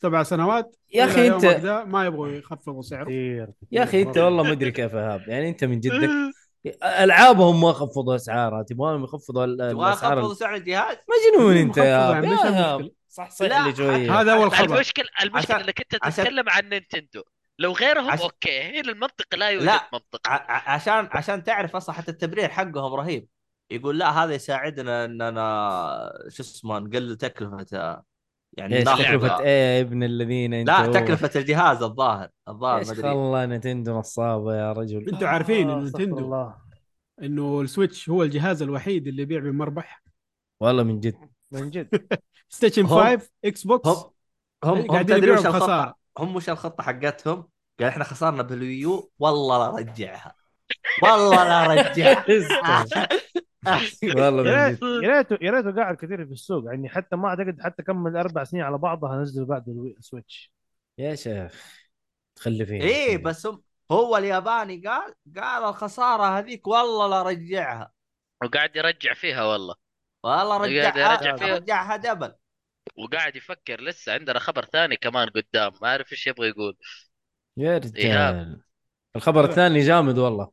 B: سبع سنوات
A: يا
B: إلى
A: أخي أنت-
B: يومك ذا ما يبغوا يخفضوا سعره
C: إيه.
F: كثير
A: يا اخي انت والله
F: آه،
A: مدرك يا فهاب يعني انت من جدك العابهم ما خفضوا اسعارها تبغاهم يخفضوا ال-
C: تبغى
A: الاسعار
C: اخفض
A: ال-
C: سعر الجهاز
A: مجنون انت
B: مخفض
A: يا
B: يعني،
A: عم.
B: ليش
A: يا هاب
B: المشكلة؟
A: صح صح
C: لا،
A: لي شويه
B: هذا اول خبر
E: المشكله المشكله
C: عشان-
E: انك انت
C: عشان-
E: تتكلم عن نينتندو لو غيرهم
C: عشان-
E: اوكي هنا المنطق لا يوجد
C: لا.
E: منطق
C: ع- ع- عشان عشان تعرف اصلا حتى التبرير حقهم رهيب يقول لا هذا يساعدنا اننا شو اسمه نقلل تكلفه آه، يعني
A: ايش
C: ناخذ-
A: تكلفه ايه يا ابن الذين انت
C: لا تكلفه الجهاز الظاهر الظاهر
A: ايش
C: ما ادري
A: خلى نتندو نصابه يا رجل
B: انتوا عارفين ان
F: آه، استغفر
B: نينتندو
F: الله
B: انه السويتش هو الجهاز الوحيد اللي يبيع بمربح
A: والله من جد
F: من جد
B: ستيشن
C: هم-
B: 5 اكس بوكس
C: هم هم هم
B: قاعدين
C: تدري وش
B: يبيعوا
C: الخطه
B: بخساره
C: هم وش الخطه حقتهم؟ قال احنا خسرنا بالويو والله لا رجعها والله لا رجعها
A: والله
F: يا
A: من
F: ريت
A: جد
F: يا ريت يا ريت قاعد كثير في السوق يعني حتى ما اعتقد حتى كمل اربع سنين على بعضها هنزل بعد السويتش
A: يا شيخ تخلي فينا
C: ايه بس هم هو الياباني قال قال الخساره هذيك والله لا رجعها
E: وقاعد يرجع فيها والله
C: والله
E: يرجع
C: رجعها
E: فيها.
C: رجعها دبل
E: وقاعد يفكر لسه عندنا خبر ثاني كمان قدام ما اعرف ايش يبغى يقول
A: يا رجال
E: إيهاب.
A: الخبر الثاني جامد والله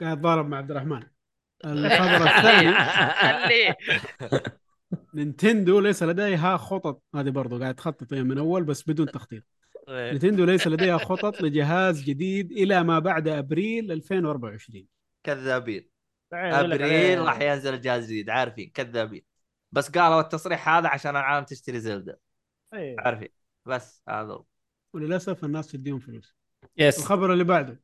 B: قاعد ضارب مع عبد الرحمن الخبر الثاني
E: خليه
B: نينتندو ليس لديها خطط هذه برضو قاعد تخطط هي من اول بس بدون تخطيط
C: إيه.
B: نينتندو ليس لديها خطط لجهاز جديد الى ما بعد ابريل 2024
C: كذابين
F: تعال أقول لك
C: ابريل
F: على-
C: راح ينزل الجهاز الجديد عارفين كذابين بس قالوا التصريح هذا عشان العالم تشتري زلدة
F: إيه.
C: عارفين بس هذا هو.
B: وللاسف الناس تديهم فلوس
A: يس
B: الخبر اللي بعده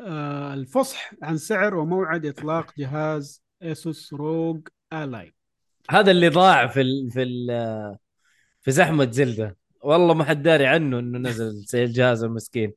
B: آه الفصح عن سعر وموعد اطلاق جهاز اسوس روج الاي
A: هذا اللي ضاع في ال... في ال... في زحمه زلده والله ما حد داري عنه انه نزل الجهاز المسكين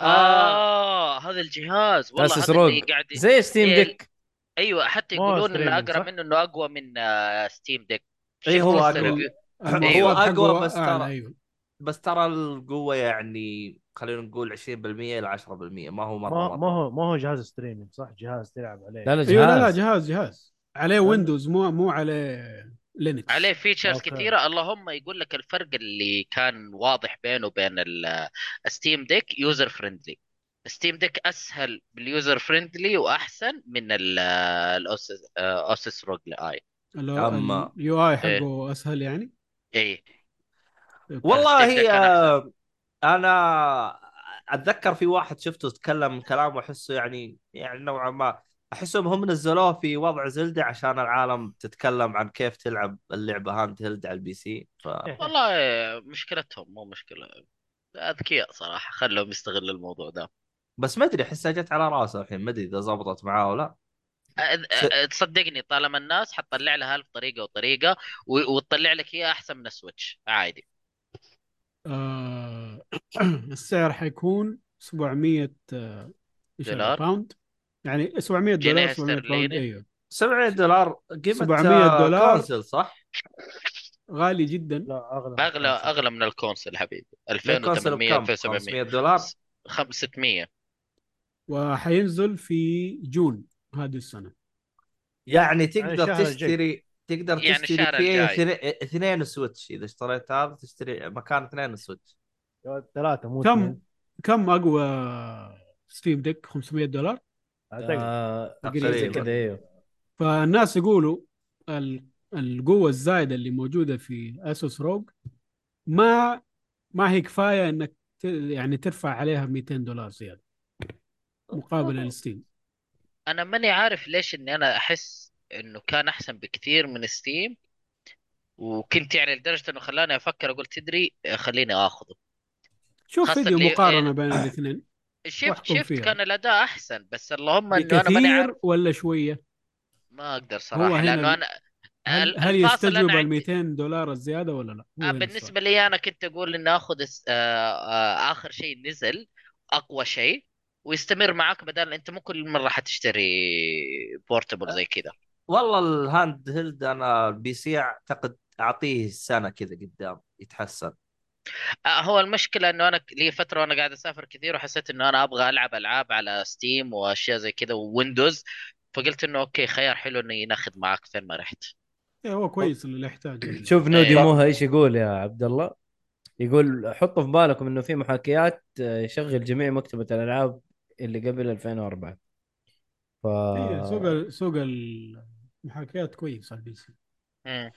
E: اه هذا الجهاز والله
A: أسس
E: هذا اللي
A: روج.
E: قاعد
A: زي ستيم
E: إيه،
A: ديك
E: ايوه حتى
F: مو
E: يقولون انه
F: streaming،
E: اقرب
F: صح؟
E: منه انه اقوى من آه، ستيم ديك
C: إيه، هو
E: شفت
C: أقوى.
E: الريفيو؟
B: المفروض
E: أيوة.
B: حقه
C: أقوى بس
B: أعلى،
C: ترى.
B: أيوة.
C: بس ترى القوة يعني خلينا نقول 20% إلى 10% ما هو مرة
F: ما
C: مرة
F: ما هو ما هو جهاز ستريمينج صح جهاز تلعب عليه
A: لا لا
B: ايوه لا لا
A: جهاز
B: جهاز جهاز عليه ويندوز مو مو عليه لينكس
E: عليه فيتشرز
F: أوكي.
E: كثيرة اللهم يقول لك الفرق اللي كان واضح بينه وبين آه، الستيم ديك يوزر فريندلي ستيم ديك اسهل باليوزر فريندلي واحسن من آه، الاوسس اوسس روج اي
B: اللي
C: أما-
B: اليو اي حقه اسهل يعني
E: اي
B: أوكي.
C: إيه. والله
E: الستيم
C: هي
E: ديك كان
C: انا اتذكر في واحد شفته تكلم كلام واحسه يعني يعني نوعا ما احسهم هم نزلوه في وضع زلدة عشان العالم تتكلم عن كيف تلعب اللعبه هاند هيلد على البي سي ف
F: إيه.
E: والله مشكلتهم مو مشكلة اذكياء صراحة خلهم يستغلوا الموضوع ده
C: بس ما ادري احسها جت على راسه الحين ما ادري اذا زبطت معاه ولا
E: أ- أ- تصدقني طالما الناس حتطلع لها ألف طريقة وطريقة و- وتطلع لك اياها احسن من السويتش عادي
B: آه السعر حيكون 700 آه، إيش هذا،
E: دولار؟
B: باوند يعني 700 دولار
E: جنيه
B: 700 باوند
E: استرليني.
B: ايوه
C: 700 دولار قيمه
B: 700
C: آه،
B: دولار.
C: كونسل صح؟
B: غالي جدا
F: لا اغلى
E: اغلى اغلى من الكونسل حبيبي
C: الكونسل
E: 2800
C: إيه، بكم؟ 500
E: 2700
C: دولار
E: 600
B: وحينزل في جون هذه السنه
C: يعني
F: الشهر
C: تقدر
F: الجاي.
C: تشتري تقدر
E: يعني
C: تشتري
E: الشهر
C: فيه
E: الجاي.
C: اثنين- اثنين سويتش اذا اشتريت هذا تشتري مكان اثنين سويتش
F: ثلاثه مو
B: كم؟
F: اثنين.
B: كم اقوى ستيم ديك 500 دولار
F: أعتقد.
A: آه
C: تقريباً.
B: أيوه.
A: زي كذا ايوه
B: فالناس يقولوا ال- القوه الزايده اللي موجوده في اسوس روج ما ما هي كفايه انك ت- يعني ترفع عليها 200 دولار زياده مقابل الستيم
E: انا ماني عارف ليش اني انا احس انه كان احسن بكثير من ستيم وكنت يعني لدرجه انه خلاني افكر اقول تدري خليني اخذه
B: شوف
E: خاصة إيه،
B: فيديو
E: لي-
B: مقارنه بين الاثنين
E: شفت
B: واحكم
E: شفت
B: فيها.
E: كان الاداء احسن بس اللهم انه انا ماني
B: كثير
E: عارف
B: ولا شويه
E: ما اقدر صراحه
B: هنا
E: لانه
B: ال-
E: انا
B: هل,
E: ال-
B: هل
E: الفاصل
B: يستجوب
E: أنا
B: ال
E: عندي-
B: 200 دولار الزياده ولا لا؟ هو
E: آه،
B: هنا
E: بالنسبة لي أنا كنت أقول إن آخذ الس- آه، آه، آخر شيء نزل أقوى شيء ويستمر معاك بدل أنت مو كل مرة حتشتري بورتبل زي كذا
C: والله الهاند هيلد انا البي سي اعتقد اعطيه سنه كذا قدام يتحسن
E: آه، هو المشكلة إنه أنا ك- لي فترة وأنا قاعد أسافر كثير وحسيت إنه أنا أبغى ألعب ألعاب على ستيم وأشياء زي كذا وويندوز فقلت إنه أوكي خيار حلو إني ناخذ معاك فين ما رحت
B: الصراحة. إيه، هو كويس اللي يحتاج
A: شوف نودي
E: إيه.
A: موها ايش يقول يا عبد الله يقول حطوا في بالكم انه في محاكيات آه، يشغل جميع مكتبه الالعاب اللي قبل 2004 ف
B: إيه، سوق ال- سوق المحاكيات كويس على البي سي
E: مم.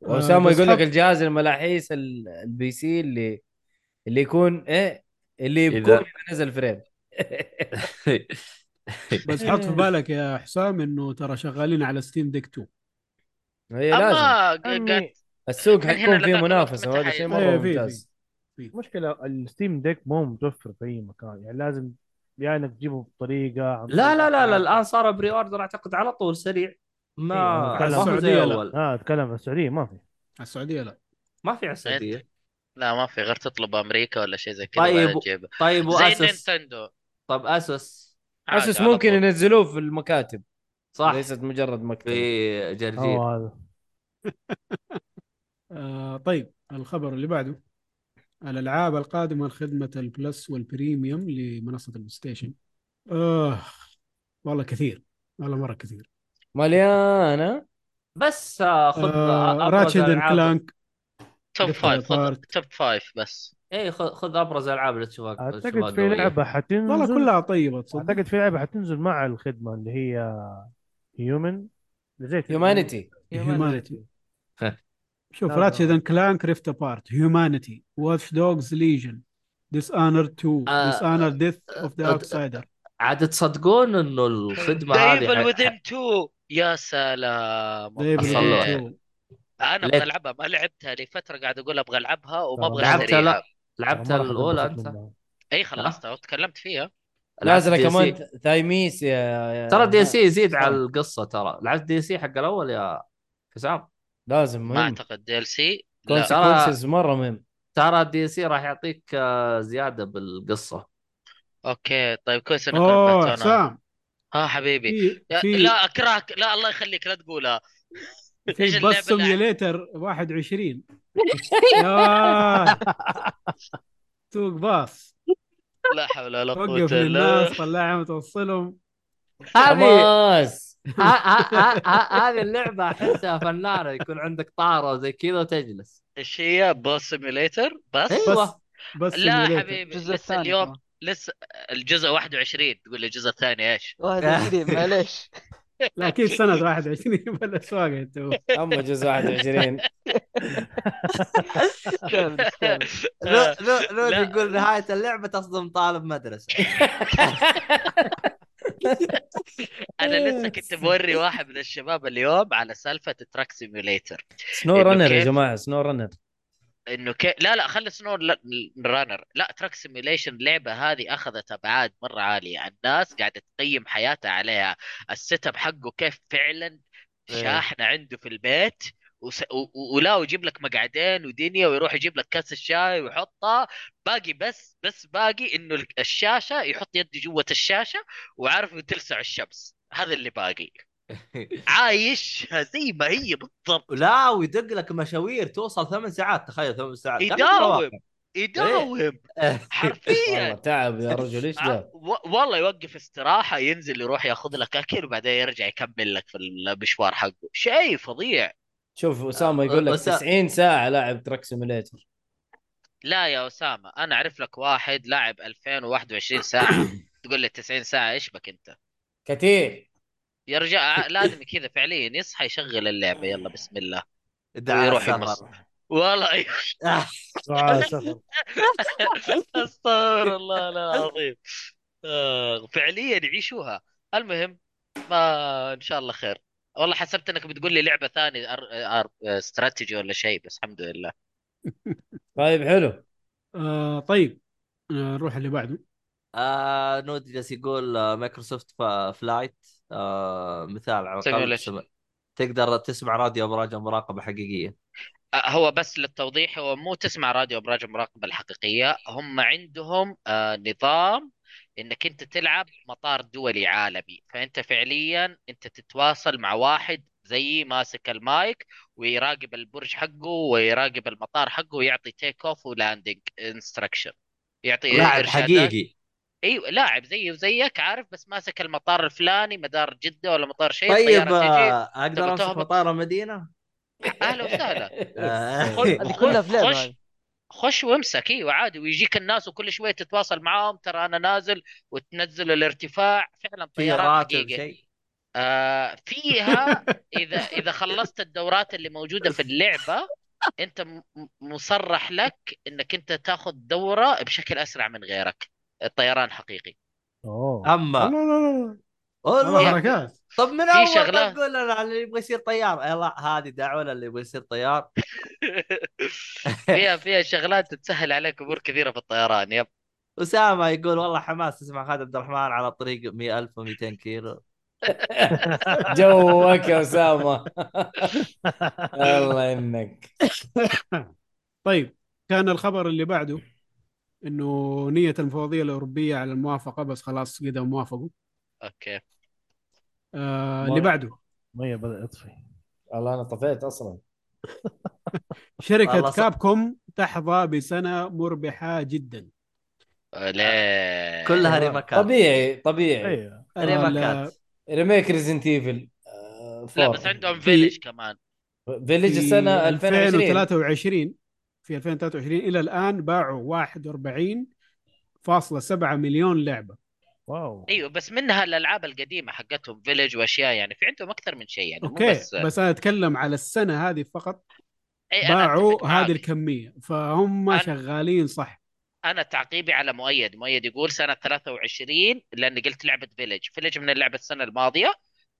A: واسامه
B: آه،
A: يقول
B: بس
A: لك
B: حط-
A: الجهاز الملاحيس ال- البي سي اللي اللي يكون ايه
E: إيه
A: اللي
C: إذا-
A: يكون نزل فريم
B: بس حط في بالك يا حسام انه ترى شغالين على ستيم ديك 2
A: هي لازم
E: أما ق-
F: عمي
E: قد
A: السوق
E: من
A: حيكون
E: هنا لذاك
A: فيه
E: الوقت
A: منافسه
E: متى
A: وهذا شيء
E: حينزل؟
A: مره
B: إيه، في-
A: ممتاز
F: مشكلة الستيم ديك مو متوفر في اي مكان يعني لازم يا انك تجيبه بطريقه عن
C: لا لا لا, لا
F: طريق-
C: الان صار بري اوردر اعتقد على طول سريع ما
F: إيه، على
C: ما هو زي
B: السعودية لا.
C: اول
F: اه اتكلم عن السعوديه ما في
B: على السعوديه لا
C: ما في على السعوديه
E: لا ما في غير تطلب أمريكا ولا شيء زي كذا
C: طيب،
E: ولا تجيب
C: طيب
E: زي
C: واسس
E: نينتندو
C: طب اسس
E: عاد
A: اسس
E: على
A: ممكن
E: طول.
A: ينزلوه في المكاتب
C: صح
A: ليست مجرد مكتبه
C: في جرجير
F: هو هذا
B: آه طيب الخبر اللي بعده الالعاب القادمه لخدمه البلس والبريميوم لمنصه البلاي ستيشن آه والله كثير والله مره كثير
A: مليانه
C: بس آه، خذ
B: آه
C: أبرز
B: راتشد اند
C: الألعاب-
B: كلانك
E: توب
B: Death
E: فايف خذ
B: Apart.
E: توب فايف بس
C: اي خذ إيه، خذ ابرز العاب اللي تشوفها تشوفها
F: اعتقد في
C: قوية.
F: لعبه حتنزل
B: والله كلها طيبه تصدق
F: اعتقد في لعبه حتنزل مع الخدمه اللي هي هيومن زي
A: هيومانيتي
B: هيومانيتي
C: ها.
B: شوف
F: لا، لا.
B: راتشد اند كلانك ريفت ابارت هيومانيتي واتش دوجز ليجن ديس انر 2
C: آه،
B: ديس انر ديث اوف
C: آه،
B: ذا اوتسايدر
C: عاد تصدقون انه الخدمه
E: دايفل
C: هذه ح-
E: وذين 2 يا سلام
C: أصلاً
E: والله.
C: لعبة.
E: انا
C: ليت-
E: ابغى العبها ما لعبتها لفتره قاعد اقول ابغى العبها وما
F: ترى
E: ابغى
F: لعبتها
E: اشتريها
C: لا. لعبتها الاولى انت
E: اي خلصتها وتكلمت فيها
A: نازله
C: لعبت
A: كمان
C: DLC.
A: تايميس يا يا-
C: ترى دي سي يزيد
A: سلام.
C: على القصه ترى لعبت دي سي حق الاول يا حسام
A: لازم
E: ما
A: مهم
E: اعتقد دي ال سي لا
C: Console.
A: كونسيكونسز مره مهم
C: ترى الدي سي راح يعطيك آه، زياده بالقصه
E: اوكي طيب كويس انك
B: اوه
E: نبهتونا
B: حسام
E: ها حبيبي
B: في
E: يا-
B: في
E: لا اكرهك لا الله يخليك لا تقولها إيش
B: في
E: اللعبة
B: بس
E: اللي-
B: سيميوليتر 21 ياه سوق باص
E: لا حول ولا قوة
B: وقف
E: الا بالله
B: للناس طلعهم توصلهم
C: هذه
A: خلاص
C: ه- ه- ه- ه- هذه اللعبه احسها فنانه يكون عندك طاره وزي كذا وتجلس
E: ايش هي باص سيميوليتر بس
B: بس
C: ايوه
B: بس
E: أيوة.
B: أيوة.
E: لا
B: simulator.
E: حبيبي
D: الجزء
E: لسه
D: الثاني
E: اليوم
D: كمان.
E: لسه الجزء 21 تقول لي الجزء الثاني ايش
D: وهذا جديد معليش
B: لا اكيد سنه 21 بالاسواق انت
A: اما جزء 21
D: استهبل استهبل
C: لو
E: آه،
C: لو لو
E: لا.
C: يقول نهايه اللعبه تصدم طالب مدرسه
E: انا لسه كنت بوري واحد من الشباب اليوم على سالفه تراك سيميوليتر
A: سنو
E: إنه
A: رنر يا
E: كيف؟
A: جماعه سنو رنر
E: انه كي... لا لا خلي سنو رانر لا تراك سيميوليشن اللعبه هذه اخذت ابعاد مره عاليه يعني الناس قاعده تقيم حياتها عليها السيت اب حقه كيف فعلا
C: إيه.
E: شاحنه عنده في البيت وس... و... و... ولا ويجيب لك مقعدين ودنيا ويروح يجيب لك كاس الشاي ويحطها باقي بس بس باقي انه ال- الشاشه يحط يده جوه الشاشه وعارف إنه تلسع الشمس هذا اللي باقي عايشها زي ما هي بالضبط إيه،
C: لا إيه. ويدق لك مشاوير توصل ثمان ساعات تخيل ثمان ساعات كأنك
E: يداوم.
C: مواقع.
E: يداوم
A: والله
E: حرفيا
A: تعب يا رجل ايش
E: ع-
A: ده؟
E: و- والله يوقف استراحه ينزل يروح ياخذ لك اكل وبعدين يرجع يكمل لك في المشوار حقه شيء فظيع
A: شوف اسامه يقول لك
C: أس-
A: 90 ساعه لاعب تراك سيميليتر
E: لا يا اسامه انا اعرف لك واحد لاعب 2021 ساعه تقول لي 90 ساعه ايش بك انت
A: كثير
E: يا رجال لازم كذا فعليا يصحى يشغل اللعبه يلا بسم الله
C: دعاء
E: ويروح
C: السفر.
E: يمص. والله
F: دعاء السفر
E: استغفر الله العظيم آه، فعليا يعيشوها المهم ما ان شاء الله خير والله حسبت انك بتقول لي لعبه ثانيه أر... أر... استراتيجي ولا شيء بس الحمد لله
A: طيب حلو
B: آه طيب آه نروح اللي بعده
C: آه نود جالس يقول آه، مايكروسوفت فا- فلايت آه مثال على الأقل
E: Simulation.
C: تسمع- تقدر تسمع راديو براجع مراقبة حقيقية
E: آه، هو بس للتوضيح هو مو تسمع راديو ابراج المراقبه الحقيقيه هم عندهم آه، نظام انك انت تلعب مطار دولي عالمي فانت فعليا انت تتواصل مع واحد زي ماسك المايك ويراقب البرج حقه ويراقب المطار حقه ويعطي تيك اوف ولاندنج انستراكشن يعطي
C: لاعب
E: إيه، إرشادات.
C: حقيقي
E: ايوه لاعب زيه وزيك عارف بس ماسك المطار الفلاني مدار جدة ولا مطار شيء
C: طيب
E: الطيارة تجي
C: آه اقدر
E: إيه، تبغى
C: امسك
E: تهبط؟ إيه،
C: مطار المدينه؟
E: اهلا وسهلا
C: آه.
D: هذه كلها في لعبه
E: خش.
D: هذه.
E: خش وامسك ايوه عادي ويجيك الناس وكل شويه تتواصل معاهم ترى انا نازل وتنزل الارتفاع فعلا
C: في
E: طيارات
C: راتب
E: حقيقي
C: شيء
E: آه فيها اذا اذا خلصت الدورات اللي موجوده في اللعبه انت م- م- مصرح لك انك انت تاخذ دوره بشكل اسرع من غيرك الطيران حقيقي
F: اوه
C: اما
B: لا لا لا والله
C: والله
B: حركات
C: طب من
E: في
C: اول
E: شغلات.
C: تقول لنا اللي يبغى يصير طيار يلا هذه دعوه للي يبغى يصير طيار
E: فيها فيها شغلات تسهل عليك امور كثيره في الطيران يب
C: اسامه يقول والله حماس تسمع خالد عبد الرحمن على طريق 100000 و200 كيلو
A: جوك يا اسامه الله انك
B: طيب كان الخبر اللي بعده انه نية المفوضية الأوروبية على الموافقة بس خلاص كده موافقوا
E: اوكي
B: آه
F: مر-
B: اللي بعده
F: ميه بدات تطفي
A: والله انا طفيت اصلا
B: شركة
C: والله صح.
B: كابكوم تحظى بسنة مربحة جدا
E: ليه
C: آه، كلها ريمكات
A: آه، طبيعي
C: إيه.
A: طبيعي
F: ايوه
B: آه،
C: ريمكات
A: ريميك ريزنت ايفل آه،
E: لا بس عندهم
B: في-
E: فيلج كمان
A: فيلج السنه 2020
B: 2023 في 2023 الى الان باعوا 41.7 مليون لعبه
F: واو
E: ايوه بس منها الالعاب القديمه حقتهم فيلج واشياء يعني في عندهم اكثر من شيء يعني مو
B: اوكي
E: بس
B: بس انا اتكلم على السنه هذه فقط
E: أي أنا أتفق
B: باعوا
E: معاك.
B: هذه الكميه فهم
E: أنا-
B: شغالين صح
E: انا تعقيبي على مؤيد مؤيد يقول سنه 23 لاني قلت لعبه فيلج فيلج من اللعبه السنه الماضيه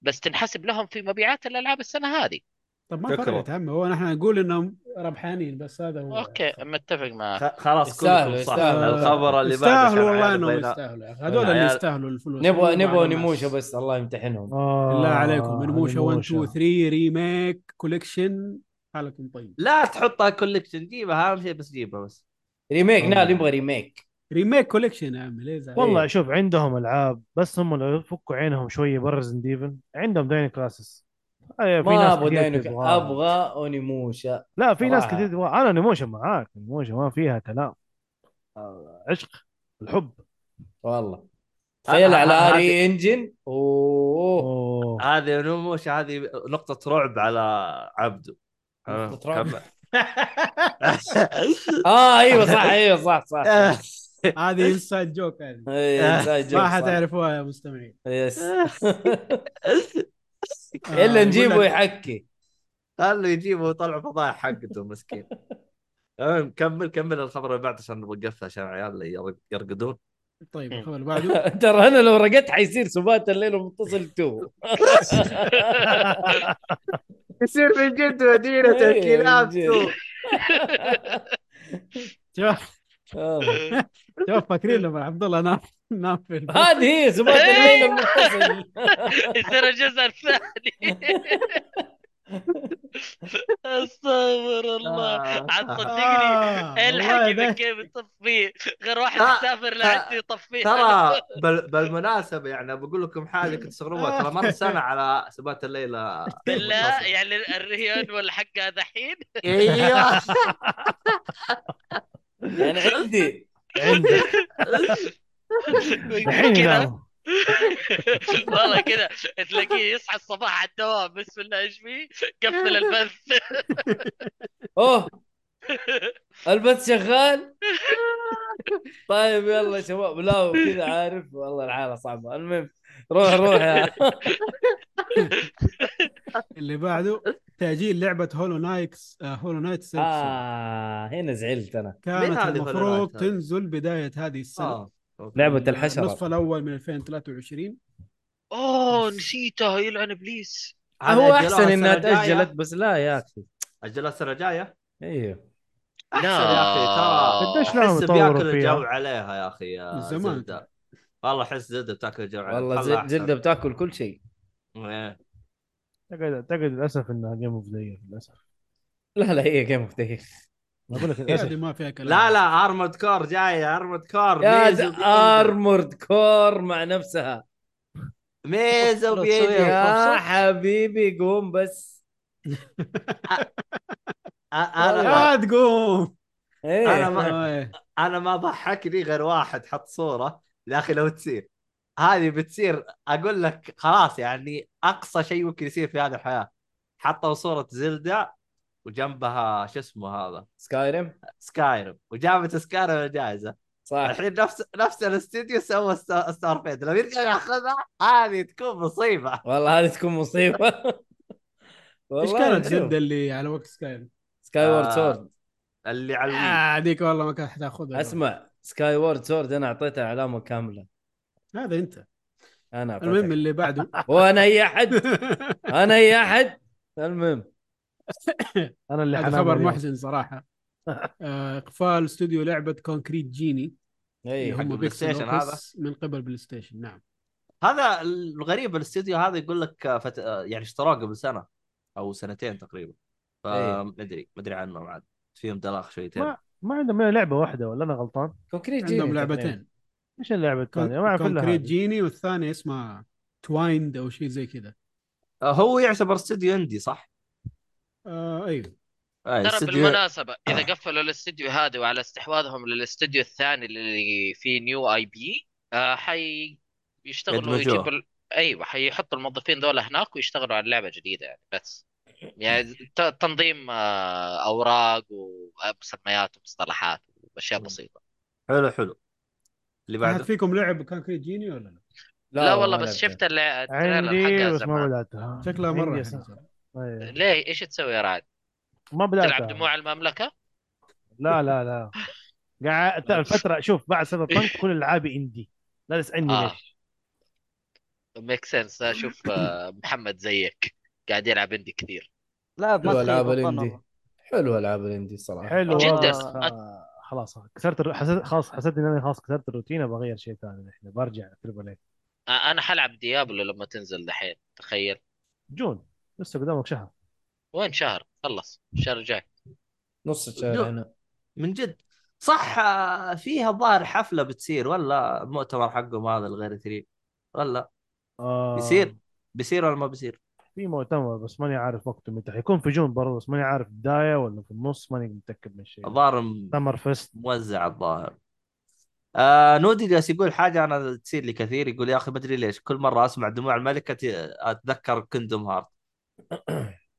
E: بس تنحسب لهم في مبيعات الالعاب السنه هذه
B: طب ما
C: شكراً.
B: فرقت يا عم هو نحن نقول انهم ربحانين بس هذا هو
E: اوكي متفق معك
C: خ- خلاص
A: يستاهلوا-
C: كلكم صح
A: يستاهلوا.
C: الخبر اللي بعده
B: يستاهلوا
C: كان
B: والله انهم
C: عيال بينا-
B: يستاهلوا يا أخي. هذول اللي
C: عيال-
B: يستاهلوا الفلوس
A: نبغى نبغى
B: وعلى
A: نموشه
B: الناس.
A: بس آه، الله يمتحنهم
F: آه،
B: بالله عليكم نموشه 1 2
F: 3
B: 3 ريميك كوليكشن حالكم طيب
C: لا تحطها كولكشن جيبها اهم شيء بس جيبها بس
A: ريميك
F: والله.
B: إيه.
A: نال يبغى ريميك
B: ريميك كوليكشن يا عم ليه زعلان؟
A: إيه.
F: والله شوف عندهم العاب بس هم لو يفكوا عينهم شويه برا ديفن عندهم داين كلاسس أيوة، في
A: ما
F: ناس
A: ابغى
F: كثير
A: داينوك
F: تبغاها.
A: ابغى اونيموشا
F: لا في ناس
A: صراحة.
F: كثير تبغى انا نموشن معاك نموشن ما فيها كلام آه، عشق الحب
A: والله
C: ه-
A: تخيل
C: ه-
A: على
C: آه، هذه-
A: اري انجن اوه
F: اوه
C: هذه مو مش هذه نقطة رعب على عبده
A: نقطة رعب.
C: كمل.
A: اه ايوه صح ايوه صح صح
B: هذه انسايد جوك هذه
A: إيه، إنسان جوك
B: آه. ما
A: صح.
B: حتعرفوها يا مستمعين
A: يس
B: آه،
A: الا
B: يقول
A: نجيبه
B: لك-
A: يحكي
C: خلوا يجيبوا ويطلعوا فضايح حقته مسكين المهم كمل كمل الخبر اللي بعد عشان نبغى نقفل عشان العيال يرق- يرقدون
B: طيب
E: مم.
B: الخبر اللي بعده
A: ترى انا لو رقدت حيصير سبات الليل ومتصل تو
C: يصير في جد مدينة
A: إيه، الكلاب من جد. تو.
B: شوف
A: آه.
B: شوف فاكرين لما عبد الله نام نام في البيت.
A: هذه هي سبات الليل المتصل
E: ترى الجزء الثاني استغفر الله عاد صدقني
B: آه، والله
E: الحق اذا
B: ذاك-
E: كيف تطفيه غير واحد
C: آه،
E: يسافر
C: آه،
E: لعندي يطفيه
C: ترى بال... بالمناسبة يعني بقول لكم حاجة كنت تستغربوها ترى مر سنة على سبات الليلة
E: بالله يعني
C: أيوه.
E: الرهيان ولا حقها دحين
C: ايوه
A: يعني عندي
B: آه،
F: عندك الحين
E: كذا
F: ينام
E: والله كذا تلاقيه يصحى الصباح على الدوام بسم الله ايش فيه قفل البث
A: اوه البث شغال طيب يلا يا شباب لا وكذا عارف والله الحاله صعبه المهم روح روح يا
B: اللي بعده تاجيل لعبه هولو نايتس آه هولو نايت سيلك سيل.
A: اه هنا زعلت انا
C: مين
B: كانت
C: آه، هذه هولو
B: المفروض
C: نايت هذه؟
B: تنزل بدايه هذه السنه
C: آه. أوكي.
A: لعبه
B: النصف
A: الحشره
B: الاول من 2023
E: اوه نسيته يلعن ابليس
C: أنا
A: هو
C: أجلوها
A: احسن انها
C: السنة الجاية.
A: تاجلت بس لا يا اخي
C: اجلها السنه الجايه
A: ايوه
C: احسن
E: لا.
C: يا اخي ترى
F: قديش لهم
C: احس
F: يطوروا
C: بياكل
F: فيها؟
C: الجو عليها يا اخي يا
B: من زمان.
C: زلدة والله احس زلدة بتاكل الجو عليها
A: والله
C: خلها
A: زل-
C: أحسن.
A: جلده بتاكل كل شيء
C: إيه.
F: اعتقد اعتقد للاسف انها جيم اوف ذا للاسف
A: لا لا هي جيم اوف
F: أنا اقول لك
B: هذه
F: للاسف
B: ما فيها كلام
C: لا لا ارمد كور جايه ارمد كور ميز
A: يا
C: وبينزل.
A: ارمورد كور مع نفسها
C: ميز
D: لا
C: وبينزل.
D: تسويها.
A: يا
D: فرصة.
A: حبيبي قوم بس
C: أ- انا
B: لا تقوم
A: ايه
C: أنا ما-
B: آه،
C: انا ما ضحكني غير واحد حط صوره يا اخي لو تصير هذه بتصير اقول لك خلاص يعني اقصى شيء ممكن يصير في هذه الحياه حطوا صوره زلدة وجنبها شو اسمه هذا
A: سكايريم
C: سكايرم وجابت سكايرم الجائزه
A: صح
C: الحين نفس نفس الاستديو سوى ست- ستار فيد لو يرجع ياخذها هذه تكون مصيبه
A: والله هذه تكون مصيبه
B: ايش
A: والله
B: كانت
A: نشوف.
B: زبده اللي على وقت سكاي
A: سكاي وورد
C: آه.
A: سورد
C: اللي على الوي.
B: آه هذيك والله ما كانت حتاخذها
A: اسمع سكاي وورد سورد انا اعطيتها علامه كامله
B: هذا انت
A: انا
B: المهم
A: اعطيتها
B: اللي بعده
A: وانا اي احد انا اي احد المهم
F: انا اللي
B: هذا
F: حنام
B: خبر
F: اليوم.
B: محزن صراحه آه، اقفال استوديو لعبه كونكريت جيني
A: اي
B: اللي
C: إيه، حق
B: هم
C: البلاي
B: بيكسل
C: ستيشن
B: أوبس من قبل بلاي ستيشن نعم
C: هذا الغريب الاستديو هذا يقول لك آه، فت... آه، يعني اشتراه قبل سنه او سنتين تقريبا
A: إيه.
C: فمدري مدري عنهم عاد فيهم دلاخ شويتين
F: ما ما عندهم إلا لعبه واحده ولا انا غلطان؟
A: كونكريت جيني
B: عندهم
A: تقريباً.
B: لعبتين
F: ايش اللعبه الثانيه؟ ما اعرف الا
B: كونكريت
F: هذه.
B: جيني والثانيه اسمها توايند او شيء زي كذا
C: آه، هو يعتبر استديو اندي صح؟
B: آه ايوه
C: اي
E: ترى
C: استديو
E: بالمناسبة إذا قفلوا الاستديو هذا وعلى استحواذهم للاستديو الثاني اللي فيه نيو أي بي آه حي يشتغلوا
C: يدمجوه.
E: يجيبوا ال... أيوه حيحطوا الموظفين دول هناك ويشتغلوا على لعبة جديدة يعني بس يعني ت- تنظيم آه أوراق ومسميات ومصطلحات وأشياء بسيطة
C: حلو حلو اللي
B: احد
C: بعده
B: فيكم لعب كونكريت جيني ولا لا؟
E: لا, والله
A: ما
E: بس
A: لعبتها.
E: شفت الل- التريلر
F: عندي
E: حقها
F: بس ما
E: زمان
F: بداتها
B: شكلها مره
F: عندي
B: حلو
F: صح.
B: صراحة.
F: أي.
E: ليه إيش تسوي يا رعد؟
F: ما
E: تلعب
F: بداتها
E: دموع المملكة؟
F: لا لا لا قعدت الفتره شوف بعد سبب بنك كل العابي اندي لا تسالني
E: آه.
F: ليش
E: ميك سنس أشوف آه محمد زيك قاعد يلعب عندي كثير
D: لا ما
A: حلو
D: تخيب
A: العاب
D: ظن
A: الاندي
D: الله.
A: حلو العاب الاندي الصراحه
F: حلو
E: جدا.
F: والله. آه، خلاص كسرت الر- حسيت خلاص حسيت ان انا خلاص كسرت الروتين بغير شيء ثاني الحين برجع تربل اي
E: آه أنا حلعب ديابلو لما تنزل دحين تخيل
F: جون لسه قدامك شهر
E: وين شهر خلص الشهر الجاي
A: نص الشارع هنا
C: من جد صح آه، فيها الظاهر حفله بتصير ولا المؤتمر حقهم هذا الغير ثري ولا
F: آه
C: يصير؟ بيصير ولا ما بيصير؟
F: في مؤتمر بس ماني عارف وقته متى حيكون في جون برضه بس ماني عارف بدايه ولا في النص ماني متاكد من الشيء
C: الظاهر م-
F: سمر فيست
C: موزع الظاهر آه نودي جالس يقول حاجه انا تصير لي كثير يقول يا اخي ما ادري ليش كل مره اسمع دموع الملكه ت- اتذكر كندوم هارت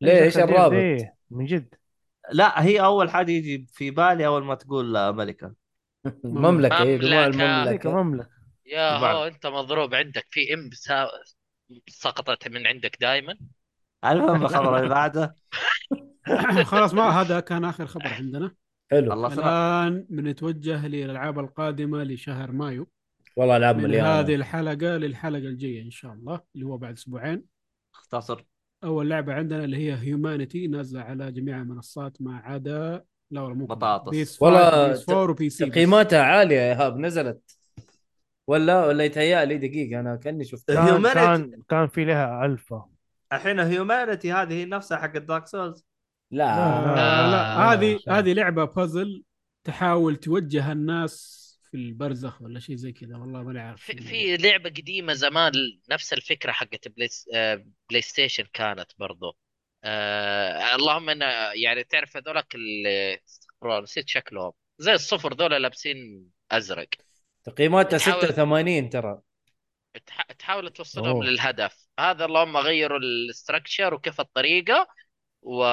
A: ليش الرابط؟
F: إيه، من جد
C: لا هي اول حاجه يجي في بالي اول ما تقول آه، ملكه
A: المملكه اي دموع
E: مملكة.
F: هذيك
A: المملكه
F: مملكه
E: يا
C: طبعاً.
E: هو انت مضروب عندك في ام سا... سقطت من عندك دائما
C: المهم الخبر اللي بعده
B: خلاص ما هذا كان اخر خبر عندنا
A: حلو
C: خلصنا
B: الان بنتوجه للالعاب القادمه لشهر مايو
A: والله العاب
B: من هذه
A: مليانه
B: الحلقه للحلقه الجايه ان شاء الله اللي هو بعد اسبوعين
C: اختصر
B: اول لعبه عندنا اللي هي هيومانيتي نازله على جميع المنصات ما عدا لا والله مو
C: بطاطس.
A: والله
B: والله بيس 4 وبي سي بس.
A: تقييماتها عاليه يا ايهاب نزلت ولا ولا يتهيأ لي دقيقه انا كاني شفتها
F: كان,
C: Humanity.
F: كان كان في لها الفا
C: الحين هيومانيتي هذه هي نفسها حق دارك سولز
A: لا
B: آه، لا
E: آه،
B: هذه هذه لعبه بازل تحاول توجه الناس في البرزخ ولا شيء زي كذا والله ما عارف
E: في, في لعبة قديمة زمان نفس الفكرة حقت بلاي, س- آه، بلاي ستيشن كانت برضو آه اللهم ان يعني تعرف هذولك اللي نسيت شكلهم زي الصفر ذولا لابسين ازرق
A: تقييماتها
E: بتحاول-
A: 86 ترى
E: تح- تحاول توصلهم
A: أوه.
E: للهدف هذا اللهم غيروا الاستراكشر وكيف الطريقه و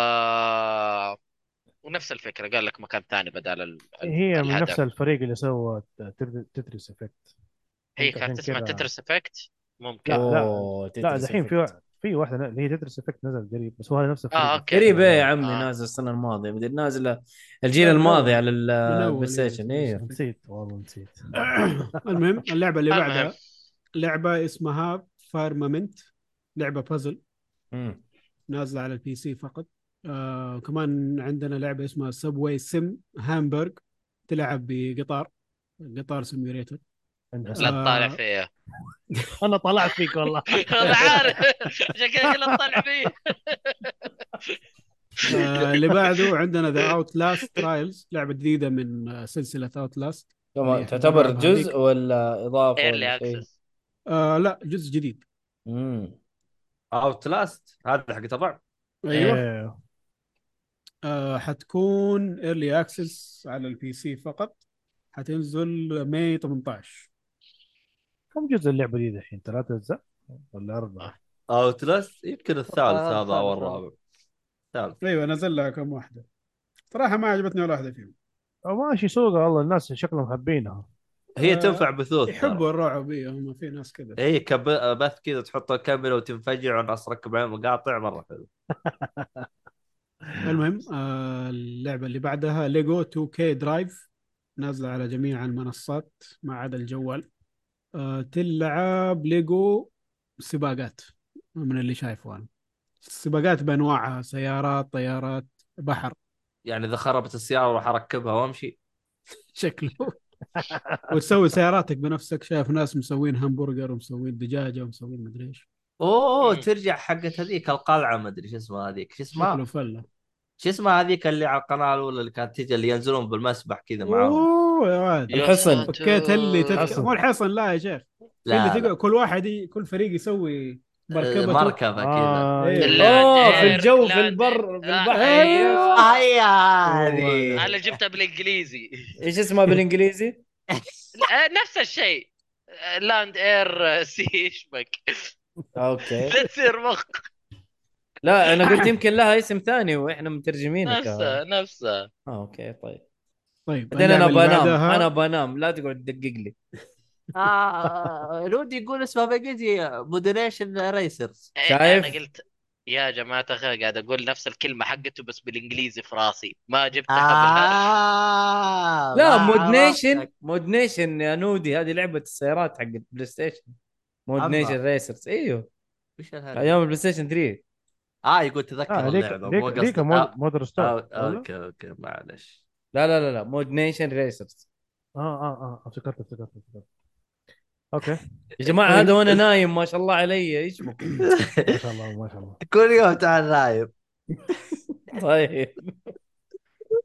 E: ونفس الفكره قال لك مكان ثاني بدل ال... ال-
F: هي من
E: الهدف
F: نفس الفريق اللي سوى تت- تتريس افكت
E: هي
F: عشان
E: كانت تسمع
F: كذا-
E: تترس افكت ممكن
F: لا، لا.
A: أوه،
F: لا
A: Tetris
F: الحين
A: Effect.
F: في وا- في واحده اللي هي تتريس افكت نزل قريب بس هو هذا نفس الفريق
E: اوكي
A: قريب ايه يا عمي
E: آه.
A: نازل السنه الماضيه مدري نازله الجيل
B: لا، لا.
A: الماضي على
B: من
A: البلاي
B: أول،
A: ستيشن
B: إيه.
F: يعني.
A: ايوه
F: نسيت والله نسيت
B: المهم اللعبه اللي
E: المهم.
B: بعدها لعبه اسمها فارمامنت لعبه بازل
A: مم.
B: نازله على البي سي فقط آه كمان عندنا لعبه اسمها سبواي سم هامبرغ تلعب بقطار قطار سيميوليتر
E: لا تطالع
B: آه.
E: فيه
F: انا طلعت فيك والله
E: انا عارف عشان كذا كلها تطالع فيه
B: آه اللي بعده عندنا ذا اوت لاست ترايلز لعبه جديده من آه، سلسله اوت لاست
A: طبعا
B: إيه،
A: تعتبر
B: نلعبها هذيك.
A: جزء ولا اضافه
E: ايرلي
A: ولا شيء؟
E: اكسس
B: آه لا جزء جديد
A: مم.
C: اوت لاست هذا حق الرعب
B: ايوه
F: إيه.
B: آه حتكون ايرلي اكسس على البي سي فقط حتنزل ماي 18
F: كم جزء اللعبه دي الحين ثلاثة اجزاء ولا اربعه؟
C: اوت لاست يمكن الثالث
H: آه،
C: هذا او
H: الثالث، آه.
C: الرابع الثالث
B: ايوه نزل لها كم واحده صراحه ما عجبتني ولا واحده فيهم
E: آه.
F: أو آه، ماشي سوقها والله الناس شكلهم حابينها
C: هي
B: آه،
C: تنفع بثوث
B: يحبوا الرعب إيه، هم في ناس كذا
C: اي كب... بث كذا تحط الكاميرا وتنفجر والناس تركب عليها مقاطع مره حلو
F: إيه.
B: المهم آه اللعبه اللي بعدها ليجو 2 كي درايف نازله على جميع المنصات ما عدا الجوال آه تلعب ليجو سباقات من اللي شايفه انا السباقات بانواعها سيارات طيارات بحر
C: يعني اذا خربت السياره راح اركبها وامشي
B: شكله وتسوي سياراتك بنفسك شايف ناس مسوين همبرجر ومسوين دجاجه ومسوين مدري ايش
C: اوه
E: مم.
C: ترجع حقت هذيك القلعه ما ادري شو اسمها هذيك شو
B: شكله
C: اسمها
B: فله
C: شو اسمها هذيك اللي على القناه الاولى اللي كانت تجي اللي ينزلون بالمسبح كذا معاهم
B: اوه يا ولد
E: يا
A: الحصن.
E: ساتر.
B: فكيت اللي تذكر
F: الحصن.
B: مو الحصن لا يا شيخ
C: لا,
B: اللي
C: لا.
B: تقعد كل واحد ي... كل فريق يسوي مركبته
C: مركبه كذا
F: آه،
B: إيه.
F: إيه.
E: لا
A: أوه،
E: دير،
A: في الجو،
E: لا
A: في البر،
E: دير.
A: في البحر.
E: آه، أيوه.
A: أيوه.
G: هي هذه
E: انا جبتها بالانجليزي
A: ايش اسمها بالانجليزي؟
E: آه، نفس الشيء آه، لاند اير آه، سي يشبك
A: اوكي
E: تصير مخ
A: لا انا قلت يمكن لها اسم ثاني واحنا مترجمينها
B: آه.
E: نفسها نفسها
A: اه اوكي طيب
B: طيب
A: بعدين انا
B: اللعبة اللي
A: بنام
B: بعدها-
A: انا بنام لا تقعد تدقق لي
C: آه، رودي يقول اسمها بيجي مودريشن ريسرز
E: إيه،
A: شايف؟
E: انا قلت يا جماعة الخير قاعد أقول نفس الكلمة حقته بس بالإنجليزي في راسي ما جبتها قبلها
G: آه
A: لا
G: ما
A: مود نيشن
G: عرفتك.
A: مود نيشن يا نودي هذه لعبه السيارات حق البلاي ستيشن مود
C: أما.
A: نيشن ريسرز ايوه
C: وش الهرجة؟
A: ايام البلاي ستيشن 3
C: اه يقول تذكر
F: أيوه. آه، ليك
C: اللعبه مو
F: ليك ليك
C: قصدي
F: مود-
C: آه،
F: مودر ستار
C: آه،
F: ولا؟
C: اوكي اوكي معلش
A: لا لا لا لا مود نيشن ريسرز
F: اه اه اه افتكرت افتكرت افتكرت اوكي
A: يا جماعه هذا وانا نايم ما شاء الله علي ايش بك؟
F: ما شاء الله ما شاء الله
C: كل يوم تعال نايم
A: طيب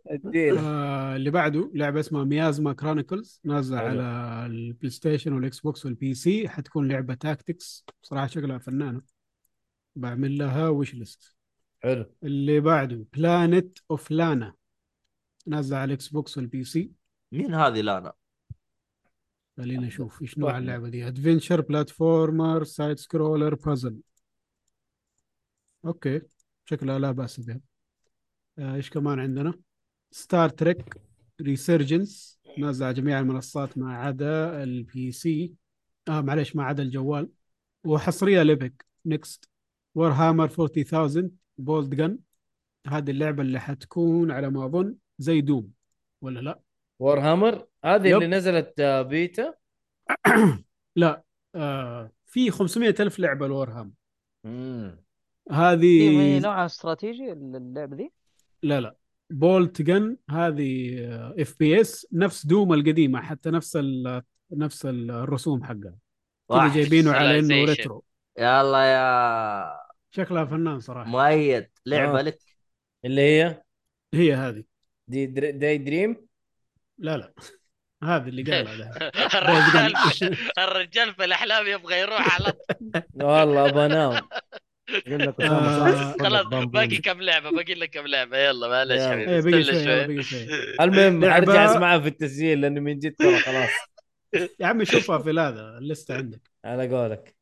A: ادينا
B: آه اللي بعده لعبه اسمها ميازما كرونيكلز نازله
A: حلو.
B: على البلاي ستيشن والاكس بوكس والبي سي حتكون لعبه تاكتكس بصراحه شكلها فنانه بعمل لها ويش ليست
A: حلو
B: اللي بعده بلانت اوف لانا نازله على الاكس بوكس والبي سي
C: مين هذه لانا؟
B: خلينا نشوف ايش نوع
A: واحدة.
B: اللعبه دي ادفنشر بلاتفورمر سايد سكرولر بازل اوكي شكلها لا باس بها آه، ايش كمان عندنا ستار تريك ريسيرجنس نازله على جميع المنصات ما عدا البي سي اه معلش ما عدا الجوال وحصريه ليبك نكست وور هامر 40000 بولد جن هذه اللعبه اللي حتكون على ما اظن زي دوم ولا لا
A: وور هامر هذه
B: يب.
A: اللي نزلت آه، بيتا
B: لا آه في 500 ألف لعبة لورهام
A: امم
D: هي إيه، هي
B: هذه
D: نوعها استراتيجي اللعبه ذي
B: لا لا بولت جن هذه آه، اف بي اس نفس دوم القديمة حتى نفس ال... نفس الرسوم حقها كذا
C: واحد.
B: جايبينه على انه
E: Civilization.
B: ريترو
C: يلا يا
B: شكلها فنان صراحة
C: مؤيد لعبه
A: آه.
C: لك
A: اللي هي
B: هي هذه
A: دي دري داي دريم
B: لا لا هذه اللي قالها ده
E: الرجال الرجال في الأحلام يبغى يروح على
A: والله بنام
F: يقول لك
B: آه،
E: خلاص باقي كم لعبه باقي لك كم لعبه يلا معلش
A: يلا.
E: حبيبي
B: ايه بقي
E: استنى
B: شوي
E: شوي
B: بقي شوي
A: المهم
B: لعبة-
A: ارجع اسمعها في التسجيل لانه من جد ترى خلاص
B: يا عمي شوفها في هذا اللسته عندك آه،
A: على قولك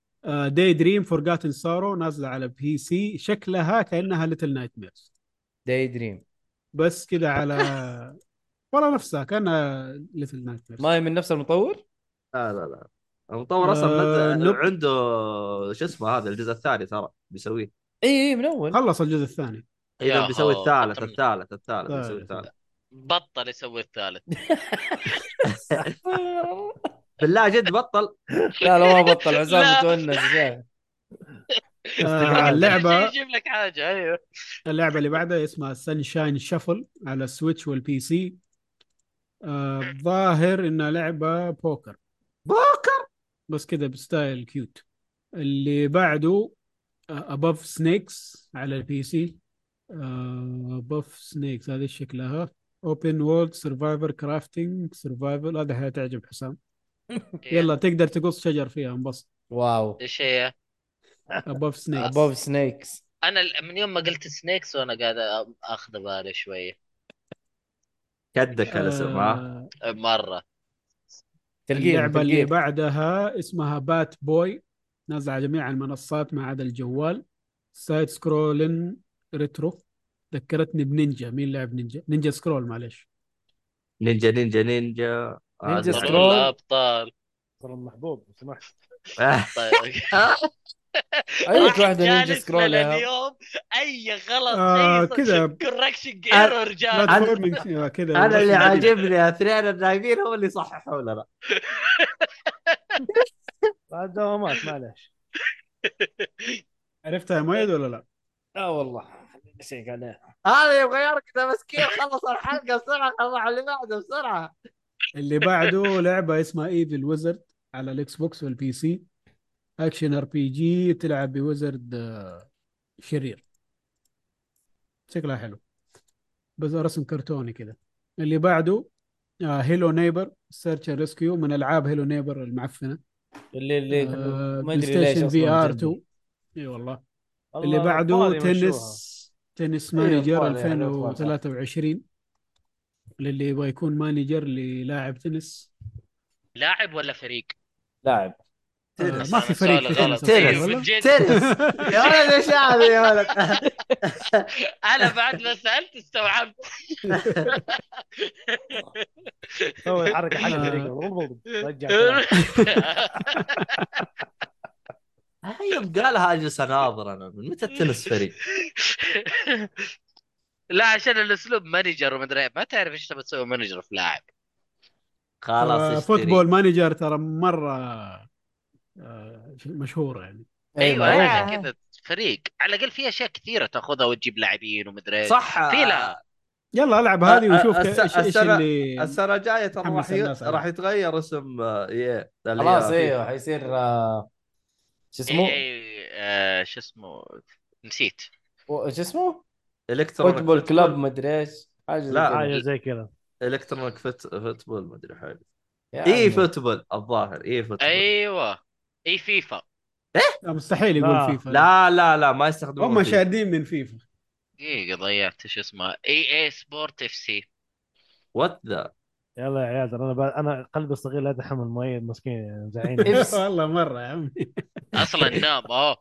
B: داي دريم فورغاتن سارو نازله على بي سي شكلها كانها ليتل نايت ميرز
A: داي دريم
B: بس كذا على والله نفسها كانها ليتل نايت ميرز
A: ما هي من نفس المطور؟
C: لا لا لا المطور اصلا
B: آه،
C: مد-
B: نب-
C: عنده شو اسمه هذا الجزء الثاني ترى بيسويه
A: اي اي من اول
B: خلص الجزء الثاني
C: اذا
E: ياهو،
C: بيسوي الثالث
E: بطل.
C: الثالث الثالث
B: لا،
C: بيسوي
B: لا.
C: الثالث
E: بطل يسوي الثالث
C: بالله جد بطل
A: لا لا ما بطل عزام
E: لا.
A: متونس يا.
B: آه، اللعبه
E: يجيب لك حاجه ايوه
B: اللعبه اللي بعدها اسمها سانشاين شفل على السويتش والبي سي آه، الظاهر انها لعبه بوكر
C: بوكر
B: بس كذا بستايل كيوت اللي بعده اباف سنيكس على البي سي اباف سنيكس هذه شكلها اوبن وورلد سرفايفر كرافتنج سرفايفل هذا حتعجب حسام يلا تقدر تقص شجر فيها انبسط
A: واو
E: ايش هي؟
B: اباف سنيكس
A: ابوف سنيكس
E: انا ال- من يوم ما قلت سنيكس وانا قاعد أ- اخذ بالي شويه
C: كدك الاسم ها
B: آه،
E: مره
A: تلقيح
B: اللعبه اللي
A: تلقيح
B: بعدها اسمها بات بوي نازله على جميع المنصات ما عدا الجوال سايد سكرولين ريترو ذكرتني بنينجا مين لعب نينجا نينجا سكرول معليش
C: نينجا نينجا نينجا آه، نعم.
A: نينجا
C: هذا-
E: طبعاً
A: سكرول.
E: الابطال
F: ترى المحبوب لو سمحت
E: طيب
A: اي
E: راح
A: واحده أيوة، نينجا
E: جالس
A: سكرول
E: لنا
A: يا.
E: اليوم اي غلط
B: آه،
E: اي
B: كذا.
E: كوركشن
A: آه،
E: ايرور جاب
B: بلاتفورمينج كذا
C: انا اللي عاجبني اثنين النايمين هم اللي صححوا لنا
F: بعد دوامات معلش
B: عرفتها يا مؤيد ولا لا؟
A: لا والله شيك عليها
C: هذا يبغى يركض مسكين خلص الحلقه بسرعه خلص اللي بعده بسرعه
B: اللي بعده لعبه اسمها ايفل ويزرد على الاكس بوكس والبي سي اكشن ار بي جي تلعب بويزرد آه، شرير شكلها حلو بس رسم كرتوني كذا اللي بعده آه، هيلو نيبر سيرش ريسكيو من العاب هيلو نيبر المعفنه
A: اللي اللي ما
B: آه، بلاي
A: ادري ليش
B: ستيشن في
A: أصلاً
B: ار
A: جدي.
B: 2 اي والله
F: الله
B: اللي بعده
F: أطفالي مشوها.
B: تنس تنس
A: إيه،
F: أيوة،
B: مانجر
F: أطفال، يعني أطفال، صح.
B: 2023 للي يبغى يكون مانجر للاعب تنس
E: لاعب ولا فريق؟
A: لاعب
B: آه،
C: تنس.
B: ما في
E: سؤال
B: فريق في
E: غلط.
B: تنس
C: تنس.
E: أيوة،
B: ولا؟
E: من جد.
C: تنس يا ولد ايش هذا يا ولد
E: انا بعد ما سالت استوعبت
F: سوي الحركه حق
B: آه.
F: الفريق اضرب رجع كلام.
C: طيب قالها اجلس اناظر انا من متى التنس فريق؟
E: لا عشان الاسلوب مانجر ومدري إيه، ما تعرف ايش تبي تسوي مانجر في لاعب
B: آه،
C: خلاص
B: فوتبول
C: اشتري
B: مانجر ترى مره آه، مشهوره يعني
E: ايوه
A: معروفة.
E: يعني كذا فريق على الاقل في اشياء كثيره تاخذها وتجيب لاعبين ومدري إيه.
C: صح
E: في لها
B: يلا العب هذه
C: آه،
B: وشوف
C: آه،
B: ك-
C: الس-
B: ايش ايش
C: السنة-
B: اللي
C: السنه الجايه ترى
B: حمس
C: راح ي-
B: الناس عليه.
C: راح يتغير اسم آه، ايه اللي هي
A: خلاص
C: فيفا.
A: ايوه حيصير آه، شو اسمه
E: إيه، آه، شو اسمه نسيت
A: و- شو اسمه
C: الكترونيك
A: فوتبول كلاب
C: فوتبول.
A: مدري ايش حاجه زي
C: لا،
A: كذا.
F: حاجه آه، زي كذا
C: الكترونيك فت... فوتبول ما ادري حاجه
A: يا
C: اي
A: عمي.
C: فوتبول الظاهر اي فوتبول
A: أيوة.
E: ايوه اي فيفا
B: لا مستحيل يقول
F: لا،
B: فيفا
C: آه. لا لا لا ما يستخدمون
B: هم
C: فيه.
B: شادين من فيفا
E: دقيقه ضيعت شو اسمه اي اي سبورت اف سي
C: وات ذا
F: يلا يا عيال ترى انا ب- انا قلبي الصغير لا يتحمل مؤيد مسكين زعيم
B: والله مره يا عمي
E: اصلا نام اهو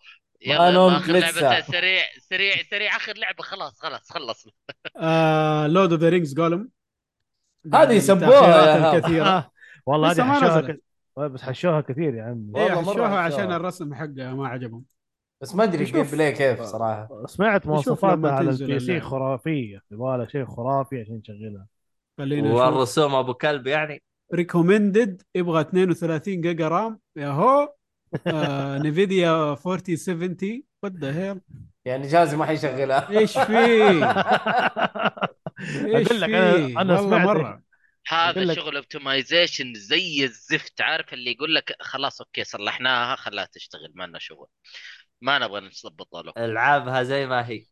A: ما
E: نعم. يلا
A: نمت
E: اخر لعبه
A: لسه.
E: سريع سريع سريع اخر لعبه خلاص خلاص خلص
B: لورد اوف ذا رينجز جولم
A: هذه
B: يعني
A: سبوها يا هاب.
B: الكثيره
F: آه، والله
B: لسه
F: هذه
B: ما
F: حشوها
B: نزلت.
F: ك- والله بس حشوها كثير يا عمي
A: والله
B: ايه
A: مرة
B: حشوها عشان
A: حشوها.
B: الرسم حقها ما عجبهم
A: بس ما ادري الجيم
B: نشوف.
A: بلاي كيف صراحه
F: سمعت
B: نشوف
F: مواصفاتها
B: لما
F: على
B: تنزل
F: البي سي
B: اللعبة.
F: خرافيه يبغى لها شيء خرافي عشان تشغلها
B: خلينا نشوف
C: والرسوم ابو كلب يعني
B: ريكومندد يبغى 32 جيجا رام آه، يا هو نفيديا 4070 وات ذا هيل
A: يعني جهازي ما حيشغلها
B: ايش فيه؟ ايش
F: اقول لك انا
B: فيه؟
F: انا
B: والله
F: سمعت
B: مره
F: يقول
E: هذا
F: لك-
E: شغل اوبتمايزيشن زي الزفت عارف اللي يقول لك خلاص اوكي صلحناها خلاها تشتغل ما لنا شغل ما نبغى نظبطها له
C: العابها زي ما هي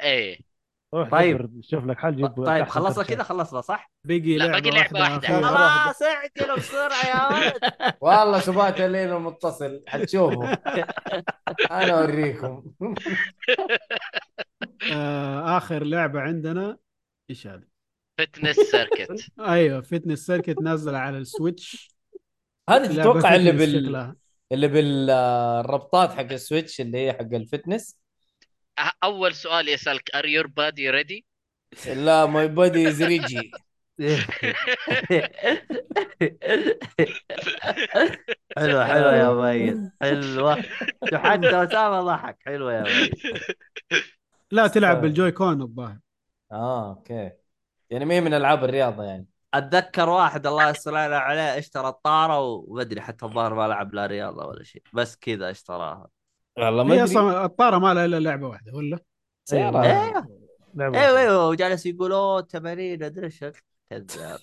E: ايه
F: روح
C: طيب.
F: دبر، شوف لك حل
C: طيب
F: جيب تحت
C: خلصنا
F: الترشيح.
C: كذا خلصنا صح؟
B: باقي
E: لا،
B: لعبه
E: باقي لعبة واحدة.
B: أخيرة.
H: خلاص اعجلوا بسرعه يا ولد
G: والله سبات الليل متصل حتشوفه انا اوريكم
B: آه، اخر لعبه عندنا ايش هذا؟
E: فتنس سيركت
B: ايوه فتنس سيركت نازله على السويتش
A: هذه
B: لعبة
A: تتوقع اللي
B: fitness
A: بال
B: شكلها.
A: اللي بالربطات حق السويتش اللي هي حق الفتنس
E: أه- اول سؤال يسالك ار يور بادي ريدي
A: لا ماي بادي از ريجي
C: حلوه حلوه يا ميت حلوه شوف حتى اسامه ضحك حلوه يا ميت
B: لا تلعب
A: آه.
B: بالجوي كون الظاهر
A: اه اوكي يعني ما هي من العاب الرياضه يعني
C: اتذكر واحد الله يستر عليه اشترى الطاره وما ادري حتى الظاهر ما لعب لا رياضه ولا شيء بس كذا اشتراها
A: والله ما
B: هي
A: ادري
B: اصلا الطاره ما لها الا لعبه واحده ولا؟
A: سيارة.
C: إيه.
F: لعبة
C: ايوه ايوه وجالس يقول اوه تمارين ادري ايش كذاب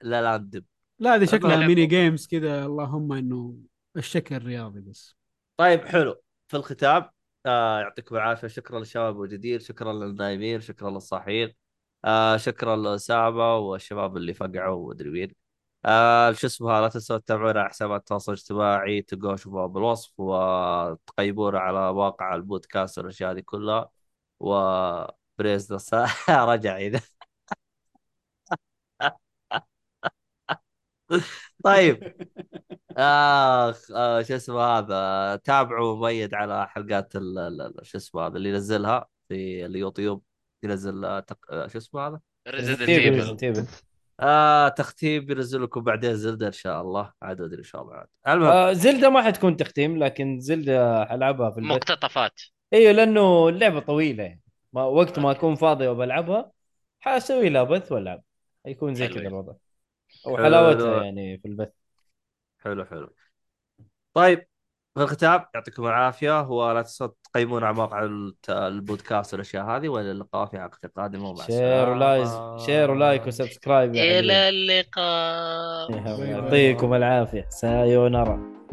C: لا لا ندب
B: لا هذه
E: لعبة.
B: شكلها ميني جيمز كذا اللهم انه الشكل الرياضي بس
C: طيب حلو في الختام آه يعطيكم العافيه شكرا للشباب الجديد شكرا للنايمين شكرا للصاحيين آه شكرا لاسامه والشباب اللي فقعوا ومدري مين آه شو اسمها لا تنسوا تتابعونا على حسابات التواصل الاجتماعي تلقوها شوفوها بالوصف وتقيمونا على مواقع البودكاست والاشياء هذه كلها وبريز نص- رجع هنا طيب اخ آه شو اسمه هذا تابعوا ميد على حلقات ال- ال- ال- شو اسمه هذا اللي ينزلها في اليوتيوب ينزل آه، تق... آه، شو اسمه هذا
E: ريزيدنت
A: Evil.
E: ايفل
A: Resident Evil.
C: آه تختيم بينزل لكم بعدين زلدة ان شاء الله عاد ادري ان شاء الله عاد المهم
A: آه زلدة ما حتكون تختيم لكن زلدة حلعبها في البيت
E: مقتطفات
A: ايوه لانه اللعبه طويله يعني ما وقت ما اكون فاضي وبلعبها حاسوي لها بث والعب حيكون زي
E: حلو.
A: كذا الوضع وحلاوتها
C: حلو.
A: يعني في البث
C: حلو حلو طيب في الختام يعطيكم العافيه ولا تنسوا تقيمون على مواقع الت- البودكاست والاشياء هذه والى اللقاء في حلقه قادمه ومع
A: شير ولايز
C: السلامة.
A: شير ولايك وسبسكرايب يا
E: الى
A: حبيبي
E: اللقاء
A: يعطيكم العافيه سايونارا